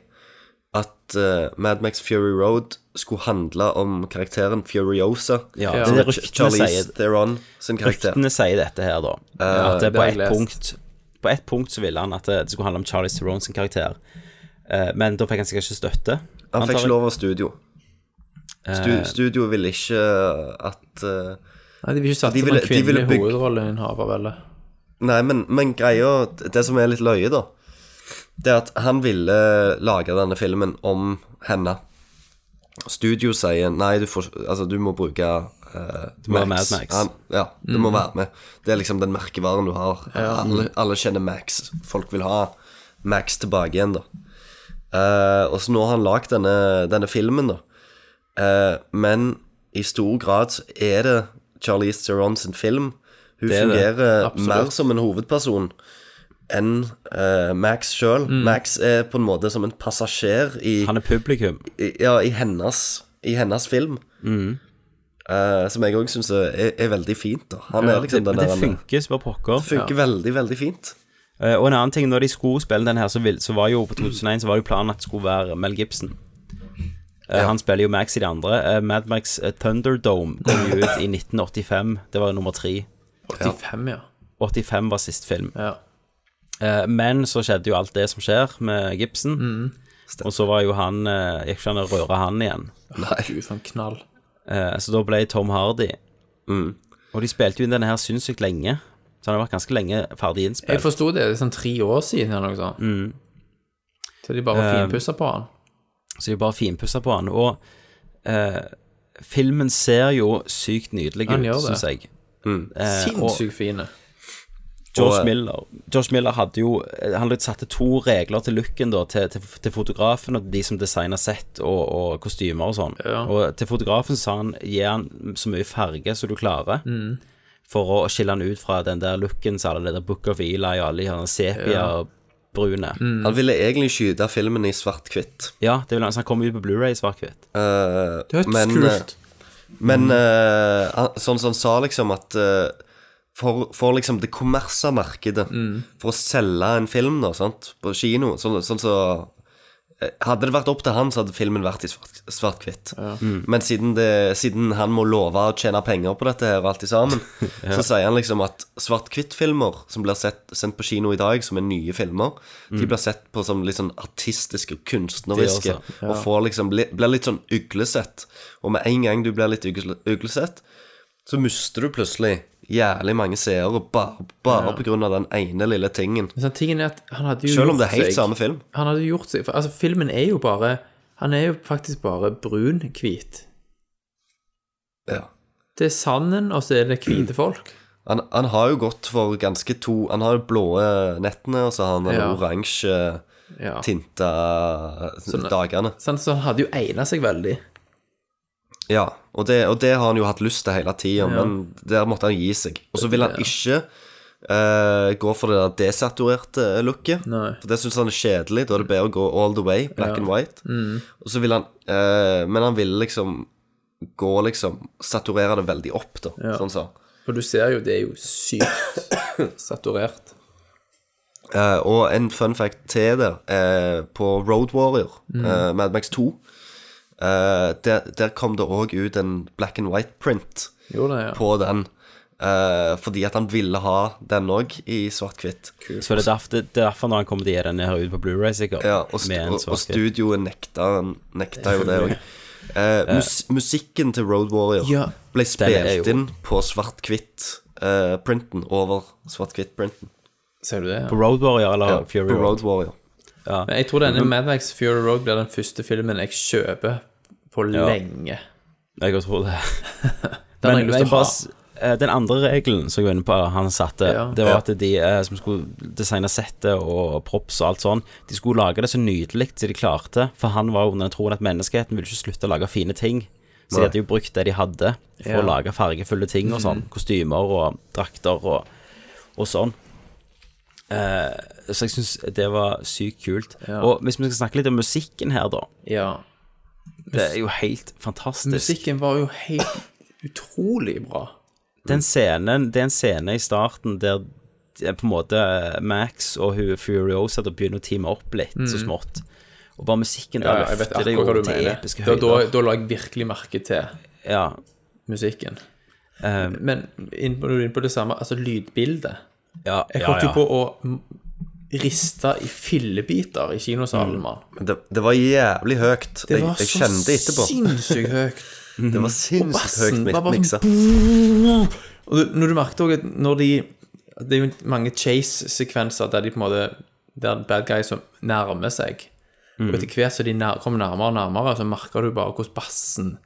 Speaker 10: at eh, Mad Max Fury Road skulle handle om karakteren Furiosa.
Speaker 1: Ja,
Speaker 10: som
Speaker 1: det er
Speaker 10: er
Speaker 1: ryktene
Speaker 10: Charlize
Speaker 1: sier-
Speaker 10: Theron sin karakter.
Speaker 1: Ryktene sier dette her, da.
Speaker 10: Eh,
Speaker 1: at
Speaker 10: det
Speaker 1: det på
Speaker 10: har jeg
Speaker 1: ett
Speaker 10: lest.
Speaker 1: punkt På ett punkt så ville han at eh, det skulle handle om Charlie Theron sin karakter. Eh, men da fikk han sikkert ikke støtte. antar
Speaker 10: Han fikk
Speaker 1: jeg.
Speaker 10: ikke lov av studio. Stu,
Speaker 1: Eh.
Speaker 10: studio ville ikke at eh,
Speaker 9: Nei, De vil ikke satse på
Speaker 10: ville-
Speaker 9: en
Speaker 10: de ville
Speaker 9: kvinnelig
Speaker 10: bygge-
Speaker 9: hovedrolleinnehaver, vel?
Speaker 10: Nei, men, men greia Det som er litt løye, da, det er at han ville lage denne filmen om henne. Studio sier nei, du, får, altså, du må bruke eh,
Speaker 1: Du må ha Mad Max.
Speaker 10: Han, ja, du må
Speaker 1: Mm.
Speaker 10: være med. Det er liksom den merkevaren du har. Alle, alle kjenner Max. Folk vil ha Max tilbake igjen, da. Eh, og så nå har han lagd denne, denne filmen, da. Eh, men i stor grad så er det Charlize Theron sin film. Hun
Speaker 9: Det er det.
Speaker 10: fungerer
Speaker 9: Absolutt.
Speaker 10: mer som en hovedperson enn eh, Max sjøl. Max er på en måte som en passasjer i
Speaker 1: Mm. Han er Mm. publikum.
Speaker 10: i, ja, i, hennes, i hennes film. Eh, som jeg òg syns er, er veldig fint. da Han
Speaker 1: Ja,
Speaker 10: er liksom
Speaker 1: det,
Speaker 10: den
Speaker 1: men
Speaker 10: der
Speaker 1: det funker som bare pokker.
Speaker 10: Det funker veldig, veldig fint.
Speaker 1: Eh, og en annen ting, når de skulle spille den her, så, vil, så var jo på 2001 så var jo planen at det skulle være Mel Gibson. Eh, Han spiller jo Max i de andre. Eh, Mad Max eh, Thunderdome kom jo ut
Speaker 10: (laughs)
Speaker 1: i 1985. Det var nummer tre.
Speaker 9: 85, ja.
Speaker 1: 85 var sist film.
Speaker 9: Ja.
Speaker 1: Eh, Men så skjedde jo alt det som skjer med Gibson.
Speaker 9: Mm.
Speaker 1: Og så var jo han eh, Gikk ikke an å røre han igjen.
Speaker 10: Nei.
Speaker 9: Gud, for en knall.
Speaker 1: Eh, Så da ble Tom Hardy.
Speaker 9: Mm.
Speaker 1: Og de spilte jo inn denne her sinnssykt lenge. Så han har vært ganske lenge ferdig
Speaker 9: Jeg
Speaker 1: innspilt.
Speaker 9: forsto det, det er sånn tre år siden eller noe sånt. Så de bare
Speaker 1: Eh,
Speaker 9: finpussa på han.
Speaker 1: Så de bare finpussa på han. Og eh, filmen ser jo sykt nydelig
Speaker 9: Han
Speaker 1: ut,
Speaker 9: gjør det. Mm.
Speaker 1: syns jeg. Eh, og-
Speaker 9: Sinnssykt fine.
Speaker 1: George,
Speaker 10: eh,
Speaker 9: Og-
Speaker 1: Miller, George Miller hadde jo eh, Han satte to regler til looken da, til, til, til fotografen og de som designer sett og, og kostymer og sånn. Og til fotografen sa han gi han så mye farge som du klarer.
Speaker 9: Mm.
Speaker 1: For å skille han ut fra den der looken som alle det der Book of Eli og alle de her
Speaker 10: Ja. Mm.
Speaker 1: sepia-brune.
Speaker 10: Han ville egentlig skyte filmen i svart-hvitt.
Speaker 1: Ja, det vil, så han kom ut på Blu-ray svart-hvitt.
Speaker 10: Eh,
Speaker 1: Det er
Speaker 10: men
Speaker 1: kult.
Speaker 10: eh, Men eh, han- sånn som han sa, liksom, at eh, for, for liksom det kommersa markedet, for å selge en film da, sant, på kino sånn, sånn så eh, Hadde det vært opp til han, så hadde filmen vært i svart- svart-hvitt.
Speaker 1: Mm.
Speaker 10: Men siden, det, siden han må love å tjene penger på dette her og alt i sammen,
Speaker 1: (laughs) Ja.
Speaker 10: så sier han liksom at svart-hvitt-filmer som blir sett, sendt på kino i dag, som er nye filmer, de
Speaker 1: Mm.
Speaker 10: blir sett på som litt sånn artistiske og kunstneriske,
Speaker 1: Det også, ja.
Speaker 10: og får liksom, bli- blir litt sånn uglesett. Og med en gang du blir litt ugle- uglesett, så mister du plutselig jævlig mange seere bare, bare
Speaker 9: Ja.
Speaker 10: på grunn av den ene lille tingen.
Speaker 9: Men sånn, tingen er at han hadde jo
Speaker 10: Selv om det
Speaker 9: gjort
Speaker 10: er helt
Speaker 9: seg-
Speaker 10: samme film.
Speaker 9: Han hadde jo gjort seg for, Altså, filmen er jo bare Han er jo faktisk bare brun-hvit.
Speaker 10: Ja.
Speaker 9: Det er sanden, og så er det hvite folk.
Speaker 10: Han, han har jo gått for ganske to Han har jo blå nettene, og så har han den
Speaker 9: Ja.
Speaker 10: oransje
Speaker 9: Ja.
Speaker 10: tinta
Speaker 9: Sånn-
Speaker 10: dagene.
Speaker 9: Sant, så han hadde jo egna seg veldig.
Speaker 10: Ja, og det, og det har han jo hatt lyst til hele
Speaker 9: Ja.
Speaker 10: tida, men der måtte han gi seg. Og så vil han ikke eh, gå for det der desaturerte eh, looket, for det syns han er kjedelig. Da er det bedre å gå all the way, black
Speaker 9: Ja.
Speaker 10: and white.
Speaker 9: Mm.
Speaker 10: Og så vil han eh, Men han ville liksom gå liksom Saturere det veldig opp, da,
Speaker 9: Ja.
Speaker 10: sånn sa han.
Speaker 9: For du ser jo, det er jo sykt saturert.
Speaker 10: Eh, og en fun fact til der, eh, på Road Warrior,
Speaker 9: Mm.
Speaker 10: eh, Mad Max 2, eh, der, der kom det òg ut en black and white print
Speaker 9: Gjorde det, ja.
Speaker 10: på den. eh, fordi at han ville ha den òg i svart-hvitt.
Speaker 1: Så det er derfor, det er derfor når han kommer til å gi denne her ut på Blu-ray, sikkert.
Speaker 10: Ja, og, st
Speaker 1: med en
Speaker 10: og, og
Speaker 1: svart-hvitt.
Speaker 10: studioet nekta, nekta
Speaker 1: (laughs)
Speaker 10: jo det òg. mus musikken til Road Warrior
Speaker 1: Ja,
Speaker 10: ble
Speaker 1: den er
Speaker 10: spilt
Speaker 1: jo-
Speaker 10: inn på svart-hvitt-printen over svart-hvitt-printen.
Speaker 9: Ser du det? Ja.
Speaker 1: På Road Warrior eller
Speaker 10: Ja,
Speaker 1: Fury
Speaker 10: på
Speaker 1: Road?
Speaker 10: Road Warrior.
Speaker 1: Ja.
Speaker 9: Men jeg tror denne
Speaker 1: Men-
Speaker 9: Mad Max Fury Road blir den første filmen jeg kjøper på
Speaker 1: Ja.
Speaker 9: lenge.
Speaker 1: Jeg tror det.
Speaker 9: (laughs) Den har jeg lyst til å ha.
Speaker 1: bare s- eh, den andre regelen som jeg var inne på han satte, det var at de eh, som skulle designe settet og props og alt sånn, de skulle lage det så nydelig som de klarte, for han var under den troen at menneskeheten ville ikke slutte å lage fine ting. Så de
Speaker 10: Nei.
Speaker 1: hadde jo brukt det de hadde for
Speaker 10: Ja.
Speaker 1: å lage fargefulle ting og sånn.
Speaker 9: Mm.
Speaker 10: Mhm.
Speaker 1: Kostymer og drakter og, og sånn. Eh, så jeg syns det var sykt kult. Og hvis vi skal snakke litt om musikken her, da. Det er jo helt fantastisk.
Speaker 9: Musikken var jo helt utrolig bra.
Speaker 1: Den scenen, det er en scene i starten der det er på en måte Max og hun Furiosa da begynner å teame opp litt, så
Speaker 9: Mm.
Speaker 1: smått. Og bare musikken
Speaker 9: Ja,
Speaker 1: der
Speaker 9: jeg vet
Speaker 1: løfter det
Speaker 9: akkurat hva
Speaker 1: jo
Speaker 9: du
Speaker 1: til
Speaker 9: mener.
Speaker 1: episke
Speaker 9: Da, da,
Speaker 1: høyder.
Speaker 9: da la jeg virkelig merke til
Speaker 1: ja.
Speaker 9: musikken. Men inn på, når du er inne på det samme, altså lydbildet
Speaker 1: Ja,
Speaker 9: Jeg
Speaker 10: ja,
Speaker 9: holdt jo
Speaker 10: ja.
Speaker 9: på å m- riste i fillebiter i kinosalen, mann.
Speaker 10: Men det, det var jævlig høyt.
Speaker 9: Det var
Speaker 10: jeg, jeg
Speaker 9: så
Speaker 10: kjente etterpå.
Speaker 9: sinnssykt høyt.
Speaker 10: det var
Speaker 9: Og
Speaker 10: sinnssykt
Speaker 9: bassen
Speaker 10: høyt
Speaker 9: var
Speaker 10: mi-
Speaker 9: bare
Speaker 10: miksa.
Speaker 9: sånn- Og du, når du merket også at når de Det er jo mange chase-sekvenser der de på en måte Der bad guys som nærmer seg. Og
Speaker 10: Mm.
Speaker 9: etter hvert som de nær, kommer nærmere og nærmere, så merker du bare hvordan bassen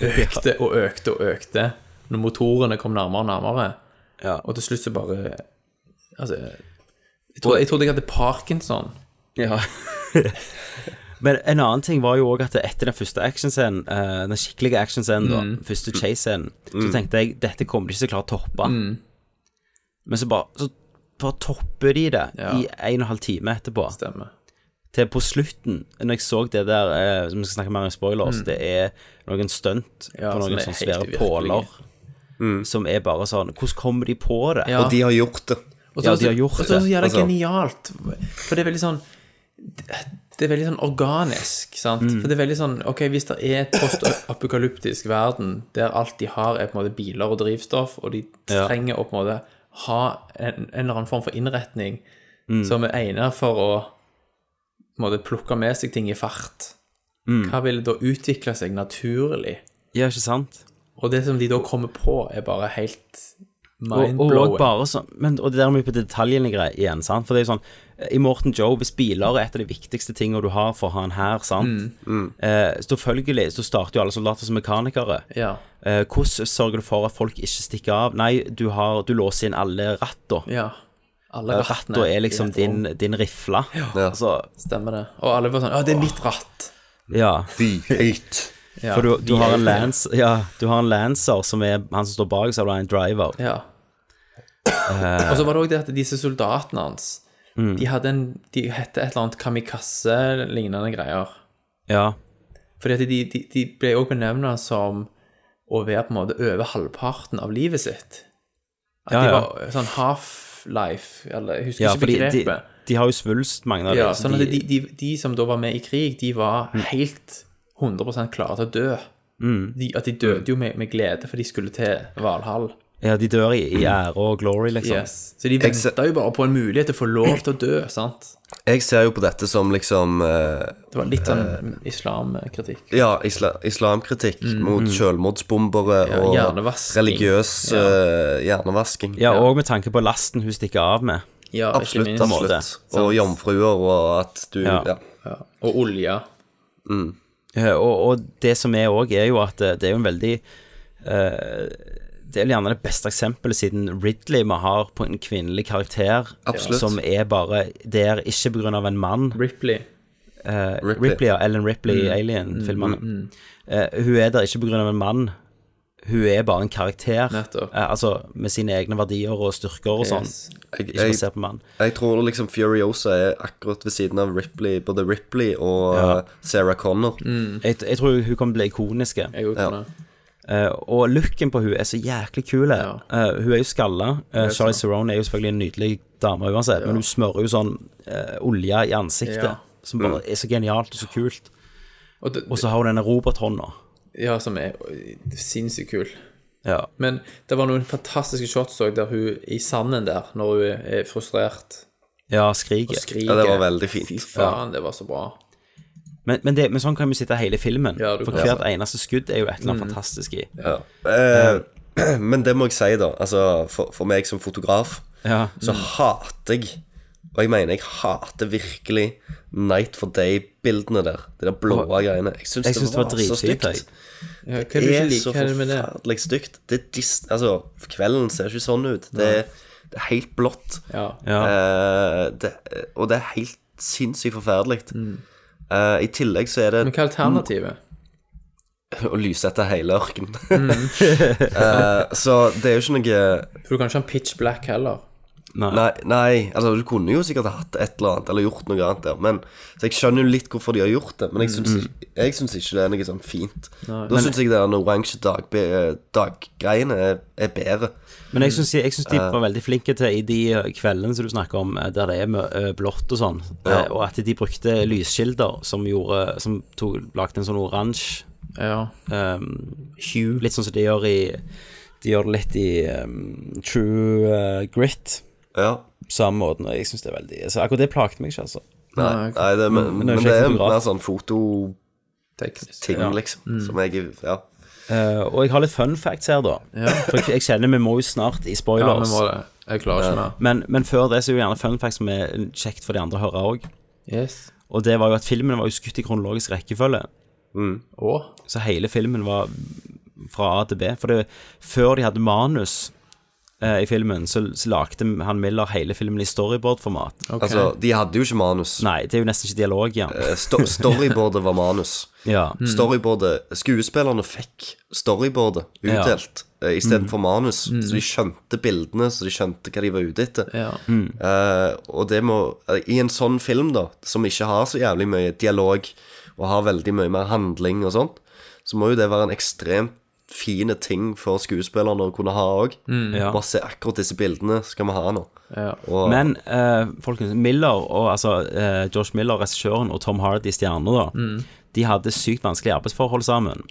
Speaker 9: økte og økte og økte når motorene kom nærmere og nærmere. Og til slutt så bare Altså Jeg trodde jeg, trodde jeg hadde parkinson.
Speaker 1: Ja. Men en annen ting var jo òg at etter den første actionscenen, eh, den skikkelige actionscenen, da,
Speaker 9: Mm.
Speaker 1: første chase-scenen, så
Speaker 9: Mm.
Speaker 1: tenkte jeg dette kommer de ikke til å klare å toppe.
Speaker 9: Mm.
Speaker 1: Men så bare, så bare topper de det i en og en halv time etterpå.
Speaker 9: Stemmer.
Speaker 1: Til på slutten, når jeg så det der eh, Som vi skal snakke mer om i spoilers,
Speaker 9: Mm.
Speaker 1: det er noen stunt
Speaker 9: Ja,
Speaker 1: på
Speaker 9: som
Speaker 1: noen
Speaker 9: er
Speaker 1: sånne
Speaker 9: helt
Speaker 1: svære
Speaker 9: uvirkelige.
Speaker 1: påler. Som er bare sånn Hvordan kommer de på det?
Speaker 9: Ja. Og de har
Speaker 10: gjort det.
Speaker 9: Og så
Speaker 1: ja,
Speaker 9: er det
Speaker 1: de
Speaker 9: så-
Speaker 1: har gjort
Speaker 9: og så er det så
Speaker 1: det. Altså-
Speaker 9: jævla genialt. For det er veldig sånn Det er veldig sånn organisk, sant.
Speaker 1: Mm.
Speaker 9: For det er veldig sånn Ok, hvis det er et postapokalyptisk verden der alt de har, er på en måte biler og drivstoff, og de
Speaker 1: Ja.
Speaker 9: trenger å på en måte ha en, en eller annen form for innretning
Speaker 1: Mm.
Speaker 9: som er egnet for å på en måte plukke med seg ting i fart,
Speaker 1: Mm.
Speaker 9: hva vil da utvikle seg naturlig?
Speaker 1: Ja, ikke sant?
Speaker 9: Og det som de da kommer på, er bare helt
Speaker 1: Og, og, og,
Speaker 9: mind-blowing.
Speaker 1: bare sånn, men, og det der med på detaljene gre- igjen, sant? For det er jo sånn eh, I Morten Joe, hvis biler er et av de viktigste tingene du har for å ha en hær, sant?
Speaker 9: Mm.
Speaker 1: Eh, selvfølgelig så starter jo alle soldater som mekanikere.
Speaker 9: Ja.
Speaker 1: Eh, hvordan sørger du for at folk ikke stikker av? Nei, du, har, du låser inn alle ratta.
Speaker 9: Ja. Alle
Speaker 1: Eh,
Speaker 9: rattene
Speaker 1: ratta
Speaker 9: i
Speaker 1: er liksom
Speaker 9: et
Speaker 1: din, din rifle. Altså,
Speaker 9: Stemmer det. Og alle var sånn Å, det er mitt ratt.
Speaker 1: ja.
Speaker 9: Ja,
Speaker 1: For du, du,
Speaker 9: de
Speaker 1: har en
Speaker 9: hate.
Speaker 1: lans, ja, du har en lancer som er han som står bak, så har du en driver.
Speaker 9: Ja.
Speaker 1: Eh,
Speaker 9: Og så var det òg det at disse soldatene hans
Speaker 1: Mm.
Speaker 9: De hadde en De hette et eller annet kamikaze-lignende greier.
Speaker 1: ja.
Speaker 9: Fordi at de, de, de ble òg benevna som å være på en måte over halvparten av livet sitt. At
Speaker 1: Ja,
Speaker 9: de
Speaker 1: ja.
Speaker 9: var sånn half-life, eller jeg husker
Speaker 1: ja
Speaker 9: ikke
Speaker 1: fordi de,
Speaker 9: begrepet.
Speaker 1: de har jo svulst, mange av dem.
Speaker 9: ja,
Speaker 1: så
Speaker 9: sånn at de, de, de som da var med i krig, de var
Speaker 10: Mm.
Speaker 9: helt 100 klare til å dø.
Speaker 1: Mm.
Speaker 9: De, at de døde jo med, med glede, for de skulle til Valhall.
Speaker 1: ja, de dør i, i ære og glory, liksom.
Speaker 9: Yes. Så de venta jo bare på en mulighet til å få lov til å dø, sant?
Speaker 10: Jeg ser jo på dette som liksom eh,
Speaker 9: Det var litt sånn islamkritikk.
Speaker 10: Ja, isla, islamkritikk mot
Speaker 1: Mm.
Speaker 10: selvmordsbombere
Speaker 9: Ja,
Speaker 10: og
Speaker 9: hjernevasking.
Speaker 10: religiøs
Speaker 9: Ja.
Speaker 10: eh, hjernevasking.
Speaker 1: Ja, og med tanke på lasten hun stikker av med.
Speaker 9: Ja, ikke
Speaker 10: absolutt.
Speaker 9: minst.
Speaker 10: absolutt.
Speaker 9: Sant.
Speaker 10: Og jomfruer og at du
Speaker 1: Ja.
Speaker 10: Ja.
Speaker 9: Og olje.
Speaker 1: Eh, Og, og det som er òg, er jo at eh, det er jo en veldig eh, Det er vel gjerne det beste eksempelet siden Ridley vi har på en kvinnelig karakter
Speaker 10: Absolutt.
Speaker 1: som er bare der ikke pga. en mann.
Speaker 9: Ripley.
Speaker 1: Ripley. ja. Ellen Ripley i
Speaker 9: Mm.
Speaker 1: Alien-filmene.
Speaker 9: Mm, mm,
Speaker 1: Eh, hun er der ikke pga. en mann. Hun er bare en karakter,
Speaker 9: Nettopp.
Speaker 1: Eh, altså med sine egne verdier og styrker og sånn.
Speaker 10: Yes. Jeg,
Speaker 1: Ikke basert på
Speaker 10: jeg,
Speaker 1: mann.
Speaker 10: jeg tror liksom Furiosa er akkurat ved siden av Ripley, både Ripley og
Speaker 1: Ja. Mm,
Speaker 10: eh, Sarah Connor.
Speaker 1: Jeg, jeg tror hun kommer til å bli ikonisk.
Speaker 9: Mm. Jeg
Speaker 10: tror Ja.
Speaker 1: Eh, og looken på hun er så jæklig kul. Eh, hun er jo skalla.
Speaker 10: Jeg
Speaker 1: Uh,
Speaker 10: vet
Speaker 1: Charlie
Speaker 10: det.
Speaker 1: Cerrone er jo selvfølgelig en nydelig dame uansett, men hun smører jo sånn eh, olje i ansiktet,
Speaker 9: Ja. Mm.
Speaker 1: som bare er så genialt og så kult.
Speaker 9: Og,
Speaker 1: så har hun denne robothånda.
Speaker 9: Ja, som er ø, sinnssykt kul.
Speaker 1: Ja.
Speaker 9: Men det var noen fantastiske shots også der hun i sanden der, når hun er frustrert
Speaker 1: Ja, skriker.
Speaker 9: og skriker.
Speaker 10: Ja, det var veldig fint.
Speaker 9: Fy faen, det var så bra.
Speaker 1: Men, men, det, men sånn kan vi sitte hele filmen.
Speaker 9: Ja, du
Speaker 1: for
Speaker 9: kan
Speaker 1: hvert
Speaker 9: det.
Speaker 1: eneste skudd er jo et eller annet
Speaker 10: Mm.
Speaker 1: fantastisk i.
Speaker 10: Ja. Eh, (clears throat) men det må jeg si, da. Altså, for, for meg som fotograf,
Speaker 1: Ja.
Speaker 10: så
Speaker 1: Mm.
Speaker 10: hater jeg Og jeg mener, jeg hater virkelig Night for Day-bildene der. De der blå greiene. Jeg
Speaker 1: Jeg
Speaker 10: syns det,
Speaker 1: synes det
Speaker 10: var
Speaker 1: var
Speaker 10: altså. så
Speaker 1: dritfint,
Speaker 10: stygt.
Speaker 9: Ja, hva er det du
Speaker 10: det
Speaker 9: ikke
Speaker 10: er
Speaker 9: liker
Speaker 10: så
Speaker 9: her med det?
Speaker 10: forferdelig stygt. Det er dis altså, kvelden ser ikke sånn ut. Det, er- det er helt blått. Eh, det, og det er helt sinnssykt forferdelig. Eh, I tillegg så er det
Speaker 9: Mm. Men hva er alternativet?
Speaker 10: Å lyse etter hele ørkenen.
Speaker 1: Mm.
Speaker 10: (laughs) Eh, så det er jo ikke noe
Speaker 9: For du kan ikke ha pitch black heller.
Speaker 10: Nei. Nei, altså du kunne jo sikkert hatt et eller annet, eller gjort noe annet der. Men, så jeg skjønner jo litt hvorfor de har gjort det, men jeg syns,
Speaker 1: Mm.
Speaker 10: ikke- jeg syns ikke det er noe sånn fint.
Speaker 1: Nei.
Speaker 10: Da
Speaker 1: Men-
Speaker 10: syns jeg det er oransje daggreiene dag daggreiene er, er bedre.
Speaker 1: Men jeg syns, jeg synes de
Speaker 10: Eh,
Speaker 1: var veldig flinke til i de eh, kveldene som du snakker om, eh, der det er mø- eh, blått og sånn,
Speaker 10: Ja.
Speaker 1: eh, og at de brukte lyskilder som gjorde Som tog, lagde en sånn oransje ehm, hue, litt sånn som de gjør i De gjør det litt i ehm, True eh, Grit. På samme måten, og jeg syns det er veldig Så akkurat det plagde meg ikke, altså.
Speaker 10: Nei, nei det, men, men,
Speaker 1: jo
Speaker 10: det
Speaker 1: ikke
Speaker 10: er
Speaker 1: jeg fotograf.
Speaker 10: mer sånn fototing,
Speaker 1: ja.
Speaker 10: liksom.
Speaker 1: Mm.
Speaker 10: Som jeg Ja.
Speaker 1: Eh, og jeg har litt fun facts her, da. For jeg, jeg kjenner vi må jo snart i spoilers.
Speaker 9: Ja, vi må det. Jeg klarer ikke
Speaker 1: Eh,
Speaker 9: mer.
Speaker 1: Men, men før det så er jo gjerne fun facts som er kjekt for de andre å høre òg.
Speaker 9: Yes.
Speaker 1: Og det var jo at filmen var jo skutt i kronologisk rekkefølge.
Speaker 9: Åh.
Speaker 1: Så hele filmen var fra A til B. For det, før de hadde manus eh, i filmen, så, så lagde han Miller hele filmen i storyboard-format.
Speaker 10: Ok. Altså, de hadde jo ikke manus.
Speaker 1: Nei, det er jo nesten ikke dialog, ja.
Speaker 10: Eh, sto storyboardet var manus.
Speaker 9: Hmm.
Speaker 1: Ja. Mm.
Speaker 10: Storyboardet Skuespillerne fikk storyboardet
Speaker 1: Ja.
Speaker 10: utdelt eh, ja. istedenfor
Speaker 1: Mm.
Speaker 10: manus.
Speaker 1: Mm.
Speaker 10: Så de skjønte bildene, så de skjønte hva de var ute etter.
Speaker 9: Ja.
Speaker 10: Eh, og det må eh, I en sånn film, da, som ikke har så jævlig mye dialog, og har veldig mye mer handling og sånt, så må jo det være en ekstremt fine ting for skuespillerne å kunne ha òg.
Speaker 1: Mm. Ja.
Speaker 10: Bare se akkurat disse bildene skal vi ha nå. Og,
Speaker 1: Men eh, folkens, Miller og altså eh, Josh Miller, regissøren, og Tom Hardy, stjerner, da,
Speaker 9: Mm.
Speaker 1: de hadde sykt vanskelige arbeidsforhold sammen.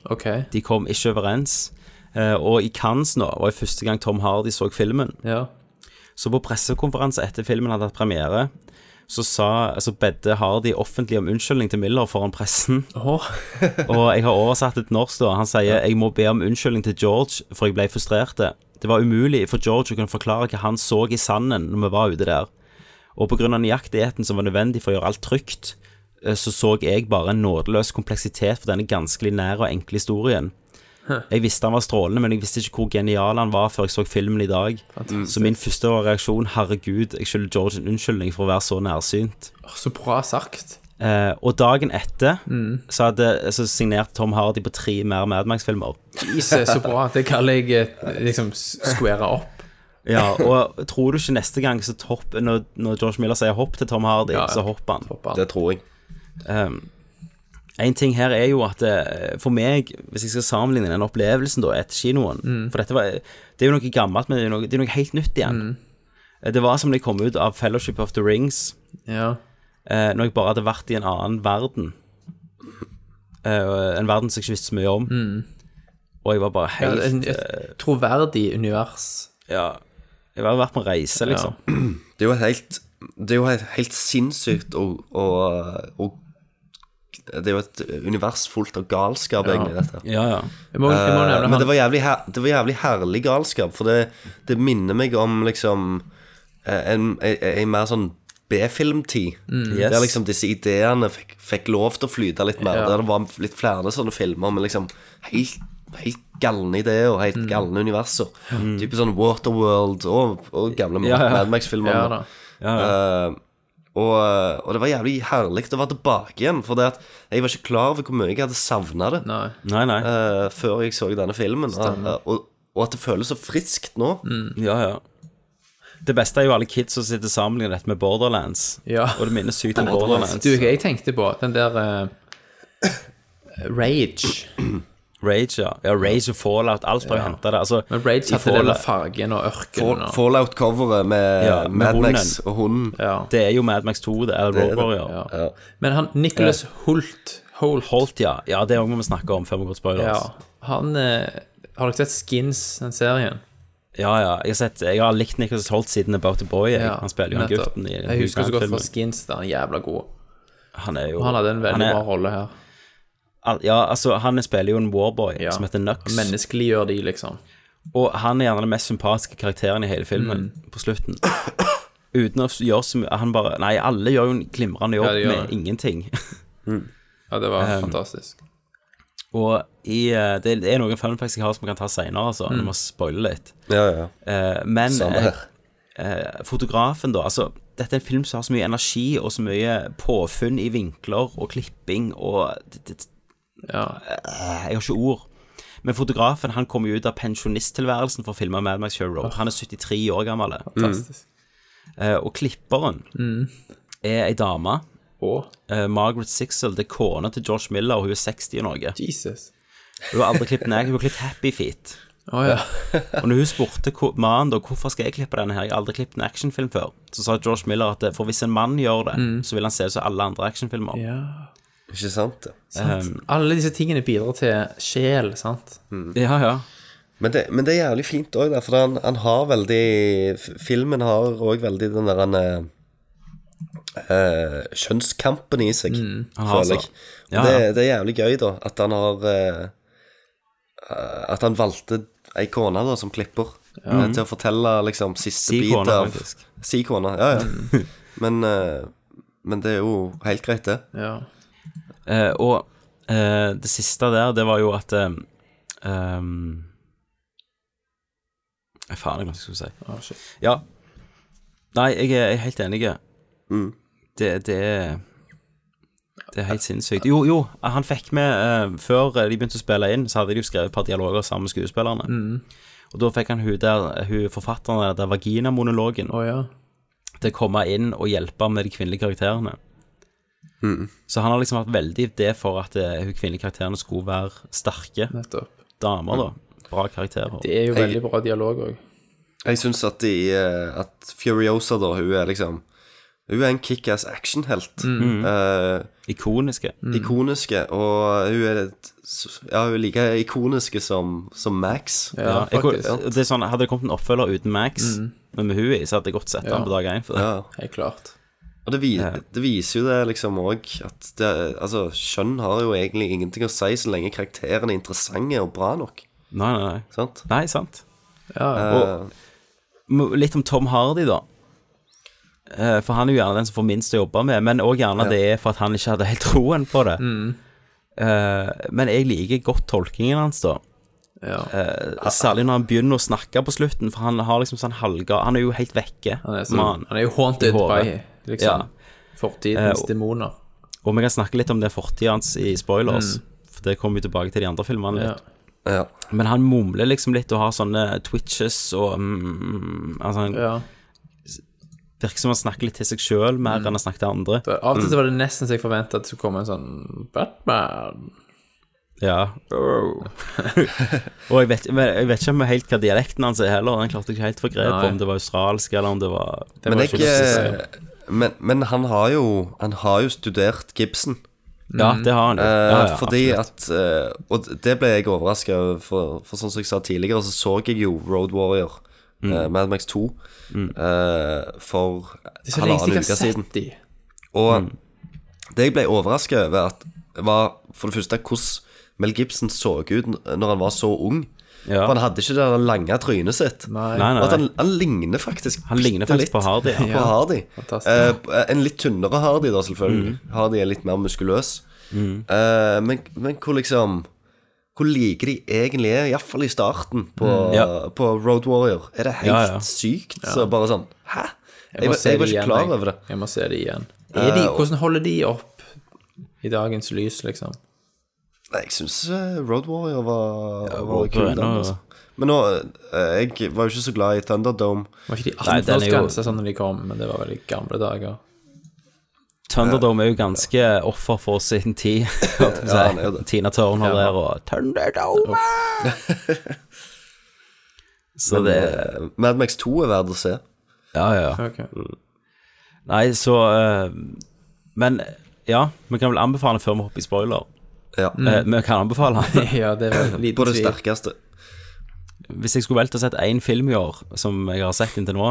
Speaker 1: De kom ikke overens. Eh, og i Cannes nå var det første gang Tom Hardy så filmen. Så på pressekonferanse etter filmen hadde hatt premiere, så sa, altså bedde Hardy offentlig om unnskyldning til Miller foran pressen. og jeg har oversatt et norsk, da. Han sier 'jeg må be om unnskyldning til George, for jeg ble frustrert'. Det var umulig for George å kunne forklare hva han så i sanden når vi var ute der. Og pga. nøyaktigheten som var nødvendig for å gjøre alt trygt, eh, så så jeg bare en nådeløs kompleksitet for denne ganske linære og enkle historien.
Speaker 9: Huh.
Speaker 1: Jeg visste han var strålende, men jeg visste ikke hvor genial han var før jeg så filmen i dag. Så min første reaksjon, herregud, jeg skylder George en unnskyldning for å være så nærsynt.
Speaker 9: Åh, (laughs) Så bra sagt.
Speaker 1: Eh, og dagen etter
Speaker 9: Mm.
Speaker 1: så, hadde, så signerte Tom Hardy på tre mer Mad Max-filmer.
Speaker 9: Jesus, så bra. Det kaller jeg eh, liksom s- square opp.
Speaker 1: Ja, og (laughs) tror du ikke neste gang så topp, når, når George Miller sier hopp til Tom Hardy,
Speaker 9: Ja, ja.
Speaker 1: så hopper han.
Speaker 10: Det tror jeg.
Speaker 1: Um, en ting her er jo at eh, for meg, hvis jeg skal sammenligne den opplevelsen da etter kinoen
Speaker 9: Mm.
Speaker 1: For dette var, det er jo noe gammelt, men det er noe, det er noe helt nytt igjen. Eh, Det var som da jeg kom ut av Fellowship of the Rings,
Speaker 9: Ja.
Speaker 1: eh, når jeg bare hadde vært i en annen verden. Eh, en verden som jeg ikke visste så mye om. Og jeg var bare
Speaker 9: Mm. Ja,
Speaker 1: helt
Speaker 9: en-
Speaker 1: eh,
Speaker 9: et troverdig univers.
Speaker 1: Ja. Jeg har vært på reise, liksom.
Speaker 10: Det er jo helt Det er jo helt, helt sinnssykt å, å, å Det er jo et univers fullt av galskap,
Speaker 9: Ja.
Speaker 10: egentlig, dette.
Speaker 1: Ja, ja.
Speaker 9: Jeg må- jeg må nevne
Speaker 10: Eh,
Speaker 9: han-
Speaker 10: Men det var, jævlig her, det var jævlig herlig galskap, for det, det minner meg om liksom eh, en, en, en mer sånn B-filmtid.
Speaker 1: Mm.
Speaker 10: Der
Speaker 1: Yes.
Speaker 10: liksom disse ideene fikk, fikk lov til å flyte litt mer.
Speaker 1: Ja.
Speaker 10: Der det var litt flere sånne filmer med liksom helt, helt galne ideer og helt galne universer.
Speaker 1: Mm.
Speaker 10: Type sånn Waterworld og, og gamle
Speaker 1: Ja, ja.
Speaker 10: Mad Max-filmer.
Speaker 1: Ja, da.
Speaker 10: Eh, og, og det var jævlig herlig å være tilbake igjen. For det at jeg var ikke klar over hvor mye jeg hadde savna det
Speaker 1: Nei, nei.
Speaker 10: eh, før jeg så denne filmen.
Speaker 1: Stemmer. Mm,
Speaker 10: Eh, og, og at det føles så friskt nå.
Speaker 1: Eh. Ja, ja. Det beste er jo alle kids som sitter sammen i dette med Borderlands.
Speaker 9: Ja.
Speaker 1: Og det minner sykt om Borderlands.
Speaker 9: Du, hva jeg tenkte på? Den der eh, Rage.
Speaker 1: Rage, ja. ja. Rage og Fallout, alt har jo
Speaker 9: Ja.
Speaker 1: henta det. Altså,
Speaker 9: Men Rage
Speaker 1: i
Speaker 9: hadde det med
Speaker 1: Fallout-
Speaker 9: fargen og ørkenen. og-
Speaker 10: Fallout-coveret med,
Speaker 1: Ja, med
Speaker 10: Mad
Speaker 1: hunden.
Speaker 10: Max og hunden.
Speaker 1: Det er jo Mad Max 2, det. Eller
Speaker 10: Det er det.
Speaker 1: Road Warrior.
Speaker 10: Ja.
Speaker 9: Men han Nicholas Holt Holt,
Speaker 1: ja. ja. Det òg må vi snakke om før vi går til spoilers.
Speaker 9: Ja, han eh, Har dere sett Skins, den serien?
Speaker 1: Ja, ja. Jeg har, sett, jeg har likt Nicholas Holt siden About the Boy. Jeg. han spiller jo han
Speaker 9: nettopp.
Speaker 1: gutten i
Speaker 9: Jeg husker så godt fra
Speaker 1: Husbandsfilmen.
Speaker 9: Skins, der han er jævla god.
Speaker 1: Han er jo
Speaker 9: Og han hadde en veldig
Speaker 1: han er-
Speaker 9: bra rolle her.
Speaker 1: al- Ja, altså, han spiller jo en warboy som heter Nux.
Speaker 9: Menneskeliggjør de, liksom. Mm.
Speaker 1: Og han er gjerne den mest sympatiske karakteren i hele filmen på slutten. Uten å gjøre så mye Han bare Nei, alle gjør jo en glimrende jobb
Speaker 9: Ja, de gjør
Speaker 1: med
Speaker 9: det.
Speaker 1: ingenting. (laughs)
Speaker 9: Ja, det var
Speaker 1: Um,
Speaker 9: fantastisk.
Speaker 1: Og i, eh, det det er noen fun facts jeg har som vi kan ta senere, altså.
Speaker 9: Mm.
Speaker 1: Jeg må spoile litt.
Speaker 10: Ja, ja.
Speaker 1: Eh, men
Speaker 10: Samme
Speaker 1: eh,
Speaker 10: her.
Speaker 1: eh, fotografen, da. Altså, dette er en film som har så mye energi og så mye påfunn i vinkler og klipping og det, det, Eh, Jeg har ikke ord. Men fotografen han kom jo ut av pensjonisttilværelsen for å filme Mad Max Show Road. Han er 73 år gammel. Mm.
Speaker 9: Fantastisk.
Speaker 1: Eh, og klipperen er ei dame. Eh, Margaret Sixel det er kona til George Miller, og hun er 60 og noe.
Speaker 9: Jesus.
Speaker 1: Hun har aldri klippet neg, hun har klippet Happy Feet.
Speaker 9: Å,
Speaker 1: (laughs)
Speaker 9: ja. (laughs)
Speaker 1: og når hun spurte hvor- mannen da, hvorfor skal jeg klippe denne her, jeg har aldri klippet en actionfilm før, så sa George Miller at eh, for hvis en mann gjør det,
Speaker 9: Mm.
Speaker 1: så vil han se ut som alle andre actionfilmer.
Speaker 10: Ikke sant?
Speaker 9: Sant.
Speaker 1: Um,
Speaker 9: Alle disse tingene bidrar til sjel, sant?
Speaker 1: Ja, ja.
Speaker 10: Men det, men det er jævlig fint òg, for han, han har veldig f- Filmen har òg veldig den der han eh, Kjønnskampen i seg,
Speaker 1: Mm. Han har
Speaker 10: føler
Speaker 1: så.
Speaker 10: jeg. Og
Speaker 1: Ja, ja.
Speaker 10: det, det er jævlig gøy, da, at han har eh, eh, At han valgte ei kone da, som klipper,
Speaker 1: Ja.
Speaker 10: eh, til å fortelle liksom siste
Speaker 1: Si
Speaker 10: bit
Speaker 1: kone,
Speaker 10: av
Speaker 1: faktisk.
Speaker 10: Si kone, ja,
Speaker 1: Mm.
Speaker 10: ja. (laughs) men, eh, men det er jo helt greit, det.
Speaker 1: Eh, og eh, det siste der, det var jo at eh, um, Nei, Faen, jeg glemte hva jeg skulle si. Ja. Nei, jeg er jeg er helt enig. Det, det er Det er helt sinnssykt. Jo, jo, han fikk med eh, Før de begynte å spille inn, så hadde de jo skrevet et par dialoger sammen med skuespillerne.
Speaker 9: Mm.
Speaker 1: Og da fikk han hun der, hun forfatteren av den der vaginamonologen til å komme inn og hjelpe med de kvinnelige karakterene. Så han har liksom vært veldig det for at eh, hun kvinnelige karakterene skulle være sterke. Damer, da. Bra karakterer.
Speaker 9: Det er jo
Speaker 10: Jeg-
Speaker 9: veldig bra dialog òg.
Speaker 10: Jeg syns at, de, eh, at Furiosa, da, hun er liksom Hun er en kickass actionhelt.
Speaker 1: Mm.
Speaker 10: Eh,
Speaker 1: Ikoniske.
Speaker 10: Ikoniske, og hun er, et- ja, hun er like ikoniske som, som Max.
Speaker 1: Ja, jeg, kunne- det er sånn, hadde det kommet en oppfølger uten Max,
Speaker 10: Mm.
Speaker 1: men med hun i, så hadde jeg godt sett
Speaker 10: Ja.
Speaker 1: den på dag én. For det.
Speaker 10: Ja.
Speaker 9: Helt klart.
Speaker 10: Og det, vi, det viser jo det liksom òg at det, altså, kjønn har jo egentlig ingenting å si så lenge karakterene er interessante og bra nok.
Speaker 1: Nei, nei, nei.
Speaker 10: Sant?
Speaker 1: Nei, sant.
Speaker 10: Eh,
Speaker 1: Og må- litt om Tom Hardy, da. Eh, For han er jo gjerne den som får minst å jobbe med, men òg gjerne
Speaker 10: Ja.
Speaker 1: det er for at han ikke hadde helt (laughs) troen på det.
Speaker 10: Mm.
Speaker 1: Eh, men jeg liker godt tolkingen hans, da. Eh, særlig når han begynner å snakke på slutten, for han har liksom sånn halvgar Han er jo helt vekke.
Speaker 9: Han er, så,
Speaker 1: mann,
Speaker 9: han er jo
Speaker 1: i
Speaker 9: haunted by
Speaker 1: hodet.
Speaker 9: liksom,
Speaker 1: Ja.
Speaker 9: fortidens
Speaker 1: Eh, og-
Speaker 9: demoner.
Speaker 1: Og vi kan snakke litt om det fortida hans i spoilers,
Speaker 9: Mm.
Speaker 1: for det kommer vi tilbake til de andre filmene litt.
Speaker 10: Ja.
Speaker 1: Men han mumler liksom litt og har sånne twitches og mm, Altså, han virker som han snakker litt til seg sjøl
Speaker 9: Mm.
Speaker 1: mer enn han snakker til andre.
Speaker 9: Av og til
Speaker 1: Mm.
Speaker 9: så var det nesten så jeg forventa at det skulle komme en sånn Batman.
Speaker 1: Ja.
Speaker 9: (laughs)
Speaker 1: og jeg vet, men jeg vet ikke om helt hva dialekten hans er heller. Han klarte ikke helt for grep
Speaker 10: Nei.
Speaker 1: på om det var australsk eller om det var
Speaker 10: men, jeg, eh, men, men han har jo Han har jo studert Gibson.
Speaker 1: Ja,
Speaker 9: Mm.
Speaker 1: det har han jo. Ja,
Speaker 10: Eh,
Speaker 1: ja,
Speaker 10: fordi at eh, Og det ble jeg overraska over, for, for sånn som jeg sa tidligere, så så jeg jo Road Warrior, mm.
Speaker 9: Mm.
Speaker 10: Mad Max 2,
Speaker 1: Mm.
Speaker 10: eh, for
Speaker 9: Det er så lenge
Speaker 10: halvannen
Speaker 9: siden jeg
Speaker 10: uke
Speaker 9: har
Speaker 10: siden.
Speaker 9: sett de.
Speaker 10: Og
Speaker 1: Mm.
Speaker 10: det jeg ble overraska over, at var for det første hvordan Mel Gibson så ut n- når han var så ung.
Speaker 1: Ja.
Speaker 10: For han hadde ikke det der lange trynet sitt.
Speaker 1: Nei. Nei, nei,
Speaker 10: Og at han,
Speaker 1: nei.
Speaker 10: han ligner faktisk
Speaker 1: Han ligner
Speaker 10: bitte
Speaker 1: faktisk på Hardy, ja.
Speaker 10: Ja, på Hardy.
Speaker 1: Fantastisk.
Speaker 10: Eh, en litt tynnere Hardy, da, selvfølgelig.
Speaker 1: Mm.
Speaker 10: Hardy er litt mer muskuløs. Eh, men, men hvor liksom Hvor like de egentlig er, iallfall i starten på,
Speaker 9: Mm. Ja.
Speaker 10: på Road Warrior, er det helt
Speaker 9: Ja, ja.
Speaker 10: sykt.
Speaker 9: Ja.
Speaker 10: Så bare sånn Hæ? Jeg,
Speaker 9: må
Speaker 10: var-
Speaker 9: se
Speaker 10: jeg
Speaker 9: de
Speaker 10: var ikke
Speaker 9: igjen,
Speaker 10: klar
Speaker 9: jeg.
Speaker 10: over det.
Speaker 9: Jeg må se det igjen. Er de,
Speaker 10: Eh, og-
Speaker 9: hvordan holder de opp i dagens lys, liksom?
Speaker 10: Nei, jeg syns Road Warrior var, var
Speaker 9: Road
Speaker 10: kul.
Speaker 9: Warrior
Speaker 10: Den,
Speaker 9: nå-
Speaker 10: altså. Men nå, eh, jeg var jo ikke så glad i Thunderdome.
Speaker 9: Var ikke de 18-årsgrense sånn når de kom, men det var veldig gamle dager.
Speaker 1: Thunderdome er jo ganske offer for sin tid. (laughs) holdt jeg på å
Speaker 10: Ja,
Speaker 1: si.
Speaker 10: han er jo det.
Speaker 1: Tina Turner
Speaker 10: Ja.
Speaker 1: der og
Speaker 10: (laughs)
Speaker 1: Thunderdome! Så
Speaker 10: Men,
Speaker 1: det
Speaker 10: eh, Mad Max 2 er verdt å se. eh,
Speaker 1: Ja, ja. ja.
Speaker 10: Mm.
Speaker 1: Nei, så eh, Men ja, vi kan vel anbefale før vi hopper i spoiler.
Speaker 10: Ja.
Speaker 1: Eh, Vi kan anbefale
Speaker 9: ja, det var liten
Speaker 10: På det
Speaker 1: tvil.
Speaker 10: sterkeste.
Speaker 1: (laughs) Hvis jeg skulle valgt å sett én film i år som jeg har sett inntil nå,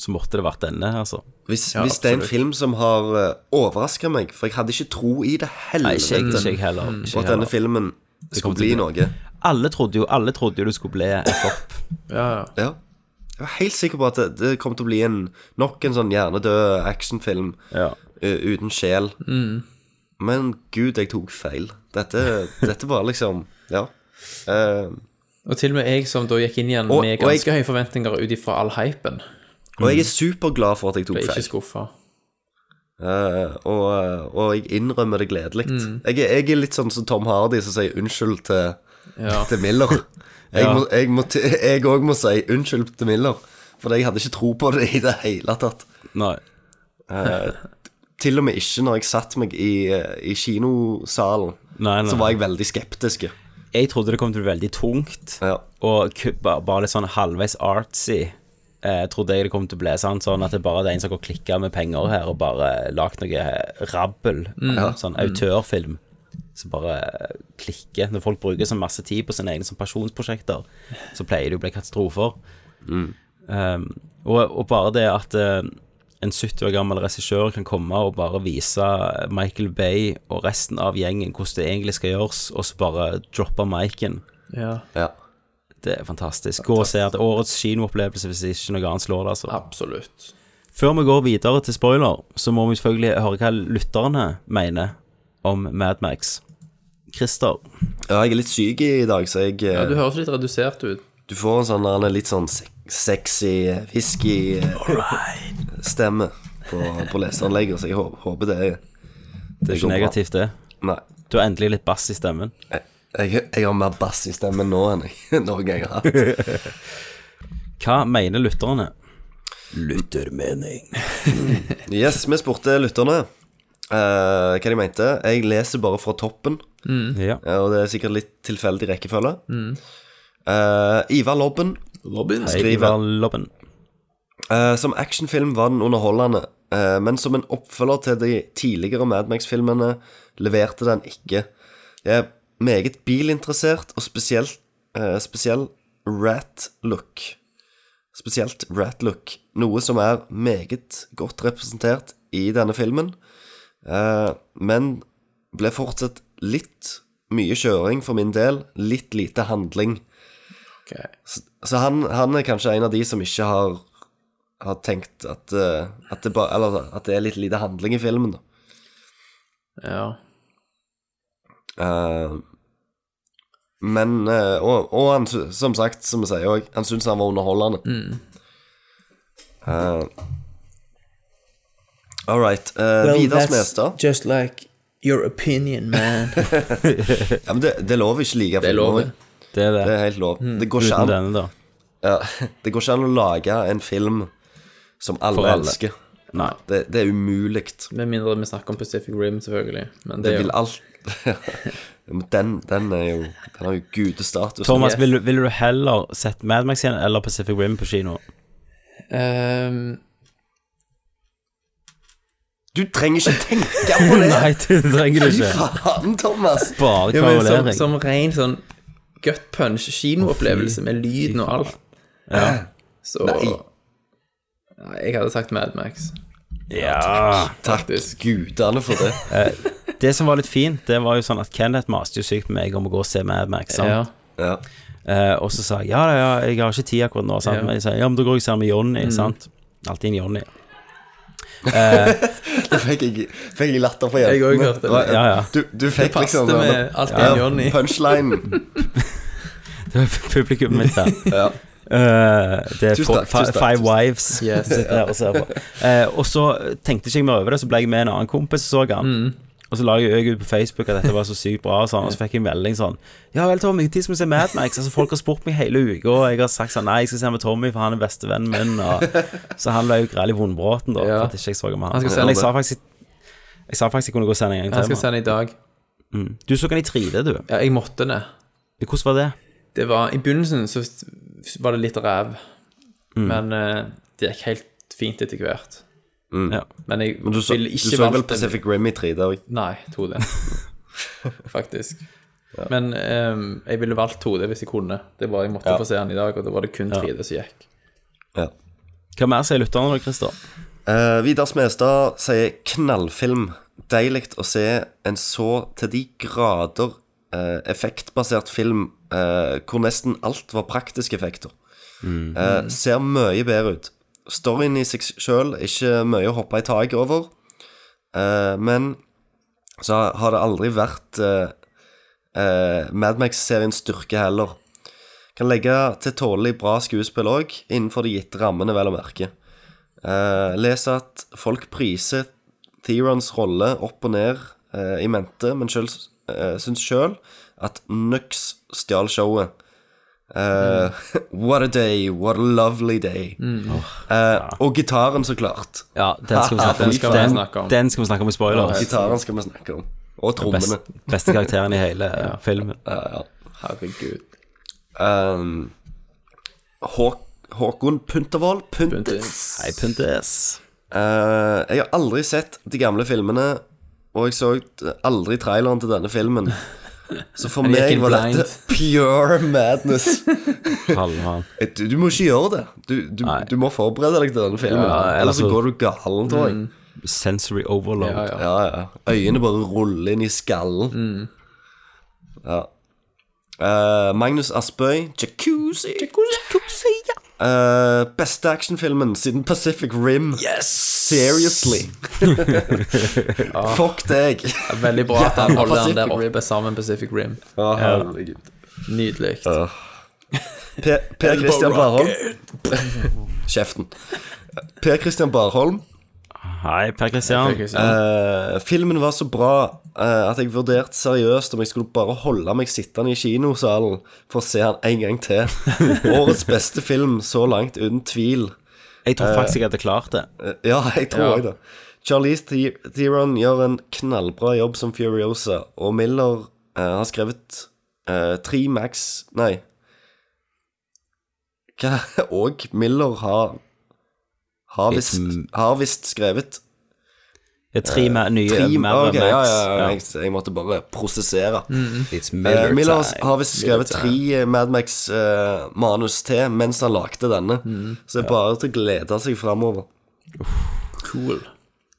Speaker 1: så måtte det vært denne, altså.
Speaker 10: Hvis, hvis det er en film som har uh, overraska meg, for jeg hadde ikke tro i det
Speaker 1: Nei,
Speaker 10: helvete
Speaker 1: ikke jeg- ikke jeg heller,
Speaker 10: Og
Speaker 1: ikke jeg
Speaker 10: at denne
Speaker 1: heller.
Speaker 10: filmen
Speaker 1: Det
Speaker 10: skulle
Speaker 1: kommer til
Speaker 10: bli
Speaker 1: å
Speaker 10: noe.
Speaker 1: Alle trodde jo Alle trodde jo det skulle bli en flopp.
Speaker 9: Ja,
Speaker 10: ja. Jeg var helt sikker på at det, det kom til å bli en, nok en sånn hjernedød actionfilm eh, uten sjel.
Speaker 9: Mm.
Speaker 10: Men gud, jeg tok feil.
Speaker 9: (laughs)
Speaker 10: Dette, dette var liksom Ja. Eh,
Speaker 9: Og til og med jeg som da gikk inn igjen
Speaker 10: Og-
Speaker 9: med
Speaker 10: og jeg-
Speaker 9: ganske høye forventninger ut ifra all hypen,
Speaker 10: og jeg er superglad for at jeg tok
Speaker 9: ble
Speaker 10: feil.
Speaker 9: Mm. ikke skuffa.
Speaker 10: Eh, og, og jeg innrømmer det gledelig.
Speaker 9: Mm.
Speaker 10: Jeg, er- jeg er litt sånn som Tom Hardy som sier unnskyld til,
Speaker 9: Ja.
Speaker 10: (laughs) til Miller.
Speaker 9: (laughs)
Speaker 10: Jeg
Speaker 9: Ja.
Speaker 10: òg må, jeg må, t- (laughs) jeg også må si unnskyld til Miller, for jeg hadde ikke tro på det i det hele tatt.
Speaker 1: Nei.
Speaker 10: Eh, til og med ikke når jeg satt meg i, eh, i kinosalen,
Speaker 1: Nei, nei.
Speaker 10: så var jeg veldig skeptisk.
Speaker 1: Jeg trodde det kom til å bli veldig tungt, og ku- ba- bare litt sånn halvveis artsy. Eh, trodde jeg det kom til å bli sånn, sånn at det bare er en som går og klikker med penger her og bare lagt noe eh, rabbel,
Speaker 9: Mm. Ja.
Speaker 1: sånn
Speaker 9: Mm.
Speaker 1: autørfilm, som bare eh, klikker. Når folk bruker så masse tid på sine egne sånn pasjonsprosjekter, så pleier det jo å bli katastrofer. Um, og, og bare det at eh, en 70 år gammel regissør kan komme og bare vise Michael Bay og resten av gjengen hvordan det egentlig skal gjøres, og så bare droppe miken.
Speaker 9: Ja.
Speaker 1: Det er fantastisk. Gå og se at årets kinoopplevelse hvis ikke noe annet slår det. Altså.
Speaker 9: Absolutt.
Speaker 1: Før vi går videre til spoiler, så må vi selvfølgelig høre hva lytterne mener om Madmax. Christer.
Speaker 10: Ja, jeg er litt syk i dag, så jeg eh,
Speaker 9: Ja, du høres litt redusert ut.
Speaker 10: Du får en sånn han er litt sånn se- sexy eh, whisky-stemme på, på leseanlegget, så jeg håper, håper det
Speaker 1: Det er ikke negativt, det.
Speaker 10: Nei.
Speaker 1: Du har endelig litt bass i stemmen.
Speaker 10: Jeg, jeg, jeg har mer bass i stemmen nå enn jeg (laughs) noen gang har
Speaker 1: (laughs)
Speaker 10: hatt.
Speaker 1: Hva mener lytterne?
Speaker 15: eh?
Speaker 1: Lyttermening.
Speaker 10: yes, vi spurte lytterne eh, hva de mente. Jeg leser bare fra toppen,
Speaker 1: Mm. Ja.
Speaker 10: eh, og det er sikkert litt tilfeldig rekkefølge.
Speaker 9: Mm.
Speaker 10: Eh, Ivar Lobben,
Speaker 1: Hei, Ivar
Speaker 10: skriver
Speaker 1: Lobben.
Speaker 10: Eh, Som actionfilm var den underholdende, eh, men som en oppfølger til de tidligere Mad Max-filmene leverte den ikke. Jeg er meget bilinteressert, og spesielt eh, spesiell rat-look. Spesielt rat-look, noe som er meget godt representert i denne filmen, eh, men ble fortsatt litt mye kjøring for min del, litt lite handling. Så, så han, han er kanskje en av de som ikke har, har tenkt at, eh, at, det bare, eller, at det er litt lite handling i filmen. Da.
Speaker 9: Ja.
Speaker 10: Eh, men eh, Og, og han, sy- som sagt, som vi sier òg, han syns han var underholdende.
Speaker 9: Mm.
Speaker 10: Eh, all right. eh, Vidar Smestad.
Speaker 9: just like your opinion, man.
Speaker 10: ja, men det, det lover ikke like
Speaker 9: Det er lov,
Speaker 10: filmer.
Speaker 9: det.
Speaker 1: Det er det.
Speaker 10: Det er helt lov. Det går ikke
Speaker 1: Uten
Speaker 10: an.
Speaker 1: denne, da.
Speaker 10: (laughs) Ja, det går ikke an å lage en film som alle,
Speaker 9: For alle.
Speaker 10: elsker.
Speaker 1: Nei.
Speaker 10: Det, det er umulig.
Speaker 9: (laughs) Med mindre vi snakker om Pacific Rim, selvfølgelig. Men
Speaker 10: Det
Speaker 9: det er
Speaker 10: vil
Speaker 9: jo
Speaker 10: alt (laughs) Men den, den er jo Den har jo gudestatus.
Speaker 1: Thomas, ville vil du heller sett Mad Max igjen eller Pacific Rim på kino?
Speaker 9: Ehm,
Speaker 10: Du trenger ikke tenke
Speaker 9: (laughs)
Speaker 10: på det!
Speaker 1: Nei, det trenger du ikke.
Speaker 10: Fy faen, Thomas!
Speaker 1: Bare
Speaker 9: ja, men som,
Speaker 1: kverulering.
Speaker 9: som ren sånn gut punch kinoopplevelse med lyden og alt.
Speaker 1: Ja.
Speaker 9: Så
Speaker 10: Nei.
Speaker 9: Nei, Jeg hadde sagt Mad Max.
Speaker 1: Ja.
Speaker 10: Takk gudene for det.
Speaker 1: Det som var litt fint, det var jo sånn at Kenneth maste jo sykt på meg om å gå og se Mad Max. Sant?
Speaker 9: Ja.
Speaker 10: Ja.
Speaker 1: Eh, og så sa jeg ja, da, ja, jeg har ikke tid akkurat nå. Sant?
Speaker 9: Ja.
Speaker 1: Men jeg sa ja, men da går jeg og ser med Jonny.
Speaker 9: Mm.
Speaker 1: Sant? Alltid en Jonny. Eh,
Speaker 10: Det fikk jeg, fikk jeg latter for
Speaker 9: Jeg òg hørte det.
Speaker 1: ja, ja.
Speaker 10: Du, du
Speaker 9: Det
Speaker 10: fikk
Speaker 9: passte
Speaker 10: liksom
Speaker 9: med alt det
Speaker 10: ja,
Speaker 9: Johnny. (laughs)
Speaker 10: Punchline.
Speaker 1: (laughs) Det var publikum mitt der.
Speaker 10: Ja.
Speaker 1: Eh, det er
Speaker 10: Tusen
Speaker 1: for,
Speaker 10: takk, tusen
Speaker 1: fi,
Speaker 10: takk,
Speaker 1: Five
Speaker 10: tusen takk.
Speaker 1: Wives
Speaker 9: Yes.
Speaker 1: (laughs) sitter her og ser på. Eh, og så tenkte ikke jeg mer over det, så ble jeg med en annen kompis og så han. Og så la jeg jo ut på Facebook at dette var så sykt bra, og, sånn, og så fikk jeg en melding sånn Ja vel, Tommy, når skal vi se Mad Max? Altså, folk har spurt meg hele uka, og jeg har sagt sånn Nei, jeg skal se med Tommy, for han er bestevennen min. Og, så han ble jo grell i vondbråten, da,
Speaker 9: Ja.
Speaker 1: for at ikke jeg så med
Speaker 9: Han
Speaker 1: han.
Speaker 9: skal se
Speaker 1: Men jeg
Speaker 9: det.
Speaker 1: sa faktisk Jeg sa faktisk jeg kunne gå og se den en gang
Speaker 9: Jeg
Speaker 1: til.
Speaker 9: skal
Speaker 1: mann.
Speaker 9: se den i dag.
Speaker 1: Mm. Du så den i 3D, du.
Speaker 9: Ja, jeg måtte det.
Speaker 1: Hvordan var det?
Speaker 9: Det var, I begynnelsen så var det litt ræv,
Speaker 10: Mm.
Speaker 9: men eh, det gikk helt fint etter hvert.
Speaker 1: Ja.
Speaker 9: Men jeg
Speaker 10: Mm. Men du så,
Speaker 9: ville
Speaker 10: du
Speaker 9: ikke
Speaker 10: så vel
Speaker 9: valgt en-
Speaker 10: Pacific Rim i 3D òg?
Speaker 9: Nei, (laughs) 2D. Faktisk. Men ehm, jeg ville valgt 2D hvis jeg kunne. Det var, Jeg måtte
Speaker 10: Ja.
Speaker 9: få se den i dag, og da var det kun 3D som gikk.
Speaker 10: Ja.
Speaker 1: Hva mer sier lytterne da, Christer?
Speaker 10: Eh, Vidar Smestad sier knallfilm. Deilig å se en så til de grader eh, effektbasert film eh, hvor nesten alt var praktiske effekter.
Speaker 1: Mm.
Speaker 10: Eh, ser mye bedre ut. Storyen i seg sjøl er ikke mye å hoppe i taket over. Eh, men så har det aldri vært uh, Madmax-seriens styrke heller. Kan legge til tålelig bra skuespill òg, innenfor de gitte rammene, vel å merke. Eh, les at folk priser Therons rolle opp og ned eh, i mente, men selv, eh, syns sjøl at Nux stjal showet. Eh, (laughs) what a day, what a lovely day.
Speaker 1: Mm. Åh,
Speaker 10: Eh, og gitaren, så klart.
Speaker 1: Ja, den skal vi
Speaker 10: (laughs)
Speaker 1: snakke om.
Speaker 10: Fy faen.
Speaker 1: Den- den skal vi snakke om i spoilers.
Speaker 10: Ja, Gitaren skal vi snakke om. Og trommene.
Speaker 1: Best, (laughs) beste karakteren i hele eh, filmen.
Speaker 10: Herregud. Um, Hå Håkon Puntervold Puntes.
Speaker 1: Hei, Puntes.
Speaker 10: Eh, jeg har aldri sett de gamle filmene, og jeg så eh, aldri traileren til denne filmen. Så for
Speaker 1: (laughs) Men jeg gikk
Speaker 10: meg
Speaker 1: inn
Speaker 10: var dette (laughs) pure madness. Eh,
Speaker 1: Halvmann.
Speaker 10: Du, du må ikke gjøre det. Du, du, du må forberede deg til denne filmen.
Speaker 1: Ja,
Speaker 10: ellers så
Speaker 1: altså-
Speaker 10: går du galen, tror jeg.
Speaker 1: Mm. Sensory overload.
Speaker 10: Ja, ja. Øynene bare ruller inn i skallen.
Speaker 9: Mm.
Speaker 10: Ja. Eh, Magnus Aspøy, Jacuzzi. Eh, beste actionfilmen siden Pacific Rim.
Speaker 1: Yes!
Speaker 10: Seriously.
Speaker 9: (laughs) Ja.
Speaker 10: Fuck deg.
Speaker 9: (laughs) Veldig bra at han
Speaker 10: Jævla
Speaker 9: holder den der
Speaker 10: Pacific Rim.
Speaker 9: oppe sammen Pacific Rim.
Speaker 10: Å,
Speaker 9: Ja.
Speaker 10: herregud.
Speaker 9: Nydelig.
Speaker 10: Per, per
Speaker 9: Elbow
Speaker 10: Christian Barholm.
Speaker 9: rocket.
Speaker 10: Kjeften. Per Christian Barholm.
Speaker 1: Hei, Per Christian.
Speaker 10: Eh, filmen var så bra eh, at jeg vurderte seriøst om jeg skulle bare holde meg sittende i kinosalen for å se han en gang til. Årets beste film så langt, uten tvil.
Speaker 1: Jeg tror
Speaker 10: Eh,
Speaker 1: faktisk jeg hadde klart det.
Speaker 10: eh, Ja, jeg tror
Speaker 1: Ja.
Speaker 10: òg det. Charlize The- Theron gjør en knallbra jobb som Furiosa, og Miller eh, har skrevet eh, tre max Nei. Hva? (laughs) Og Miller har har visst, har visst skrevet
Speaker 1: Det er tre mer, nye
Speaker 10: eh, Tre-
Speaker 1: mer
Speaker 10: ok,
Speaker 1: Max.
Speaker 10: ja, ja, ja.
Speaker 1: Ja.
Speaker 10: Jeg, jeg måtte bare prosessere.
Speaker 1: Mhm. It's Miller
Speaker 10: Eh, Miller
Speaker 1: time.
Speaker 10: har visst skrevet
Speaker 1: Miller
Speaker 10: tre eh, Madmax-manus eh, til mens han lagde denne,
Speaker 1: Mm.
Speaker 10: så det er bare til å glede seg framover.
Speaker 9: Cool.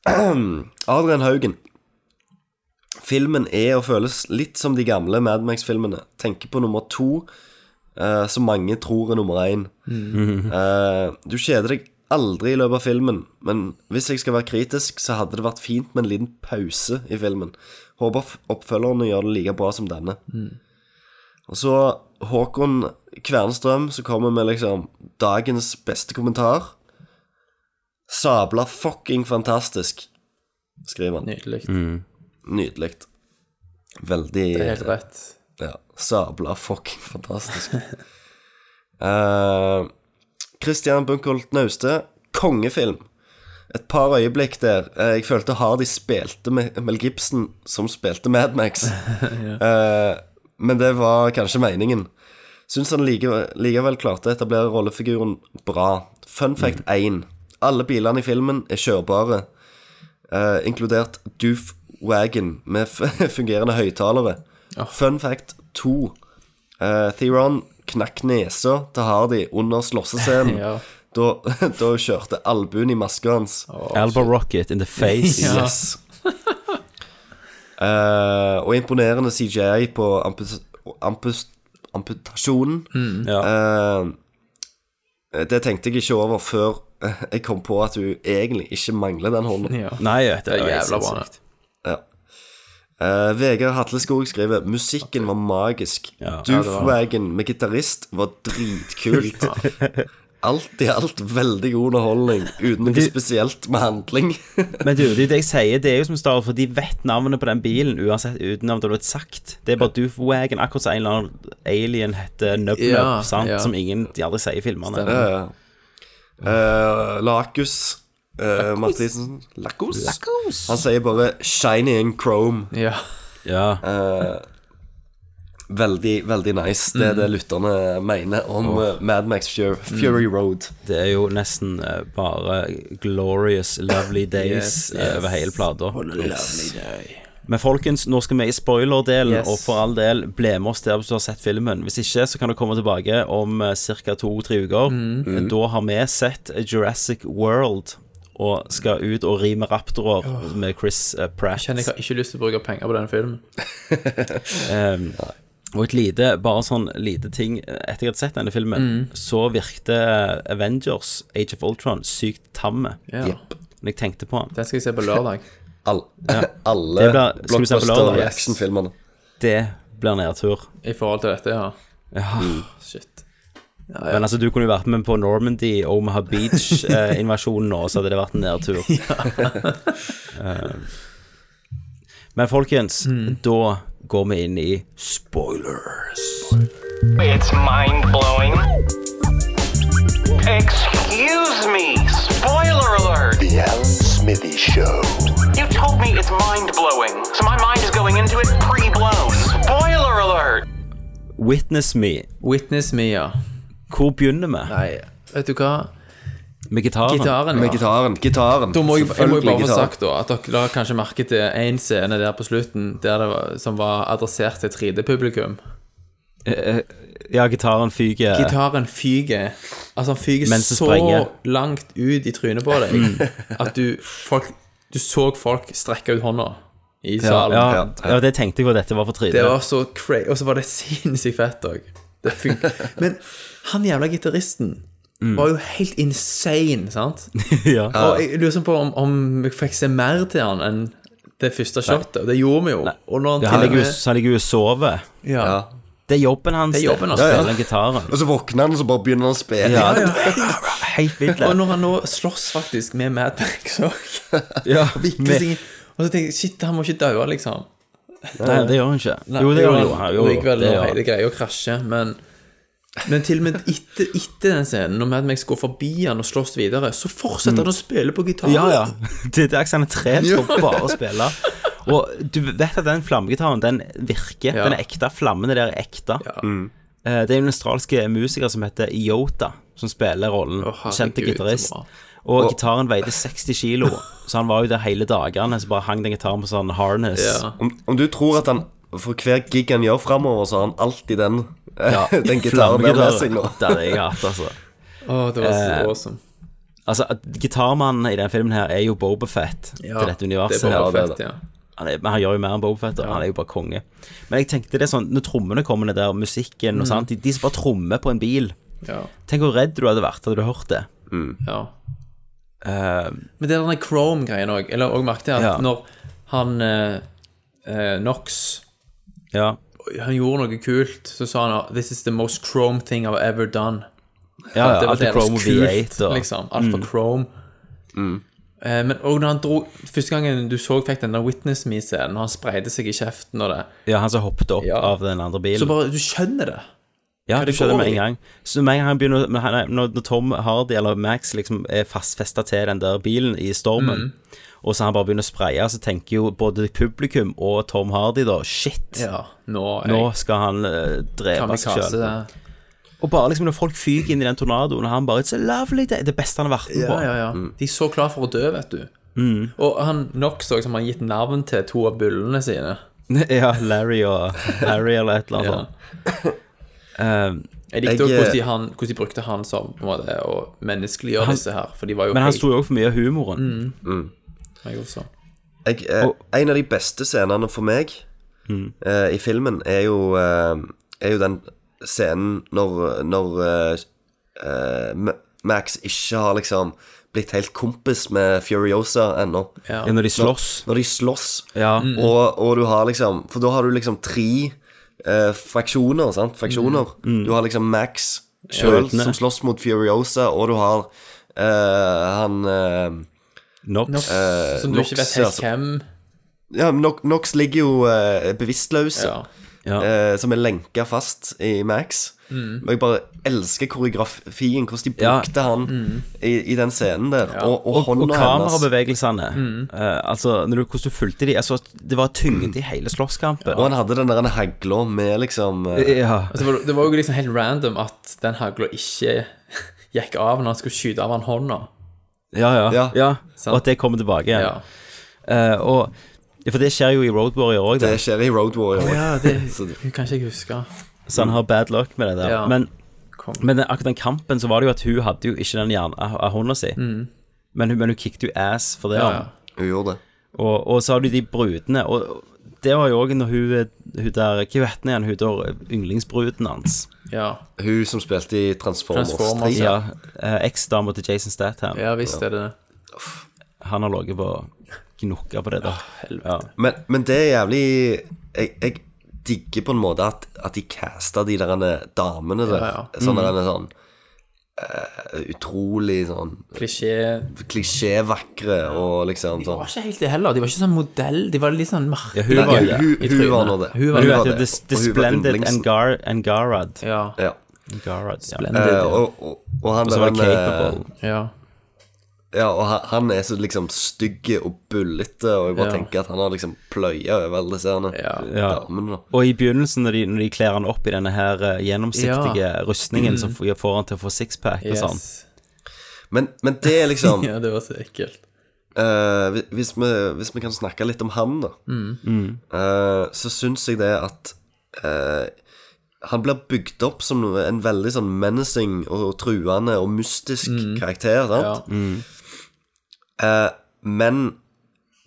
Speaker 10: Adrian Haugen. Filmen er og føles litt som de gamle Madmax-filmene. Tenker på nummer to, eh, som mange tror er nummer én.
Speaker 1: Mhm.
Speaker 10: Eh, du kjeder deg aldri i løpet av filmen, men hvis jeg skal være kritisk, så hadde det vært fint med en liten pause i filmen. Håper f- oppfølgerne gjør det like bra som denne.
Speaker 9: Mm.
Speaker 10: Og så Håkon Kvernstrøm, som kommer med liksom dagens beste kommentar. Sabla fucking fantastisk, skriver han.
Speaker 9: Nydelig.
Speaker 10: Nydelig. Veldig
Speaker 9: Det er helt rett.
Speaker 10: ja. Sabla
Speaker 9: (laughs)
Speaker 10: fucking fantastisk. Eh, Christian Bunkholt Nauste, kongefilm. Et par øyeblikk der eh, jeg følte Hardy spilte med Mel Gibson, som spilte Madmax. Eh, men det var kanskje meningen. Syns han like, likevel klarte å etablere rollefiguren bra. Fun fact 1. Alle bilene i filmen er kjørbare, eh, inkludert Doof Wagon med f- (laughs) fungerende høyttalere. Fun fact 2. Eh, Theron knakk nesa til Hardy under slåssescenen.
Speaker 1: Ja.
Speaker 10: da, (laughs) da hun kjørte albuen i maska hans.
Speaker 1: Alba Rocket in the face.
Speaker 10: (laughs) Ja. Yes. Eh, og imponerende CGI på ampus, ampus, amputasjonen.
Speaker 1: Mm.
Speaker 10: Eh, det tenkte jeg ikke over før jeg kom på at hun egentlig ikke mangler den hånden.
Speaker 1: Ja. Nei, det er Det er jo jævla bra. sinnssykt.
Speaker 10: Ja. Eh, Vegard Hatleskog skriver Musikken var magisk.
Speaker 1: Ja. Ja, det var det.
Speaker 10: Doofwagon med gitarist var dritkult. Alt i alt veldig god underholdning, uten noe spesielt med handling.
Speaker 1: Men du, det er jo det jeg sier, det er jo som Star Wars, for de vet navnet på den bilen uansett uten om det har blitt sagt. Det er bare Doofwagon, akkurat som en eller annen alien heter Nub Nub,
Speaker 10: Ja,
Speaker 1: sant?
Speaker 10: ja.
Speaker 1: som ingen de aldri sier i filmene.
Speaker 10: Ja, ja. Eh, Lakus eh, Mathisen Lakus.
Speaker 1: Lakus.
Speaker 10: Han sier bare 'shiny and chrome'.
Speaker 9: Ja.
Speaker 10: Eh, veldig, veldig nice. Det
Speaker 9: Mm.
Speaker 10: er det lytterne mener om
Speaker 1: Åh.
Speaker 10: oh. Madmax Fury, Fury Road.
Speaker 1: Det er jo nesten eh, bare glorious, lovely days
Speaker 9: (laughs) Yes,
Speaker 1: eh,
Speaker 9: yes.
Speaker 1: over hele plata.
Speaker 9: What a lovely day.
Speaker 1: Men folkens, nå skal vi i spoiler-delen,
Speaker 9: Yes.
Speaker 1: og for all del, bli med oss der hvis du har sett filmen. Hvis ikke, så kan du komme tilbake om eh, ca. to-tre uker.
Speaker 9: Mm.
Speaker 1: Da har vi sett Jurassic World, og skal ut og ri med raptorer med Chris eh, Pratt.
Speaker 9: Jeg kjenner jeg har ikke lyst til å bruke penger på den filmen.
Speaker 1: Ehm, Og et lite, bare sånn lite ting Etter jeg hadde sett denne filmen,
Speaker 9: Mm.
Speaker 1: så virkte Avengers Age of Ultron sykt tamme.
Speaker 9: Ja.
Speaker 1: Jepp. Når jeg tenkte på den.
Speaker 9: Den skal jeg se på lørdag.
Speaker 10: All,
Speaker 1: Ja.
Speaker 10: (laughs) Alle
Speaker 1: Det blir- skal vi se på
Speaker 10: blockbuster-
Speaker 1: lørdag?
Speaker 10: og actionfilmene.
Speaker 1: Det blir nedtur.
Speaker 9: I forhold til dette, ja.
Speaker 1: Ja.
Speaker 9: Shit.
Speaker 1: Men altså, du kunne jo vært med på Normandy, Omaha
Speaker 9: (laughs)
Speaker 1: Beach-invasjonen nå, så hadde det vært en nedtur. Eh, Men folkens,
Speaker 9: Mm.
Speaker 1: da går vi inn i spoilers.
Speaker 18: It's mind blowing. Excuse me. Spoiler alert.
Speaker 19: The Alan Smithy Show.
Speaker 18: You told me it's mind blowing, so my mind is going into it pre blown. Spoiler alert.
Speaker 1: Witness me.
Speaker 9: Witness me, ja.
Speaker 1: Hvor begynner vi?
Speaker 9: Nei, vet du hva?
Speaker 1: Med gitaren.
Speaker 9: Gitaren, ja.
Speaker 10: Med gitaren. gitaren.
Speaker 9: Da må jeg, jeg må jo
Speaker 10: Selvfølgelig
Speaker 9: bare få
Speaker 10: gitar.
Speaker 9: sagt da at dere la kanskje merke til én scene der på slutten der det var, som var adressert til 3D-publikum.
Speaker 1: Eh, eh, Ja, gitaren fyker.
Speaker 9: Gitaren fyker. Altså, han fyker
Speaker 1: Mens det
Speaker 9: så
Speaker 1: sprenger.
Speaker 9: langt ut i trynet på deg
Speaker 1: Mm.
Speaker 9: at du, folk, du så folk strekke ut hånda i
Speaker 1: ja,
Speaker 9: salen.
Speaker 1: ja, ja, det tenkte jeg på. Dette var for 3D.
Speaker 9: Det var så crazy. Og så var det (laughs) sinnssykt fett òg. Det funker. Men han jævla gitaristen
Speaker 1: Mm.
Speaker 9: var jo helt insane, sant?
Speaker 1: (laughs) ja.
Speaker 9: Og jeg lurer sånn på om, om vi fikk se mer til han enn det første shotet. Og det gjorde vi jo. Og når han
Speaker 1: Ja, han
Speaker 9: til og
Speaker 1: ligger jo
Speaker 9: med
Speaker 1: han ligger jo og sover.
Speaker 9: Ja. Ja.
Speaker 1: Det er jobben hans.
Speaker 9: Det er jobben hans.
Speaker 1: å
Speaker 9: Ja, ja.
Speaker 1: spille
Speaker 9: (laughs)
Speaker 1: gitaren.
Speaker 10: Og så våkner han, og så bare begynner han å spille.
Speaker 1: Ja, det- (laughs) Helt vilt. det.
Speaker 9: Og når han nå slåss faktisk med Mad Max
Speaker 1: (laughs)
Speaker 9: òg.
Speaker 1: Ja, med-
Speaker 9: og så tenker jeg shit, han må ikke daue, liksom.
Speaker 1: Nei, det gjør han ikke.
Speaker 9: Nei,
Speaker 1: Jo, det gjør han jo. Han gjør jo.
Speaker 9: Likevel,
Speaker 1: Det gjør
Speaker 9: når
Speaker 1: han.
Speaker 9: hele greia krasjer, men men til og med etter, etter den scenen, når Mad Max går forbi han og slåss videre, så fortsetter han å spille på gitaren.
Speaker 1: Mm. Ja, (laughs) ja. Det er ikke han er trent på bare å spille. Og du vet at den flammegitaren, den virker. Den er ekte. Flammene der er ekte.
Speaker 9: Mm.
Speaker 1: Eh, Det er en australske musiker som heter Yota, som spiller rollen. Kjente
Speaker 9: herregud,
Speaker 1: gitarist.
Speaker 9: så bra.
Speaker 1: Og
Speaker 9: Og-
Speaker 1: gitaren veide 60 kilo, så han var jo der hele dagene. Så bare hang den gitaren på sånn harness.
Speaker 10: Om, om du tror at han for hver gig han gjør framover, så har han alltid den,
Speaker 9: (laughs)
Speaker 1: Ja,
Speaker 10: (laughs) den gitaren der med seg nå.
Speaker 1: Det hadde jeg hatt, altså.
Speaker 9: Åh, det var så
Speaker 1: Eh,
Speaker 9: awesome.
Speaker 1: Altså, at Gitarmannen i den filmen her er jo Boba Fett
Speaker 9: Ja,
Speaker 1: til dette universet.
Speaker 9: det er Boba
Speaker 1: her.
Speaker 9: Fett, ja.
Speaker 1: Han, er, men han gjør jo mer enn Boba Fett, og han er jo bare konge. Men jeg tenkte det er sånn, når trommene kommer ned der, musikken
Speaker 9: Mm.
Speaker 1: og sånt, de, de som bare trommer på en bil
Speaker 9: Ja.
Speaker 1: Tenk hvor redd du hadde vært hadde du hørt det.
Speaker 9: Ja. Men det er denne Chrome-greien òg. Eller òg merket jeg at
Speaker 1: Eh, Ja.
Speaker 9: når han eh, eh, Knox
Speaker 1: Ja.
Speaker 9: Han gjorde noe kult, så sa han This is the most Chrome thing I've ever done.
Speaker 1: Ja, ja,
Speaker 9: At det var
Speaker 1: alt er
Speaker 9: deres
Speaker 1: Chrome og
Speaker 9: kult,
Speaker 1: V8 og-
Speaker 9: Liksom, alt var
Speaker 1: Mm.
Speaker 9: Chrome. Eh, men òg når han dro Første gangen du så fikk den der Witness Me-scenen, og han spreide seg i kjeften og det,
Speaker 1: Ja, han som hoppet opp av den andre bilen.
Speaker 9: så bare Du skjønner det.
Speaker 1: Ja, du
Speaker 9: Hva det
Speaker 1: skjønner
Speaker 9: går
Speaker 1: med en
Speaker 9: i.
Speaker 1: gang. Så med en gang han begynner men han- Når når Tom Hardy eller Max liksom er fastfesta til den der bilen i stormen,
Speaker 9: Mm.
Speaker 1: og så han bare begynner å spraye, så tenker jo både publikum og Tom Hardy da Shit!
Speaker 9: Ja, nå er
Speaker 1: nå
Speaker 9: jeg-
Speaker 1: skal han eh, drepe seg
Speaker 9: Kamikaze,
Speaker 1: sjøl.
Speaker 9: det.
Speaker 1: Og bare liksom når folk fyker inn i den tornadoen, og han bare It's a lovely day. Det beste han har vært med på.
Speaker 9: Ja, ja, ja. De er så klar for å dø, vet du.
Speaker 1: Mm.
Speaker 9: Og han Knox òg, som har gitt navn til to av bullene sine.
Speaker 1: (laughs) ja, Larry og Harry eller et eller annet sånt.
Speaker 9: Jeg likte òg
Speaker 1: Jeg,
Speaker 9: hvordan,
Speaker 1: eh,
Speaker 9: de han- hvordan de brukte han som på en måte, å menneskeliggjøre
Speaker 1: Han-
Speaker 9: disse her. For de var jo
Speaker 1: Men han
Speaker 9: helt-
Speaker 1: sto jo òg for mye av humoren.
Speaker 10: Mm.
Speaker 9: Jeg også.
Speaker 10: Jeg, eh, en av de beste scenene for meg
Speaker 1: Mm.
Speaker 10: eh, i filmen er jo, eh, er jo den scenen når, når eh, eh, M- Max ikke har liksom blitt helt kompis med Furiosa ennå.
Speaker 1: Ja. Ja, når de slåss.
Speaker 10: Når, når de slåss.
Speaker 1: Ja. Mm.
Speaker 10: Og, og du har liksom For da har du liksom tre eh, fraksjoner, sant? Fraksjoner.
Speaker 1: Mm. Mm.
Speaker 10: Du har liksom Max sjøl
Speaker 1: Jødene.
Speaker 10: som slåss mot Furiosa, og du har eh, han eh,
Speaker 1: Knox.
Speaker 10: Eh,
Speaker 9: Som du ikke vet helt hvem.
Speaker 10: Ja, men Knox- Knox ligger jo eh, bevisstløs, eh, som er lenka fast i Max.
Speaker 9: Mm.
Speaker 10: Og jeg bare elsker koreografien, hvordan de
Speaker 1: Ja.
Speaker 10: brukte han
Speaker 1: Mm.
Speaker 10: i, i den scenen der. Og, og,
Speaker 1: og
Speaker 10: hånda hennes.
Speaker 1: kamerabevegelsene.
Speaker 10: Mm.
Speaker 1: Eh, altså, når du, hvordan du fulgte de altså, Det var tyngde i hele slåsskampen.
Speaker 10: Og han hadde den der hagla med liksom eh,
Speaker 1: Ja.
Speaker 9: Altså, det var- det var jo liksom helt random at den hagla ikke (laughs) gikk av når han skulle skyte av han hånda.
Speaker 1: Ja, ja. ja.
Speaker 9: Sant.
Speaker 1: Og at det kommer tilbake igjen.
Speaker 9: Ja.
Speaker 1: Eh, og, ja, for det skjer jo i Road Warrior òg.
Speaker 10: Det skjer i Road Warrior
Speaker 9: Å
Speaker 1: også.
Speaker 9: ja, det kan ikke jeg huske.
Speaker 1: Så han har bad luck med det der.
Speaker 9: Ja.
Speaker 1: Men,
Speaker 9: Kom.
Speaker 1: men den- akkurat den kampen så var det jo at hun hadde jo ikke den hjernen av av hånda si.
Speaker 9: Mm.
Speaker 1: Men, hun, men hun kicked jo ass for det.
Speaker 9: Ja,
Speaker 1: Ja,
Speaker 9: ja.
Speaker 10: Hun gjorde det.
Speaker 1: Og, og så har du de brudene. Og og det var jo òg når hun, eh, hun der Hva heter hun igjen? Hun der eh, yndlingsbruden hans.
Speaker 9: Ja.
Speaker 10: Hun som spilte i Transformers,
Speaker 9: Transformers
Speaker 1: ja. ja. eh, Eks-dama til Jason Statham.
Speaker 9: Ja visst er det det.
Speaker 1: Han har ligget på gnukka på det der. Ja.
Speaker 10: Men, men det er jævlig Jeg, jeg digger på en måte at, at de casta de der damene der.
Speaker 9: Ja, ja.
Speaker 10: Sånn
Speaker 9: Mhm.
Speaker 10: der sånn eh, Utrolig sånn
Speaker 9: Klisjé.
Speaker 10: klisjévakre og liksom
Speaker 9: Det
Speaker 10: sånn
Speaker 9: var ikke helt det heller. De var ikke sånn modell, de var litt sånn merkelig.
Speaker 1: hun var det.
Speaker 10: Hun-
Speaker 9: i
Speaker 10: hun
Speaker 9: trynet.
Speaker 10: var nå det.
Speaker 1: Hun
Speaker 10: var
Speaker 1: var
Speaker 10: det.
Speaker 1: The, the
Speaker 10: Og hun var
Speaker 1: Splendid
Speaker 10: yndlingsen.
Speaker 1: Angar, Angarad.
Speaker 9: Ja.
Speaker 10: Ja.
Speaker 1: Angarad, ja.
Speaker 10: Eh, og, og, og han
Speaker 1: Og så var det
Speaker 10: der, eh,
Speaker 1: Capable.
Speaker 9: Ja.
Speaker 10: Ja, og han, han er så liksom stygg og bullete, og jeg bare
Speaker 1: Ja.
Speaker 10: tenker at han har liksom pløya over alle disse herne
Speaker 1: Ja.
Speaker 10: damene. da.
Speaker 1: Og i begynnelsen, når de, når de kler han opp i denne her eh, gjennomsiktige
Speaker 10: Ja.
Speaker 1: rustningen,
Speaker 10: Mm.
Speaker 1: som får får han til å få sixpack og sånn.
Speaker 10: Men, men det er
Speaker 1: (laughs)
Speaker 9: (laughs)
Speaker 10: liksom
Speaker 9: ja, det var så ekkelt.
Speaker 10: eh, hvis- hvis, vi, hvis vi kan snakke litt om han, da,
Speaker 9: Mm.
Speaker 1: Mm.
Speaker 10: eh, så syns jeg det at eh, han blir bygd opp som en veldig sånn menacing og truende og mystisk
Speaker 1: Mm.
Speaker 10: karakter, sant? Eh, men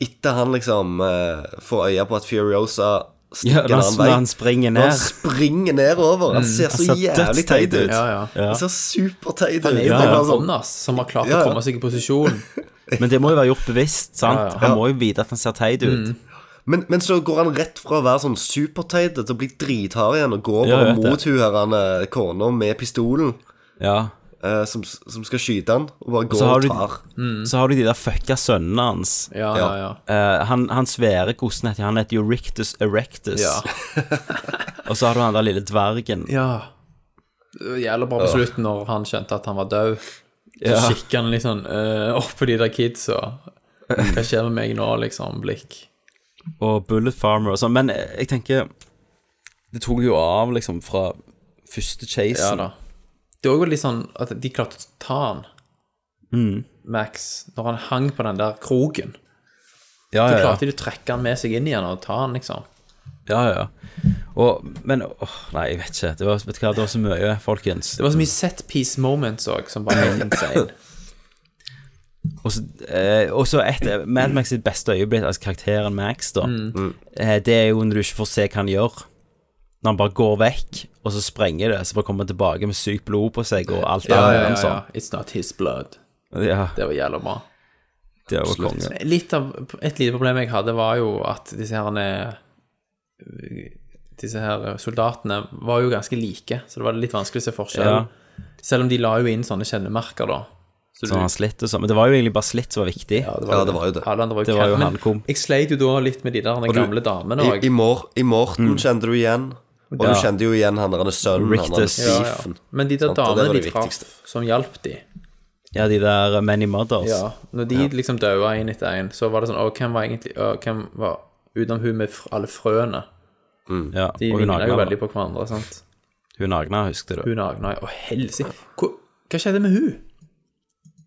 Speaker 10: etter han liksom eh, får øye på at Furiosa
Speaker 1: Ja,
Speaker 10: stikker
Speaker 1: når
Speaker 10: en
Speaker 1: han,
Speaker 10: annen vei
Speaker 1: når han springer
Speaker 10: Når
Speaker 1: ned.
Speaker 10: han springer nedover. Han
Speaker 1: Mm.
Speaker 10: ser så
Speaker 1: Han ser
Speaker 10: jævlig teit
Speaker 1: dødsteit
Speaker 10: ut.
Speaker 1: ut. Ja, ja. Ja.
Speaker 10: Han ser superteit ut.
Speaker 9: Han er jo
Speaker 10: Det
Speaker 9: bare
Speaker 10: bare sånn,
Speaker 9: en
Speaker 1: sånn-
Speaker 9: Jonas som har klart
Speaker 10: Altså, Ja,
Speaker 9: å
Speaker 10: ja.
Speaker 9: komme seg i posisjon.
Speaker 1: Men det må jo være gjort bevisst, sant?
Speaker 9: Ja, Mm. ja.
Speaker 1: Han må jo vite at han ser teit ut.
Speaker 10: men, men så går han rett fra å være sånn superteit til å bli drithard igjen og går
Speaker 1: Ja,
Speaker 10: bare
Speaker 1: jeg vet
Speaker 10: mot hun her han, eh, kona med pistolen
Speaker 1: Ja.
Speaker 10: eh, som, som skal skyte han, og bare
Speaker 1: Og
Speaker 10: går
Speaker 1: så har,
Speaker 10: og
Speaker 1: du,
Speaker 10: tar.
Speaker 1: så har du de der fucka sønnene hans.
Speaker 9: Mm. Ja, ja, ja.
Speaker 1: Eh, han, han svære kosen heter han heter Euryctus Erectus.
Speaker 9: Ja.
Speaker 1: (laughs) og så har du han der lille dvergen.
Speaker 9: ja. Det var Jævla bra på
Speaker 1: Ja.
Speaker 9: slutten når han skjønte at han var død. Så
Speaker 1: Ja.
Speaker 9: kikker han litt sånn eh, opp på de der kidsa. Hva skjer med meg nå, liksom? Blikk.
Speaker 1: Og Bullet Farmer og sånn. Men jeg jeg tenker Det tok jo av, liksom, fra første
Speaker 9: Ja
Speaker 1: chasen.
Speaker 9: da. Det var jo litt sånn at de klarte å ta han,
Speaker 1: Mm.
Speaker 9: Max, når han hang på den der kroken.
Speaker 1: Ja,
Speaker 9: Så
Speaker 1: ja, ja.
Speaker 9: klarte de å trekke han med seg inn igjen og ta han, liksom.
Speaker 1: ja, ja. Og, men åh, Nei, jeg vet ikke. Det var, vet du hva, det var så mye, folkens.
Speaker 9: Det var så mye set piece moments òg som var helt insane.
Speaker 1: Og så, eh, og så et Mad Max sitt beste øyeblikk, altså karakteren Max, da,
Speaker 9: Mm.
Speaker 1: eh, det er jo når du ikke får se hva han gjør. Når han bare går vekk, og så sprenger det, så bare kommer han tilbake med sykt blod på seg og alt
Speaker 9: Ja, ja, ja,
Speaker 1: annet
Speaker 9: ja. It's not his blood.
Speaker 1: sånn. Ja,
Speaker 9: Det var jævla bra.
Speaker 1: det var
Speaker 10: absolutt.
Speaker 1: konge.
Speaker 9: Litt av, et lite problem jeg hadde, var jo at disse her Disse her soldatene var jo ganske like, så det var litt vanskelig å se forskjell.
Speaker 1: Ja.
Speaker 9: Selv om de la jo inn sånne kjennemerker, da. Så
Speaker 1: Sånn han slitt og sånn. Men det var jo egentlig bare slitt som var viktig. Ja,
Speaker 10: Ja, det var jo det.
Speaker 9: Alle andre var jo,
Speaker 1: Det var jo
Speaker 9: kjent, men
Speaker 1: han kom.
Speaker 9: Jeg sleit jo da litt med de der de
Speaker 10: Og du-
Speaker 9: gamle damene
Speaker 10: I,
Speaker 9: òg.
Speaker 10: i, Mor I
Speaker 1: Mm.
Speaker 10: Morten kjente du igjen, og
Speaker 9: Ja.
Speaker 10: du kjente jo igjen han der sønnen, han der
Speaker 1: Rictus.
Speaker 9: Ja, ja.
Speaker 10: beefen.
Speaker 9: Men de der
Speaker 10: Sant? Og det var
Speaker 9: damene de
Speaker 10: det
Speaker 9: traff,
Speaker 10: viktigste.
Speaker 9: som hjalp de
Speaker 1: Ja, de der Many Mothers.
Speaker 9: Ja, når de liksom daua én etter én, så var det sånn Å, hvem var egentlig å, Hvem var Utenom hun med fr- alle frøene.
Speaker 1: Ja,
Speaker 9: De
Speaker 1: og hun
Speaker 9: ligna jo
Speaker 1: Agna.
Speaker 9: veldig på hverandre, sant.
Speaker 1: Hun Agna, husker du.
Speaker 9: Hun Agna Å, helsike. Hva, hva skjedde med hun?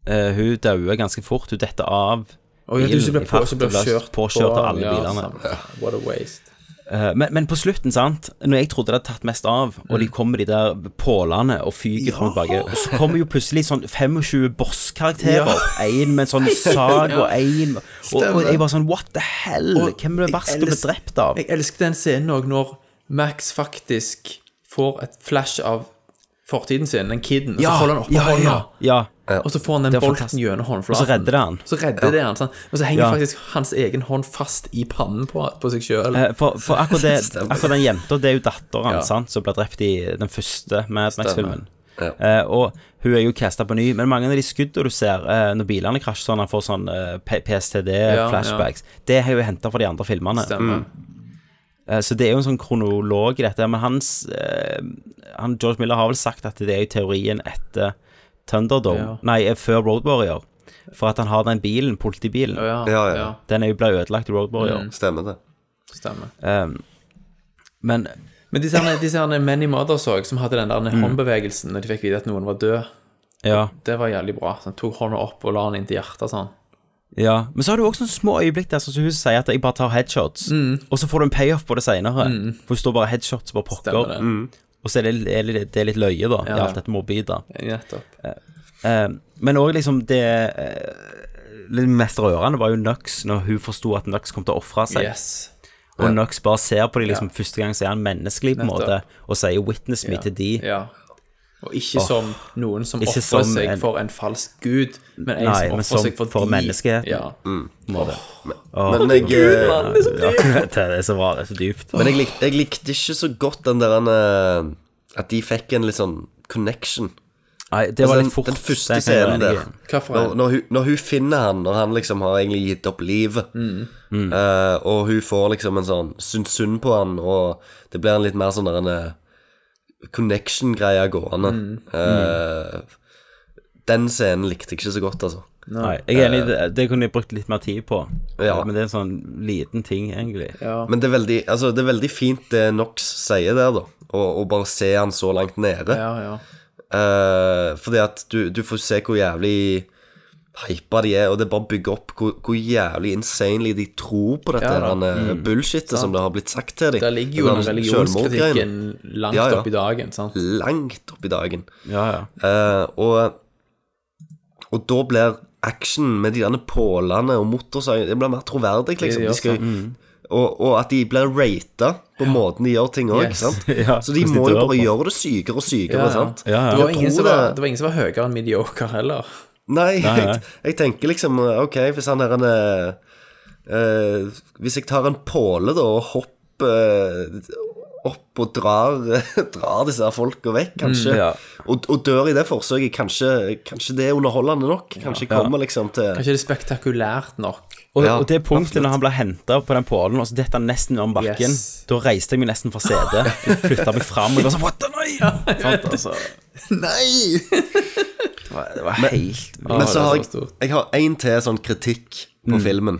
Speaker 1: Eh, hun daua ganske fort. Hun detter av.
Speaker 9: Å, ja, du
Speaker 1: bilen
Speaker 9: som ble,
Speaker 1: i
Speaker 9: på,
Speaker 1: fart,
Speaker 9: som ble
Speaker 1: og ble
Speaker 9: kjørt på-
Speaker 1: påkjørt av alle
Speaker 9: ja,
Speaker 1: bilene.
Speaker 9: sant. What a waste.
Speaker 1: Eh, Men, men på slutten, sant Når jeg trodde det hadde tatt mest av, og
Speaker 9: Mm.
Speaker 1: de kommer med de der pålene og fyker fram og tilbake, og så kommer jo plutselig sånn 25 boss-karakterer. Én med en
Speaker 9: (laughs)
Speaker 1: sånn sag, og én og, og jeg bare sånn What the hell?
Speaker 9: Og
Speaker 1: Hvem ble
Speaker 9: jeg
Speaker 1: verst å bli
Speaker 9: elsk-
Speaker 1: drept av?
Speaker 9: Jeg elsker den scenen òg, når Max faktisk får et flash av fortiden sin, den kiden, og
Speaker 1: Ja,
Speaker 9: så holder han oppe
Speaker 1: ja,
Speaker 9: hånda.
Speaker 1: ja, ja.
Speaker 9: Og så får han den
Speaker 1: Det var
Speaker 9: bolten
Speaker 1: fantastisk.
Speaker 9: gjennom håndflaten.
Speaker 1: Og så redder det han.
Speaker 9: Så redder det han, sant? Og så henger
Speaker 1: Ja.
Speaker 9: faktisk hans egen hånd fast i pannen på, på seg sjøl.
Speaker 1: Eh, For, for akkurat, det,
Speaker 9: (laughs) Stemmer.
Speaker 1: akkurat den jenta, det er jo datteren
Speaker 9: Ja.
Speaker 1: sant, som ble drept i den første Mad Max-filmen.
Speaker 10: Ja.
Speaker 1: Eh, og hun er jo casta på ny, men mange av de skuddene du ser eh, når bilene krasjer sånn, han får sånn eh, P- PSTD,
Speaker 9: Ja,
Speaker 1: flashbacks, det har jeg jo henta fra de andre filmene.
Speaker 9: Stemmer. Mm.
Speaker 1: Eh, Så det er jo en sånn kronolog i dette, men hans eh, han, George Miller har vel sagt at det er jo teorien etter Thunderdome,
Speaker 9: Ja.
Speaker 1: nei, eh, før Road Warrior. For at han har den bilen, politibilen.
Speaker 9: Ja, Mm.
Speaker 10: Ja, ja. ja.
Speaker 1: Den er jo ble ødelagt i Road Warrior.
Speaker 10: Stemmer det.
Speaker 9: Stemmer.
Speaker 1: Um, men
Speaker 9: Men disse, herne- disse herne Many Mothers òg, som hadde den der
Speaker 1: Mm.
Speaker 9: håndbevegelsen når de fikk vite at noen var død,
Speaker 1: ja,
Speaker 9: det var jævlig bra. Så han tok hånda opp og la den inn til hjertet sånn.
Speaker 1: ja. Men så har du også sånne små øyeblikk der sånn som hun sier at jeg bare tar headshots,
Speaker 9: Mm.
Speaker 1: og så får du en payoff på det seinere. For hun står bare headshots og bare
Speaker 9: Stemmer
Speaker 1: pokker.
Speaker 9: det.
Speaker 1: Og så er det, er det, det er litt løye, da, i
Speaker 9: Ja.
Speaker 1: alt dette morbide.
Speaker 9: Nettopp.
Speaker 1: Eh, men òg liksom det eh, litt mest rørende var jo Nux, når hun forsto at Nux kom til å ofre seg.
Speaker 9: Yes.
Speaker 1: Og Og Knox bare ser på dem liksom, første gang så er han menneskelig, på en måte, og sier 'witness me' til de.
Speaker 9: Ja. Og ikke
Speaker 1: Åh.
Speaker 9: som noen som
Speaker 1: Ikke
Speaker 9: ofrer
Speaker 1: som
Speaker 9: seg
Speaker 1: en-
Speaker 9: for en falsk gud, men en
Speaker 1: Nei,
Speaker 9: som
Speaker 1: men
Speaker 9: ofrer
Speaker 1: som
Speaker 9: seg for,
Speaker 1: for
Speaker 9: de.
Speaker 1: menneskeheten.
Speaker 9: Ja.
Speaker 10: Mm.
Speaker 1: på en måte.
Speaker 10: Åh.
Speaker 1: Åh,
Speaker 10: Men jeg, eh,
Speaker 1: ja, ja, (laughs) det er så bra, det er så dypt.
Speaker 10: Men jeg, lik, jeg likte ikke så godt den der eh, At de fikk en litt sånn connection.
Speaker 1: Nei, det var
Speaker 10: den-
Speaker 1: litt fort.
Speaker 10: Altså, Den første
Speaker 1: Det kan jeg være
Speaker 10: scenen der.
Speaker 1: enig i.
Speaker 9: Hvorfor
Speaker 10: Når,
Speaker 9: han?
Speaker 10: når, hun, når hun finner han, når han liksom har egentlig gitt opp livet,
Speaker 1: Mm.
Speaker 10: eh, og hun får liksom en sånn syns synd på han, og det blir en litt mer sånn der en eh, connection-greie gående. Eh, Den scenen likte jeg ikke så godt, altså.
Speaker 1: Nei, jeg er enig, i det, det kunne jeg brukt litt mer tid på,
Speaker 10: Eh. Ja.
Speaker 1: men det er en sånn liten ting, egentlig.
Speaker 10: Men det er, veldig, altså, det er veldig fint det Nox sier der, da. Å å bare se han så langt nede.
Speaker 9: Ja, ja.
Speaker 10: Eh, fordi at du, du får se hvor jævlig hypa de er, og det bare bygger opp hvor, hvor jævlig insanely de tror på dette
Speaker 9: Ja,
Speaker 10: ja,
Speaker 9: da.
Speaker 1: Mm.
Speaker 10: bullshitet som det har blitt sagt til dem.
Speaker 9: Der ligger jo den religionskritikken langt opp i dagen, sant?
Speaker 10: Langt opp i dagen.
Speaker 1: Ja, ja.
Speaker 10: Eh, og, og da blir action med de der pålene og motorsagene Det blir mer troverdig, liksom.
Speaker 9: Det gjør
Speaker 10: De skal,
Speaker 9: sant. Mm.
Speaker 10: og, og at de blir rata på måten de gjør ting òg.
Speaker 9: Yes.
Speaker 1: (laughs) Ja,
Speaker 10: så de
Speaker 1: hvis de
Speaker 10: må jo
Speaker 1: dør
Speaker 10: bare
Speaker 1: på.
Speaker 10: gjøre det sykere og sykere. sant?
Speaker 9: Det, var
Speaker 10: Jeg
Speaker 9: ingen
Speaker 10: tror
Speaker 9: som
Speaker 10: det-
Speaker 9: var, det var ingen som var høyere enn mediocre heller.
Speaker 10: Nei,
Speaker 9: Nei, nei.
Speaker 10: Jeg, jeg tenker liksom Ok, hvis han er en eh, eh, Hvis jeg tar en påle da og hopper eh, opp og drar, (laughs) drar disse her folka vekk, kanskje,
Speaker 1: Mm, ja.
Speaker 10: og, og dør i det forsøket, kanskje, kanskje det er underholdende nok? Kanskje jeg
Speaker 1: Ja.
Speaker 10: kommer liksom til
Speaker 9: Kanskje det er spektakulært nok.
Speaker 1: Og,
Speaker 10: Ja,
Speaker 1: og det punktet når han ble henta på den pålen, og så detter han nesten om bakken
Speaker 9: Yes.
Speaker 1: Da reiste jeg meg nesten fra setet, flytta meg fram og jeg var sånn What the nei? Sant, altså.
Speaker 10: Nei!
Speaker 1: Det var, det var
Speaker 10: Men-
Speaker 1: helt
Speaker 9: det
Speaker 10: Men så har
Speaker 9: var
Speaker 10: jeg,
Speaker 9: stort. Mm.
Speaker 10: jeg har en til sånn kritikk på filmen.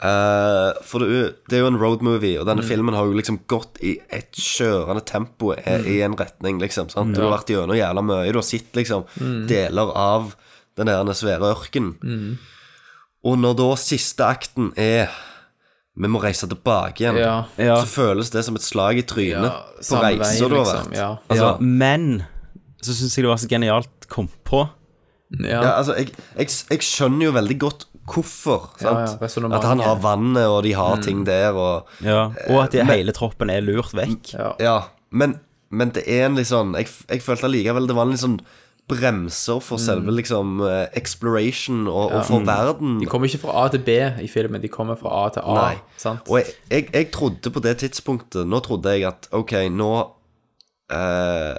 Speaker 10: Eh, for det, er jo- det er jo en road movie, og
Speaker 9: Mm.
Speaker 10: denne filmen har jo liksom gått i et kjørende tempo i,
Speaker 9: Mm.
Speaker 10: i en retning, liksom. Sant? Du har vært gjennom jævla mye. Du har sett liksom
Speaker 9: Mm.
Speaker 10: deler av den der svære ørkenen. Og når da siste akten er vi må reise tilbake igjen.
Speaker 9: Ja.
Speaker 1: Ja.
Speaker 10: Så føles det som et slag i trynet
Speaker 9: Ja,
Speaker 10: på
Speaker 9: samme vei,
Speaker 10: reisa du har
Speaker 9: liksom,
Speaker 10: vært.
Speaker 9: ja.
Speaker 10: Altså,
Speaker 1: ja, Men så syns jeg det var så genialt kom på.
Speaker 9: Ja.
Speaker 10: Ja, altså, jeg, jeg, jeg skjønner jo veldig godt hvorfor.
Speaker 9: Ja,
Speaker 10: Sant?
Speaker 9: ja, resonemanget.
Speaker 10: at han har vannet, og de har ting der, og
Speaker 1: Ja, og at det,
Speaker 10: Men-
Speaker 1: hele troppen er lurt vekk.
Speaker 9: Ja.
Speaker 10: Ja. Men, men det er en litt sånn Jeg, jeg følte allikevel det var en litt sånn bremser for
Speaker 9: Mm.
Speaker 10: selve liksom eh, exploration og, og for verden.
Speaker 9: De kommer ikke fra A til B i filmen, de kommer fra A til A.
Speaker 10: Nei.
Speaker 9: Sant?
Speaker 10: Og jeg, jeg, jeg trodde på det tidspunktet Nå trodde jeg at ok, nå eh,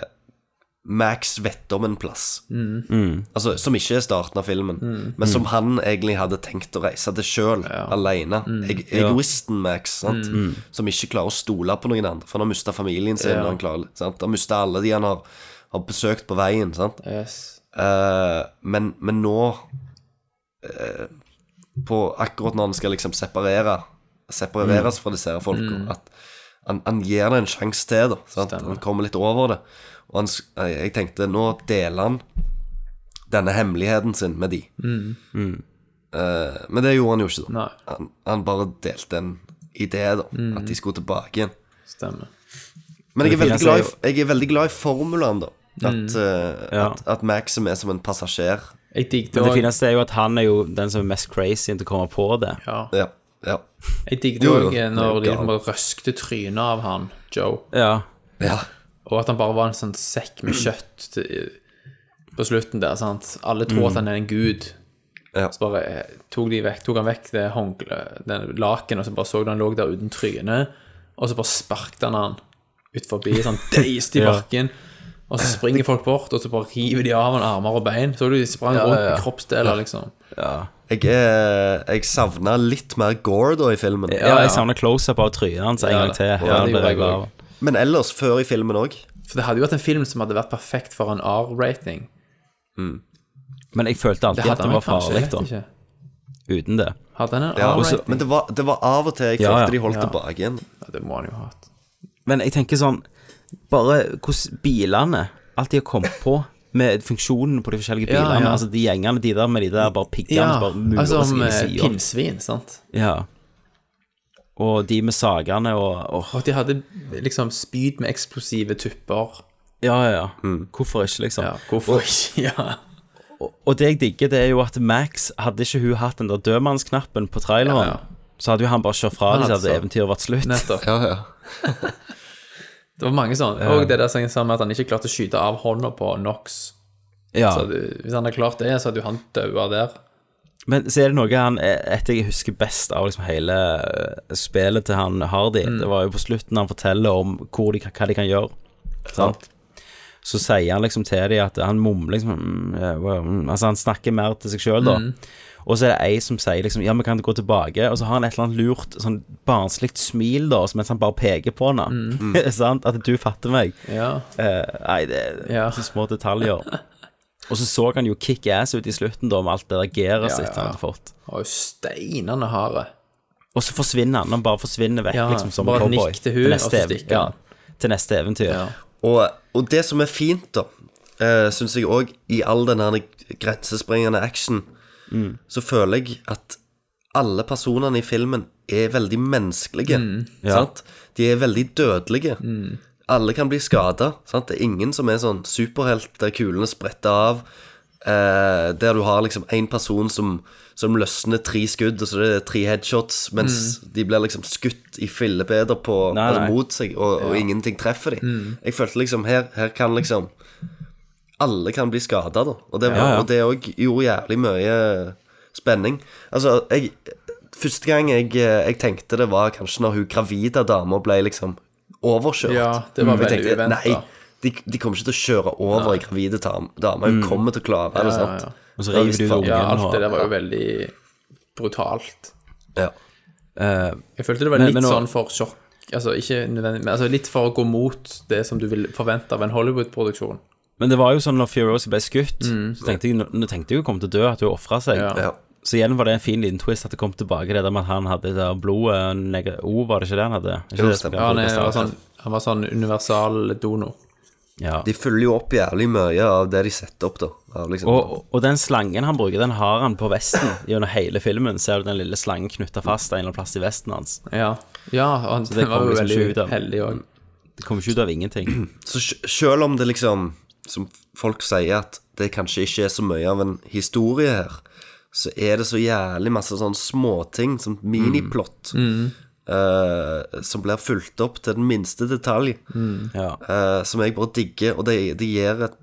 Speaker 10: Max vet om en plass.
Speaker 9: Mm.
Speaker 10: Altså, som ikke er starten av filmen, men som han egentlig hadde tenkt å reise til sjøl, alene.
Speaker 9: Mm.
Speaker 10: Eg, egoisten Max, sant? som ikke klarer å stole på noen andre, for han har mista familien sin.
Speaker 9: Ja.
Speaker 10: og Han, klarer, sant? han mista alle de han har, har besøkt på veien. Sant?
Speaker 9: Yes.
Speaker 10: Eh, men, men nå eh, på Akkurat når han skal liksom separere Separeres
Speaker 1: Mm.
Speaker 10: fra disse her folka At han, han gir det en sjanse til da, sant? Han kommer litt over det Og han, s- eh, jeg tenkte Nå deler han denne hemmeligheten sin med de
Speaker 1: Mm.
Speaker 10: Mm. Eh, Men det gjorde han jo ikke da
Speaker 9: Nei.
Speaker 10: han, han bare delte en idé da At de skulle tilbake igjen
Speaker 9: Stemmer.
Speaker 10: men jeg er
Speaker 1: Mm. Det
Speaker 10: veldig
Speaker 1: fineste
Speaker 10: glad i,
Speaker 1: er
Speaker 10: jeg er veldig glad i formulaen, da. At, eh,
Speaker 1: Ja.
Speaker 10: at, at Maxim er som en passasjer.
Speaker 9: Jeg digget
Speaker 1: Men det
Speaker 9: òg
Speaker 1: fineste er jo at han er jo den som er mest crazy til å komme på det.
Speaker 9: ja.
Speaker 10: Ja, ja.
Speaker 9: Jeg digget
Speaker 10: Jo, jo,
Speaker 9: òg
Speaker 10: det er
Speaker 9: når de
Speaker 10: galt.
Speaker 9: bare røskte trynet av han, Joe,
Speaker 1: Ja.
Speaker 10: ja.
Speaker 9: og at han bare var en sånn sekk med kjøtt til, på slutten der, sant. Alle tror
Speaker 1: Mm.
Speaker 9: at han er en gud.
Speaker 10: Ja.
Speaker 9: Så bare eh, tok, de vekk, tok han vekk det håndkleet, den laken, og så bare så du han lå der uten tryne, og så bare sparkte han han ut forbi,
Speaker 1: (laughs)
Speaker 9: sånn deist i
Speaker 1: Ja.
Speaker 9: bakken. Og så springer folk bort, og så bare river de av han armer og bein. Så du de sprang
Speaker 1: Ja, ja,
Speaker 9: rundt
Speaker 1: ja.
Speaker 9: med kroppsdeler, liksom.
Speaker 10: Jeg, eh, jeg savna litt mer gore da i filmen.
Speaker 1: Ja, jeg savner close-up av trynet hans en
Speaker 9: Ja,
Speaker 1: gang
Speaker 9: det-
Speaker 1: til.
Speaker 9: ja, det
Speaker 1: Ja,
Speaker 9: gjorde
Speaker 1: det
Speaker 9: jeg
Speaker 1: var-
Speaker 9: også.
Speaker 10: Men ellers, før i filmen òg.
Speaker 9: For det hadde jo vært en film som hadde vært perfekt for en R-rating.
Speaker 1: Men jeg følte alltid at det var farlig, da.
Speaker 9: da.
Speaker 1: Uten det.
Speaker 9: Hadde han en
Speaker 10: Ja,
Speaker 9: R-rating?
Speaker 10: men det var, det var av og til jeg
Speaker 1: Ah, Ja,
Speaker 10: følte
Speaker 1: ja.
Speaker 10: de holdt
Speaker 9: Ja.
Speaker 10: tilbake igjen.
Speaker 9: Ja, det må han jo ha hatt.
Speaker 1: Men jeg tenker sånn Bare hvordan bilene Alt de har kommet på Med funksjonen på de forskjellige
Speaker 9: Ja,
Speaker 1: bilene
Speaker 9: ja.
Speaker 1: Altså de gjengene De der med de der Bare piggene
Speaker 9: Ja,
Speaker 1: som bare murer
Speaker 9: altså
Speaker 1: seg
Speaker 9: om
Speaker 1: inn i
Speaker 9: eh,
Speaker 1: siden.
Speaker 9: pinnsvin, sant.
Speaker 1: Ja Og de med sagene og, og
Speaker 9: Og at de hadde liksom spyd med eksplosive tupper.
Speaker 1: Ja, ja, ja Hvorfor ikke liksom
Speaker 9: Ja, hvorfor ikke? (laughs) Ja.
Speaker 1: og, og det jeg digger det er jo at Max Hadde ikke hun hatt den der dødmannsknappen på traileren
Speaker 9: Ja, ja.
Speaker 1: Så hadde jo han bare kjørt fra
Speaker 9: Han
Speaker 1: dem, så
Speaker 9: hadde
Speaker 1: hadde
Speaker 9: så-
Speaker 1: eventyret vært slutt.
Speaker 9: Nettopp. (laughs) det var mange sånne.
Speaker 1: Ja.
Speaker 9: Og det der som sa med at han ikke klarte å skyte av hånda på Knox.
Speaker 1: Ja.
Speaker 9: Så hadde- hvis han hadde klart det, så hadde jo han daua der.
Speaker 1: Men så er det noe han Et jeg husker best av liksom hele eh, spillet til han Hardy.
Speaker 9: Mm.
Speaker 1: Det var jo på slutten han forteller om hvor de, hva de kan gjøre. Sant? Så sier han liksom til dem at han mumler liksom mm, eh, wow, mm. Altså han snakker mer til seg sjøl, da.
Speaker 9: Mm.
Speaker 1: Og så er det ei som sier liksom Ja, vi kan gå tilbake. Og så har han et eller annet lurt, sånn barnslig smil, da, som mens han bare peker på henne.
Speaker 9: Mm.
Speaker 1: (laughs) Sant? At du fatter meg.
Speaker 9: Ja.
Speaker 1: Eh, nei, det er så små detaljer. Og så så han jo kick-ass ut i slutten, da, med alt det der gearet
Speaker 9: Ja,
Speaker 1: sitt
Speaker 9: ja.
Speaker 1: han hadde fått.
Speaker 9: Han var jo steinende harde.
Speaker 1: Og så forsvinner han. Han bare forsvinner vekk,
Speaker 9: Ja,
Speaker 1: liksom, som
Speaker 9: bare
Speaker 1: en cowboy.
Speaker 9: nikk til hun, og så
Speaker 1: ev-
Speaker 9: stikker han.
Speaker 1: Ja, til neste eventyr.
Speaker 10: Og, og det som er fint, da, uh, syns jeg òg, i all den her grensesprengende action,
Speaker 1: Mm.
Speaker 10: så føler jeg at alle personene i filmen er veldig menneskelige.
Speaker 9: Mm.
Speaker 1: Ja.
Speaker 10: Sant? De er veldig dødelige.
Speaker 9: Mm.
Speaker 10: Alle kan bli skada. Det er ingen som er sånn superhelt der kulene spretter av. eh, der du har liksom én person som, som løsner tre skudd, og så er det tre headshots, mens de blir liksom skutt i fillebeder på,
Speaker 1: Nei,
Speaker 10: altså
Speaker 1: nei.
Speaker 10: mot seg, og, og
Speaker 1: Ja.
Speaker 10: ingenting treffer dem.
Speaker 1: Mm.
Speaker 10: Jeg følte liksom her, her kan liksom Alle kan bli skada, da. Og det, var,
Speaker 1: Ja, ja.
Speaker 10: og det òg gjorde jævlig mye spenning. Altså, jeg Første gang jeg, jeg tenkte det var kanskje når hun gravide dama ble liksom overkjørt.
Speaker 9: Ja, det var
Speaker 10: Jeg
Speaker 9: veldig
Speaker 10: tenkte,
Speaker 9: uventet.
Speaker 10: Nei, de, de kommer ikke til å kjøre over
Speaker 9: Nei.
Speaker 10: ei gravide tam- dame. Hun
Speaker 9: Mm.
Speaker 10: kommer til å klare
Speaker 9: Ja,
Speaker 10: det.
Speaker 9: ja,
Speaker 10: sant?
Speaker 9: ja.
Speaker 1: Og så
Speaker 10: Det var
Speaker 1: river
Speaker 10: visst
Speaker 1: du ut
Speaker 10: faen-
Speaker 1: ungen
Speaker 9: Ja, alt
Speaker 1: og-
Speaker 9: det der var jo veldig brutalt.
Speaker 10: Ja.
Speaker 1: Eh,
Speaker 9: Jeg følte det var
Speaker 1: Men-
Speaker 9: litt
Speaker 1: men nå-
Speaker 9: sånn for sjokk Altså ikke nødvendig, men altså litt for å gå mot det som du vil forvente av en Hollywood-produksjon.
Speaker 1: Men det var jo sånn når Furiosa ble skutt,
Speaker 9: Mm.
Speaker 1: så tenkte jeg nå- nå tenkte jeg hun kom til å dø, at hun ofra seg.
Speaker 9: Ja. Ja.
Speaker 1: Så igjen var det en fin liten twist at det kom tilbake det der med at han hadde det der blodet neg- O, var det ikke det han hadde? Ikke
Speaker 10: Jo,
Speaker 1: det
Speaker 10: stemmer.
Speaker 1: som-
Speaker 9: Ja, han, er, var sånn, han var sånn universal donor.
Speaker 10: De følger jo opp jævlig mye av det de setter opp, da. Av liksom,
Speaker 1: Og, og den slangen han bruker, den har han på vesten gjennom hele filmen. Ser du den lille slangen knytta fast en eller annen plass i vesten hans?
Speaker 9: Ja, ja han,
Speaker 1: Så det
Speaker 9: var
Speaker 1: kom
Speaker 9: jo
Speaker 1: liksom
Speaker 9: veldig
Speaker 1: ikke ut av-
Speaker 9: heldig òg.
Speaker 1: Det kommer ikke ut av ingenting.
Speaker 10: Så sj- selv om det liksom Som folk sier at det kanskje ikke er så mye av en historie her Så er det så jævlig masse sånne småting Som miniplott
Speaker 9: Mm.
Speaker 10: eh, Som blir fulgt opp til den minste detalj
Speaker 1: Mm. Ja.
Speaker 10: eh, Som jeg bare digger Og det, det gir et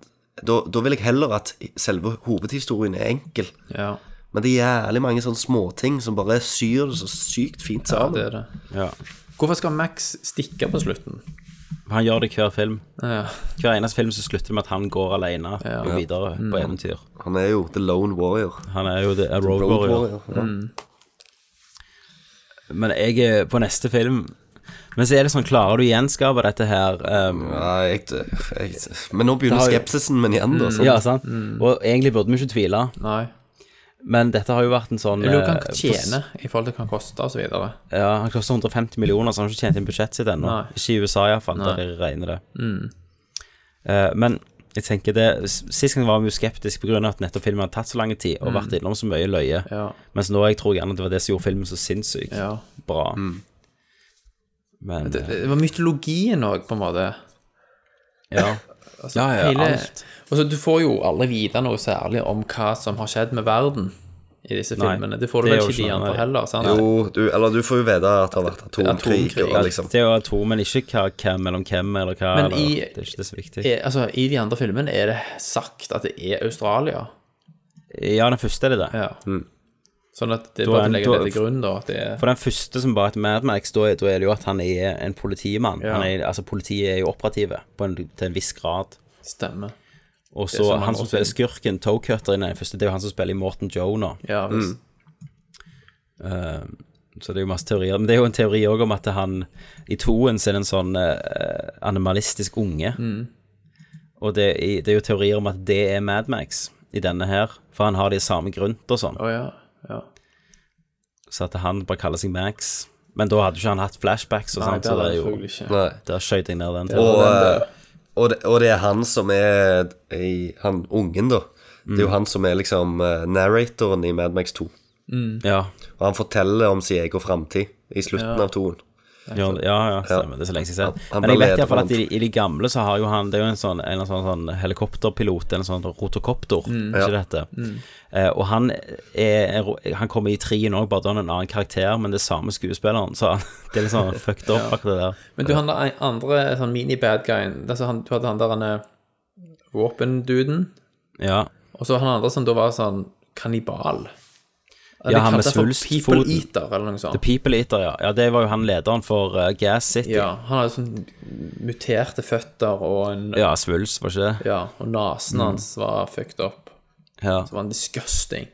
Speaker 10: da, da vil jeg heller at selve hovedhistorien er enkel
Speaker 9: Ja.
Speaker 10: Men det er jævlig mange sånne småting Som bare syr det så sykt fint
Speaker 9: ja,
Speaker 10: sammen
Speaker 9: det er det.
Speaker 1: Ja.
Speaker 9: Hvorfor skal Max stikke på slutten?
Speaker 1: Han gjør det i hver film.
Speaker 9: Ja.
Speaker 1: Hver eneste film så slutter det med at han går alene og videre på
Speaker 9: Mm.
Speaker 1: eventyr.
Speaker 10: Han er jo The Lone Warrior
Speaker 1: Han er jo the, a road,
Speaker 10: Road
Speaker 1: warrior.
Speaker 10: Warrior, ja. Mm.
Speaker 1: Men jeg er på neste film Men så er det sånn, klarer du å gjenskape dette her? Um,
Speaker 10: Nei, jeg, jeg, men nå begynner skepsisen min igjen, da. sant?
Speaker 1: Ja, sånn sant?
Speaker 9: Mm.
Speaker 1: Og egentlig burde vi ikke tvile.
Speaker 9: Nei.
Speaker 1: Men dette har jo vært en sånn
Speaker 9: Jeg lurer på hva
Speaker 1: eh,
Speaker 9: han tjener i forhold til hva han koster, og så videre.
Speaker 1: Ja, han koster 150 millioner, så han har ikke tjent inn budsjettet sitt ennå.
Speaker 9: Nei.
Speaker 1: Ikke i USA iallfall, der
Speaker 9: Nei.
Speaker 1: de regner det.
Speaker 9: Mm.
Speaker 1: Eh, men jeg tenker det s- Sist gang var vi jo skeptiske pga. at nettopp filmen hadde tatt så lang tid og
Speaker 9: Mm.
Speaker 1: vært innom så mye løye.
Speaker 9: Ja.
Speaker 1: Mens nå jeg tror gjerne det var det som gjorde filmen så sinnssykt
Speaker 9: Ja.
Speaker 1: bra. Men
Speaker 9: Det,
Speaker 1: eh,
Speaker 9: det var mytologien òg, på en måte.
Speaker 1: ja.
Speaker 9: Altså,
Speaker 1: ja, ja,
Speaker 9: hele,
Speaker 1: alt.
Speaker 9: Altså, du får jo aldri vite noe særlig om hva som har skjedd med verden i disse
Speaker 1: Nei,
Speaker 9: filmene. Det får du
Speaker 1: det er
Speaker 9: vel
Speaker 1: jo
Speaker 9: ikke i de
Speaker 1: ikke
Speaker 9: andre
Speaker 1: noe-
Speaker 9: heller. Sant?
Speaker 10: Jo, du, eller du får jo vite at det har vært atomkrig.
Speaker 9: Atomkrig,
Speaker 10: og liksom.
Speaker 1: Det er jo atom, men ikke hva, hvem mellom hvem eller hva.
Speaker 9: Men
Speaker 1: eller,
Speaker 9: i,
Speaker 1: det er ikke det så viktig.
Speaker 9: er, altså, i de andre filmene er det sagt at det er Australia.
Speaker 1: ja, den første er det det.
Speaker 9: Ja. Sånn at det
Speaker 1: Da
Speaker 9: er bare
Speaker 1: er-
Speaker 9: å legge
Speaker 1: da-
Speaker 9: det til grunn, da. At det er,
Speaker 1: For den første som bare er et Mad Max, da er da er det jo at han er en politimann.
Speaker 9: Ja.
Speaker 1: Han er, altså Politiet er jo operative på en, til en viss grad.
Speaker 9: stemmer.
Speaker 1: Og
Speaker 9: Det er så
Speaker 1: så
Speaker 9: mange
Speaker 1: han
Speaker 9: år
Speaker 1: som spiller skurken, Toe Cutter, i den første, det er jo han som spiller i Morten Joe nå.
Speaker 9: Ja, visst.
Speaker 1: Eh, så det er jo masse teorier. Men det er jo en teori òg om at han i toen så er det en sånn eh, animalistisk unge.
Speaker 9: Mm.
Speaker 1: Og det, er- det er jo teorier om at det er Mad Max i denne her, for han har de samme grunt og sånn.
Speaker 9: Å ja. ja.
Speaker 1: Så at han bare kaller seg Max. Men da hadde jo ikke han hatt flashbacks og
Speaker 9: Nei,
Speaker 1: sånt,
Speaker 9: det
Speaker 1: så det
Speaker 9: hadde
Speaker 1: er
Speaker 9: han
Speaker 1: jo
Speaker 9: selvfølgelig ikke.
Speaker 10: Nei.
Speaker 1: Der skjøt jeg ned den. til.
Speaker 10: Og, eh,
Speaker 9: den
Speaker 10: og, det, og det er han som er i, han ungen, da. Det er jo han som er liksom eh, narratoren i Mad Max 2.
Speaker 1: Ja.
Speaker 10: Og han forteller om sin egen framtid i slutten
Speaker 9: Ja.
Speaker 10: av toen.
Speaker 1: Ja, ja, ja, stemmer. Det er så lenge siden jeg har sett. Men jeg vet iallfall at i, i de gamle så har jo han Det er jo en sånn, en sånn, sånn helikopterpilot, en sånn rotokopter,
Speaker 9: Mm.
Speaker 1: ikke
Speaker 9: Ja.
Speaker 1: dette.
Speaker 9: Mm.
Speaker 1: Eh, og han er, er Han kommer i trien òg, bare da har han en annen karakter, men det er samme skuespilleren, så han, (laughs) det er litt sånn fucked up,
Speaker 9: Ja.
Speaker 1: akkurat det der.
Speaker 9: Men du, han der andre sånn mini-bad guyen altså, han, Du hadde han der han eh, våpenduden.
Speaker 1: Ja.
Speaker 9: Og så han andre som da var sånn kannibal.
Speaker 1: Ja, han med svulstfoten.
Speaker 9: People Eater eller noe
Speaker 1: The
Speaker 9: sånt.
Speaker 1: People Eater, ja. ja. Det var jo han lederen for eh, Gas City.
Speaker 9: Ja, han hadde sånn muterte føtter og en
Speaker 1: Ja, svulst, var ikke det?
Speaker 9: Ja, og nesen
Speaker 1: Mm.
Speaker 9: hans var fucked up.
Speaker 1: Ja.
Speaker 9: Så var han disgusting.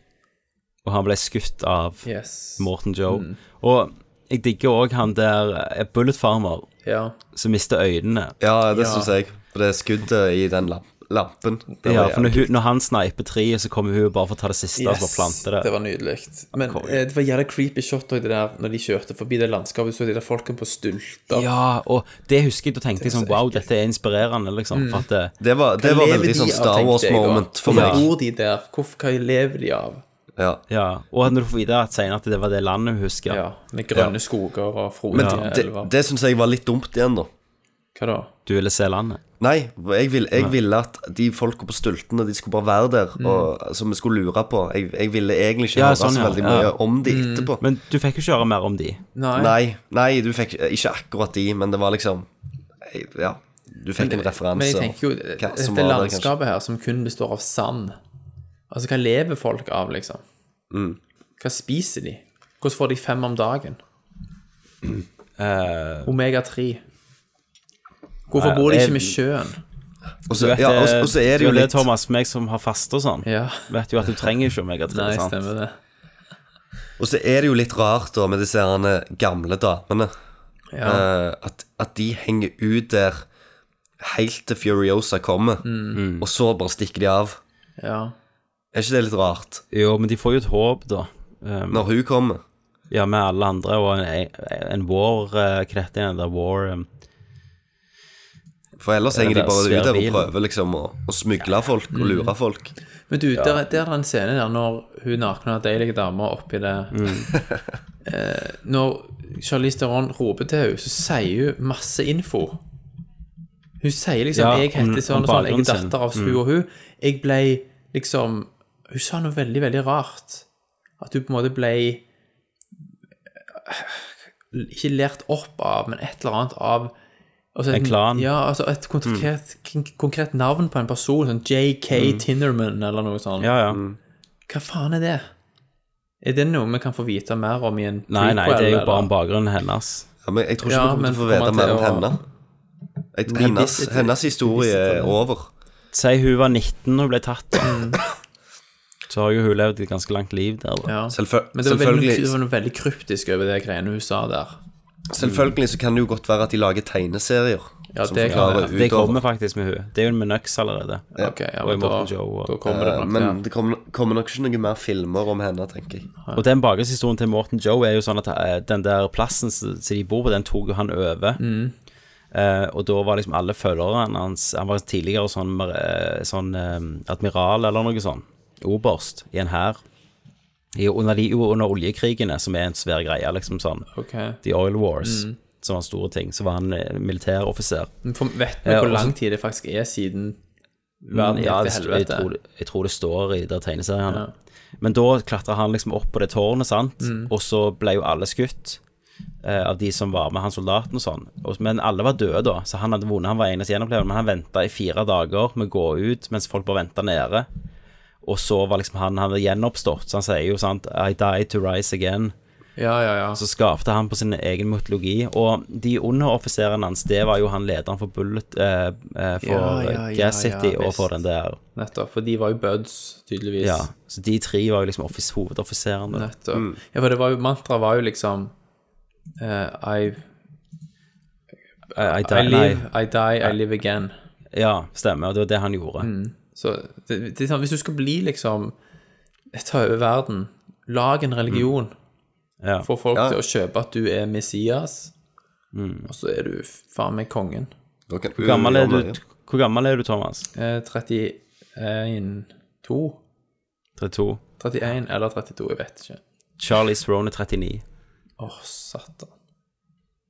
Speaker 1: Og han ble skutt av
Speaker 9: Yes.
Speaker 1: Morton Joe.
Speaker 9: Mm.
Speaker 1: Og jeg digger òg han der eh, Bullet Farmer
Speaker 9: Ja.
Speaker 1: som mister øynene.
Speaker 10: Ja, det
Speaker 1: Ja.
Speaker 10: synes jeg. For det skuddet i den lamp lampen det
Speaker 1: Ja,
Speaker 10: var
Speaker 1: for når, hun, når han sniper treet, så kommer hun bare for å ta det siste og så bare plante det.
Speaker 9: det var nydelig. Men eh, det var jævlig creepy shot også, det der, når de kjørte forbi det landskapet, så de der folkene på stulter.
Speaker 1: Ja, og det husker jeg, da tenkte jeg sånn Wow, dette er inspirerende, liksom.
Speaker 9: Mm.
Speaker 1: For at det,
Speaker 10: Det var- det
Speaker 9: Hva
Speaker 10: var
Speaker 9: lever
Speaker 10: veldig
Speaker 9: de
Speaker 10: sånn
Speaker 9: av,
Speaker 10: Star
Speaker 9: tenkte
Speaker 10: Wars
Speaker 9: jeg da.
Speaker 10: moment for
Speaker 9: Hvorfor
Speaker 10: meg.
Speaker 9: bor de der? Hvorfor, hva lever de av?
Speaker 10: Ja.
Speaker 1: Og når du får vite at senere at det var det landet hun husker. Ja,
Speaker 9: Med grønne skoger og frodige
Speaker 10: Men det,
Speaker 9: elver.
Speaker 10: det syns jeg var litt dumt igjen, da.
Speaker 9: Hva da?
Speaker 1: Du ville se landet?
Speaker 10: Nei, jeg, vil, jeg
Speaker 1: Nei.
Speaker 10: ville at de folka på stultene De skulle bare være der,
Speaker 1: Mm.
Speaker 10: og, som vi skulle lure på. Jeg, jeg ville egentlig ikke
Speaker 1: Ja,
Speaker 10: høre
Speaker 1: sånn,
Speaker 10: så
Speaker 1: ja.
Speaker 10: veldig mye
Speaker 1: Ja.
Speaker 10: om de
Speaker 1: Mm.
Speaker 10: etterpå.
Speaker 1: Men du fikk jo ikke høre mer om de.
Speaker 9: Nei.
Speaker 10: Nei, nei, du fikk ikke akkurat de, men det var liksom jeg- Ja, du fikk en referanse.
Speaker 9: Men jeg tenker jo, eh,
Speaker 10: og hva som
Speaker 9: dette
Speaker 10: var der, kanskje.
Speaker 9: landskapet her som kun består av sand Altså, hva lever folk av, liksom?
Speaker 10: Mm.
Speaker 9: Hva spiser de? Hvordan får de fem om
Speaker 10: (clears throat)
Speaker 9: dagen?
Speaker 10: Eh.
Speaker 9: Omega-3. Hvorfor
Speaker 1: Nei,
Speaker 9: bor de
Speaker 1: det-
Speaker 9: ikke med sjøen?
Speaker 10: Og
Speaker 1: Du
Speaker 10: så,
Speaker 1: vet
Speaker 10: ja,
Speaker 1: det-
Speaker 10: og, så- og så er det jo
Speaker 1: du vet
Speaker 10: litt
Speaker 1: Thomas, meg som har faste og sånn,
Speaker 9: Ja.
Speaker 1: vet jo at du trenger ikke omega-3.
Speaker 9: Nei,
Speaker 1: sant?
Speaker 9: stemmer det.
Speaker 10: Og så er det jo litt rart da med disse herne gamle damene.
Speaker 9: Ja.
Speaker 10: Eh, at, at de henger ut der helt til Furiosa kommer,
Speaker 9: Mm.
Speaker 10: og så bare stikker de av.
Speaker 9: Ja.
Speaker 10: Er ikke det litt rart?
Speaker 1: Jo, men de får jo et håp, da. Um,
Speaker 10: Når hun kommer.
Speaker 1: Ja, med alle andre, og en, en war eh, Hva heter den der war um,
Speaker 10: For ellers
Speaker 1: Ja,
Speaker 10: henger de
Speaker 1: det er
Speaker 10: bare
Speaker 1: svær
Speaker 10: ut der og
Speaker 1: bil.
Speaker 10: prøver liksom å, å smugle folk og lure folk.
Speaker 9: Men du, der, der er en scene der når hun nakne og deilige dama oppi det
Speaker 1: Mm.
Speaker 9: (laughs) eh, Når Charlize Theron roper til henne, så sier hun masse info. Hun sier liksom
Speaker 1: Ja,
Speaker 9: 'Jeg
Speaker 1: om-
Speaker 9: heter sånn
Speaker 1: om
Speaker 9: og sånn, jeg er
Speaker 1: bakgrunnen sin.
Speaker 9: datter av
Speaker 1: Mm.
Speaker 9: hun og hun'. Jeg ble liksom Hun sa noe veldig, veldig rart. At hun på en måte ble eh, Ikke lært opp av, men et eller annet av altså
Speaker 1: En klan.
Speaker 9: Ja, altså et konkret, kon- konkret navn på en person, sånn JK
Speaker 1: Mm.
Speaker 9: Tinnerman eller noe sånt.
Speaker 1: Ja, ja.
Speaker 10: Mm.
Speaker 9: Hva faen er det? Er det noe vi kan få vite mer om i en
Speaker 1: Nei, nei, det er jo
Speaker 9: eller?
Speaker 1: bare om bakgrunnen hennes.
Speaker 10: Ja, men jeg tror ikke
Speaker 9: Ja,
Speaker 10: vi kommer
Speaker 9: men
Speaker 10: til å få vite
Speaker 9: kommer
Speaker 10: mer
Speaker 9: til
Speaker 10: om
Speaker 9: å-
Speaker 10: henne. Jeg, hennes,
Speaker 9: Revisited.
Speaker 10: hennes historie er
Speaker 9: Revisited.
Speaker 10: over.
Speaker 1: Si hun var 19 da hun ble tatt. da.
Speaker 9: Mm.
Speaker 1: Så har jo hun levd et ganske langt liv der, da.
Speaker 9: Ja.
Speaker 10: Selvfø-
Speaker 9: Men det var, veldig,
Speaker 10: selvfølgelig-
Speaker 9: det var noe veldig kryptisk over det greiene hun sa der.
Speaker 10: Selvfølgelig så kan det jo godt være at de lager tegneserier.
Speaker 9: Ja,
Speaker 10: som
Speaker 9: det kan
Speaker 10: forklarer
Speaker 9: være.
Speaker 1: Det
Speaker 10: utover.
Speaker 1: kommer faktisk med hun. Det er jo med Nux allerede.
Speaker 10: Ja.
Speaker 9: Ok, ja,
Speaker 1: og i
Speaker 9: men da,
Speaker 1: Morten Joe. Og,
Speaker 9: da kommer det
Speaker 10: Eh,
Speaker 9: nok
Speaker 10: Men
Speaker 9: ja.
Speaker 10: det kommer, kommer nok ikke noe mer filmer om henne, tenker jeg.
Speaker 1: og den bakgrunnshistorien til Morten Joe er jo sånn at eh, den der plassen som som de bor på, den tok jo han over.
Speaker 9: Mm.
Speaker 1: Eh, og da var liksom alle følgerne hans Han var tidligere sånn, eh, sånn eh, admiral eller noe sånn. Oberst i en hær. I- Under, de- under oljekrigene, som er en svær greie, liksom sånn.
Speaker 9: Ok.
Speaker 1: The Oil Wars,
Speaker 9: Mm.
Speaker 1: som var en stor ting. Så var han eh, militæroffiser.
Speaker 9: Men for, Vet vi
Speaker 1: Ja,
Speaker 9: hvor
Speaker 1: og så-
Speaker 9: lang tid det faktisk er siden
Speaker 1: Men,
Speaker 9: verden
Speaker 1: Mm, ja,
Speaker 9: gikk
Speaker 1: det,
Speaker 9: til
Speaker 1: jeg,
Speaker 9: helvete?
Speaker 1: tror, det- jeg tror det står i der tegneseriene. Men da klatra han liksom opp på det tårnet, sant?
Speaker 9: Mm.
Speaker 1: og så ble jo alle skutt. eh, Av de som var med han soldaten og sånn. Og- Men alle var døde da, så han hadde vunnet. Han var eneste gjenopplevende, men han venta i fire dager med å gå ut mens folk bare venta nede. Og så var liksom han, han hadde gjenoppstått, så han sier jo sant I die to rise again.
Speaker 9: Ja, ja, ja.
Speaker 1: Så skapte han på sin egen mytologi. Og de underoffiserene hans, det var jo han lederen for Bullet eh, eh, For
Speaker 9: Ja, ja, ja,
Speaker 1: Gas City
Speaker 9: ja,
Speaker 1: og for den
Speaker 9: visst.
Speaker 1: der
Speaker 9: Nettopp. For de var jo buds, tydeligvis.
Speaker 1: Ja, så de tre var jo liksom offis, hovedoffiserene.
Speaker 9: Nettopp.
Speaker 1: Mm.
Speaker 9: Ja, for det var jo Mantra var jo liksom eh, I
Speaker 1: I, I
Speaker 9: I
Speaker 1: die,
Speaker 9: live,
Speaker 1: nei.
Speaker 9: I die, I live again.
Speaker 1: Ja, stemmer. Og det var det han gjorde.
Speaker 10: Mm.
Speaker 9: Så det, det er sånn, hvis du skal bli liksom Ta over verden, lag en religion.
Speaker 1: Mm. Ja.
Speaker 9: Få folk
Speaker 10: Ja.
Speaker 9: til å kjøpe at du er Messias,
Speaker 1: Mm.
Speaker 9: og så er du faen meg kongen.
Speaker 10: Da kan-
Speaker 1: Hvor, gammel er
Speaker 10: Ja,
Speaker 1: du,
Speaker 10: men-
Speaker 1: hvor gammel er du, Thomas?
Speaker 9: Eh, 31 2?
Speaker 1: 32.
Speaker 9: 31 eller 32, jeg vet ikke.
Speaker 1: Charlie Throne er 39.
Speaker 9: Åh, satan.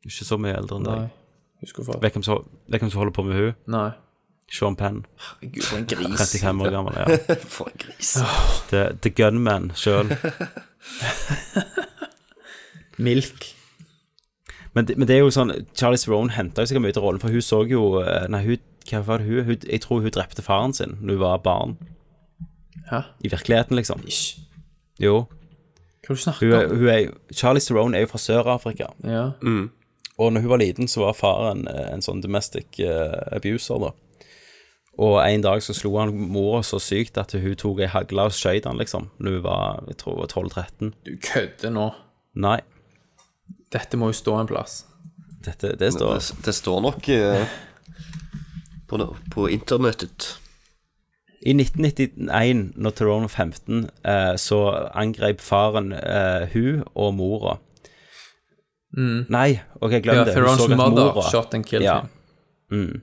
Speaker 1: Ikke så mye eldre enn
Speaker 9: Nei.
Speaker 1: deg.
Speaker 9: Husker for-
Speaker 1: Vet hvem som vet hvem som holder på med hun?
Speaker 9: Nei.
Speaker 1: Sean Penn.
Speaker 10: Herregud, for en gris.
Speaker 1: 35 år gammel, ja.
Speaker 10: For en gris.
Speaker 1: The, the Gunman sjøl.
Speaker 9: Milk.
Speaker 1: Men det, men det er jo sånn Charlie Theron henta jo sikkert mye til rollen, for hun så jo eh, Nei, hun, hva var det hun, hun Jeg tror hun drepte faren sin da hun var barn.
Speaker 9: Hæ?
Speaker 1: I virkeligheten, liksom. Jo.
Speaker 9: Hva er det du
Speaker 1: Hun,
Speaker 9: snakker
Speaker 1: er- Mm.
Speaker 9: om?
Speaker 1: hun er, Charlie Theron er jo fra Sør-Afrika.
Speaker 9: Ja.
Speaker 1: Og når hun var liten, så var faren eh, en sånn domestic eh, abuser, da. Og en dag så slo han mora så sykt at hun tok ei hagle og skjøt han, liksom. Når hun var jeg tror hun var 12-13.
Speaker 9: Du kødder nå.
Speaker 1: Nei,
Speaker 9: Dette må jo stå en plass.
Speaker 1: dette, det står
Speaker 10: Det, det står nok eh, på, no- på internettet.
Speaker 1: I 1991, når Tyrone var 15, eh, så angrep faren eh, hun og mora.
Speaker 9: Mm.
Speaker 1: Nei, ok, glem
Speaker 9: Ja,
Speaker 1: det.
Speaker 9: Therone's
Speaker 1: at
Speaker 9: mother shot and killed
Speaker 1: ja. Mm.
Speaker 9: him.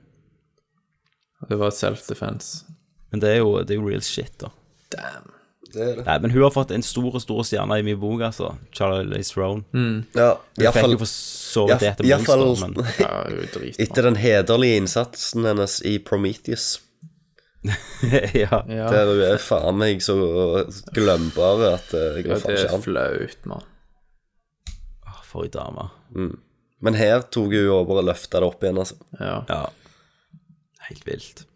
Speaker 9: Det var et self-defense.
Speaker 1: Men det er, jo, det er jo real shit, da.
Speaker 9: Damn.
Speaker 10: Det er det.
Speaker 1: Nei, men hun har fått en stor stor stjerne i min bok, altså. Charlie Throne.
Speaker 9: Mm.
Speaker 10: Ja,
Speaker 1: Hun fikk jo for så vidt et monster, men
Speaker 9: (laughs)
Speaker 1: (laughs)
Speaker 9: Ja, hun er drit.
Speaker 10: Etter den hederlige innsatsen hennes i Prometheus.
Speaker 1: ja.
Speaker 9: Ja.
Speaker 10: Der hun er faen meg så glemmbar at eh, jeg
Speaker 9: Ja,
Speaker 10: går faen
Speaker 9: det
Speaker 10: ikke
Speaker 9: er
Speaker 10: an.
Speaker 9: flaut, mann.
Speaker 1: Å, For ei dame.
Speaker 10: Mm. Men her tok hun over og løfta det opp igjen, altså.
Speaker 9: Ja.
Speaker 1: Ja. Helt vilt.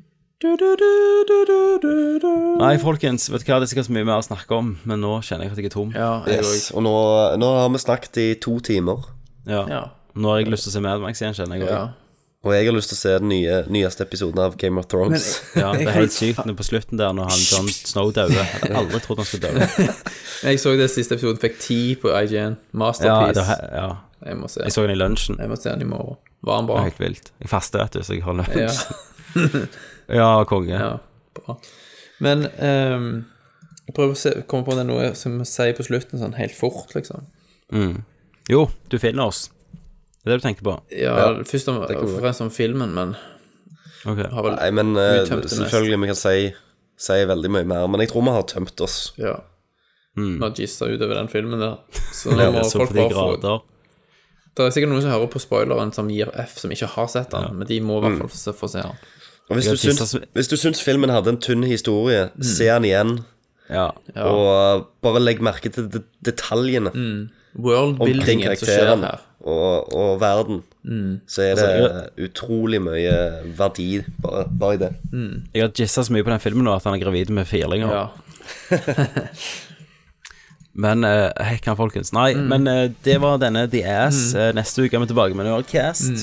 Speaker 9: Du-du-du-du-du-du-du.
Speaker 1: Nei, folkens, vet du hva, det er sikkert så mye mer å snakke om, men nå kjenner jeg at jeg er tom.
Speaker 9: Ja, jeg
Speaker 10: Yes.
Speaker 9: òg.
Speaker 10: Og nå, nå har vi snakket i to timer,
Speaker 1: Ja.
Speaker 9: Ja.
Speaker 1: Nå har jeg lyst til å se Mad Max igjen, kjenner jeg.
Speaker 9: ja.
Speaker 1: også.
Speaker 10: og jeg har lyst til å se den nye, nyeste episoden av Game of Thrones.
Speaker 1: Ja, det
Speaker 9: (laughs) Jeg
Speaker 1: er
Speaker 9: kan-
Speaker 1: helt sykt når på slutten der når han John Snow dauer. Jeg hadde aldri trodd han skulle
Speaker 9: (laughs)
Speaker 1: daue.
Speaker 9: Jeg så det siste episoden, fikk ti på IGN.
Speaker 1: Ja, det
Speaker 9: Masterpiece.
Speaker 1: var- ja.
Speaker 9: Jeg må se.
Speaker 1: Jeg så han i lunsjen. Det
Speaker 9: Jeg må se den i morgen. Var den bra?
Speaker 1: var helt vilt. Jeg faster, vet du, så jeg har lunsj.
Speaker 9: Ja.
Speaker 1: Ja, (laughs) konge.
Speaker 9: ja, bra. Men ehm, jeg prøver å se, komme på om det er noe som vi sier på slutten, sånn helt fort, liksom.
Speaker 1: Mm. Jo, du finner oss. Det er det du tenker på?
Speaker 9: Ja, først om,
Speaker 10: det kan vi.
Speaker 9: for en sånn filmen, men
Speaker 1: Ok.
Speaker 9: har vel
Speaker 10: Nei, men eh,
Speaker 9: Vi tømte mest.
Speaker 10: selvfølgelig vi kan si, si veldig mye mer, men jeg tror vi har tømt oss.
Speaker 9: Ja.
Speaker 1: Mm.
Speaker 9: Vi har gissa utover den filmen der.
Speaker 1: (laughs)
Speaker 9: Så nå
Speaker 1: Det
Speaker 9: må
Speaker 1: er så
Speaker 9: folk
Speaker 1: på de
Speaker 9: bare få
Speaker 1: grader.
Speaker 9: Det er sikkert noen som hører på spoileren som gir F, som ikke har sett den, men de må i hvert
Speaker 1: Mm.
Speaker 9: fall se- få se den.
Speaker 10: Og hvis,
Speaker 1: Jeg har
Speaker 10: du
Speaker 1: tisset
Speaker 10: syns,
Speaker 1: som-
Speaker 10: hvis du syns filmen hadde en tynn historie, se den igjen,
Speaker 1: Ja.
Speaker 9: Mm. Ja. Mm.
Speaker 10: og eh, bare legg merke til det- detaljene omkring
Speaker 9: Worldbuildingen som skjer her.
Speaker 10: karakterene
Speaker 9: Mm. Altså,
Speaker 10: og, og verden. Så er det utrolig mye verdi bare, bare i det.
Speaker 1: Jeg har jissa så mye på den filmen nå at han er gravid med firlinger.
Speaker 9: Ja.
Speaker 1: Men eh, hekkan, folkens. Nei,
Speaker 9: Mm.
Speaker 1: men eh, det var denne The Ass. Eh, neste uke er vi tilbake med en
Speaker 9: Mm.
Speaker 1: Nerdcast.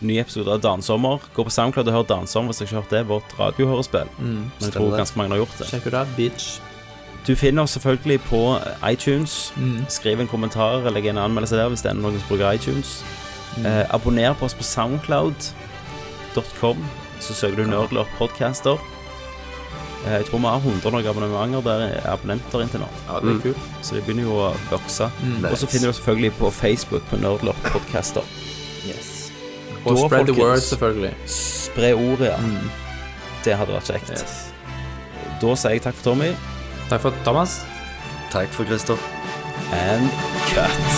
Speaker 1: Ny episode av Dansommer. Gå på SoundCloud og hør Dansommer hvis dere ikke har hørt det. Vårt radiohørespill.
Speaker 9: Mm.
Speaker 1: Men jeg tror
Speaker 10: Stemmer det.
Speaker 1: ganske mange har gjort det.
Speaker 9: Sjekk ut det, bitch.
Speaker 1: Du finner oss selvfølgelig på iTunes. Skriv en kommentar eller legg en anmeldelse der hvis det er noen som bruker iTunes. Eh, abonner på oss på soundcloud.com, så søker du Nerdlurt Podcaster. Eh, jeg tror vi har 100 noen abonnementer der, abonnenter inntil nå.
Speaker 9: Ja, det er kult.
Speaker 1: Så det begynner jo å vokse. Og så
Speaker 10: Nice.
Speaker 1: finner du oss selvfølgelig på Facebook på Nerdlort Podcaster.
Speaker 9: Yes. Og
Speaker 1: Da,
Speaker 9: spread the word,
Speaker 1: folkens.
Speaker 9: selvfølgelig.
Speaker 1: Spre ordet, ja. Det hadde vært kjekt.
Speaker 9: Yes.
Speaker 1: Da sier jeg takk for Tommy,
Speaker 9: Takk for Thomas.
Speaker 10: Takk for Christer.
Speaker 1: and cut!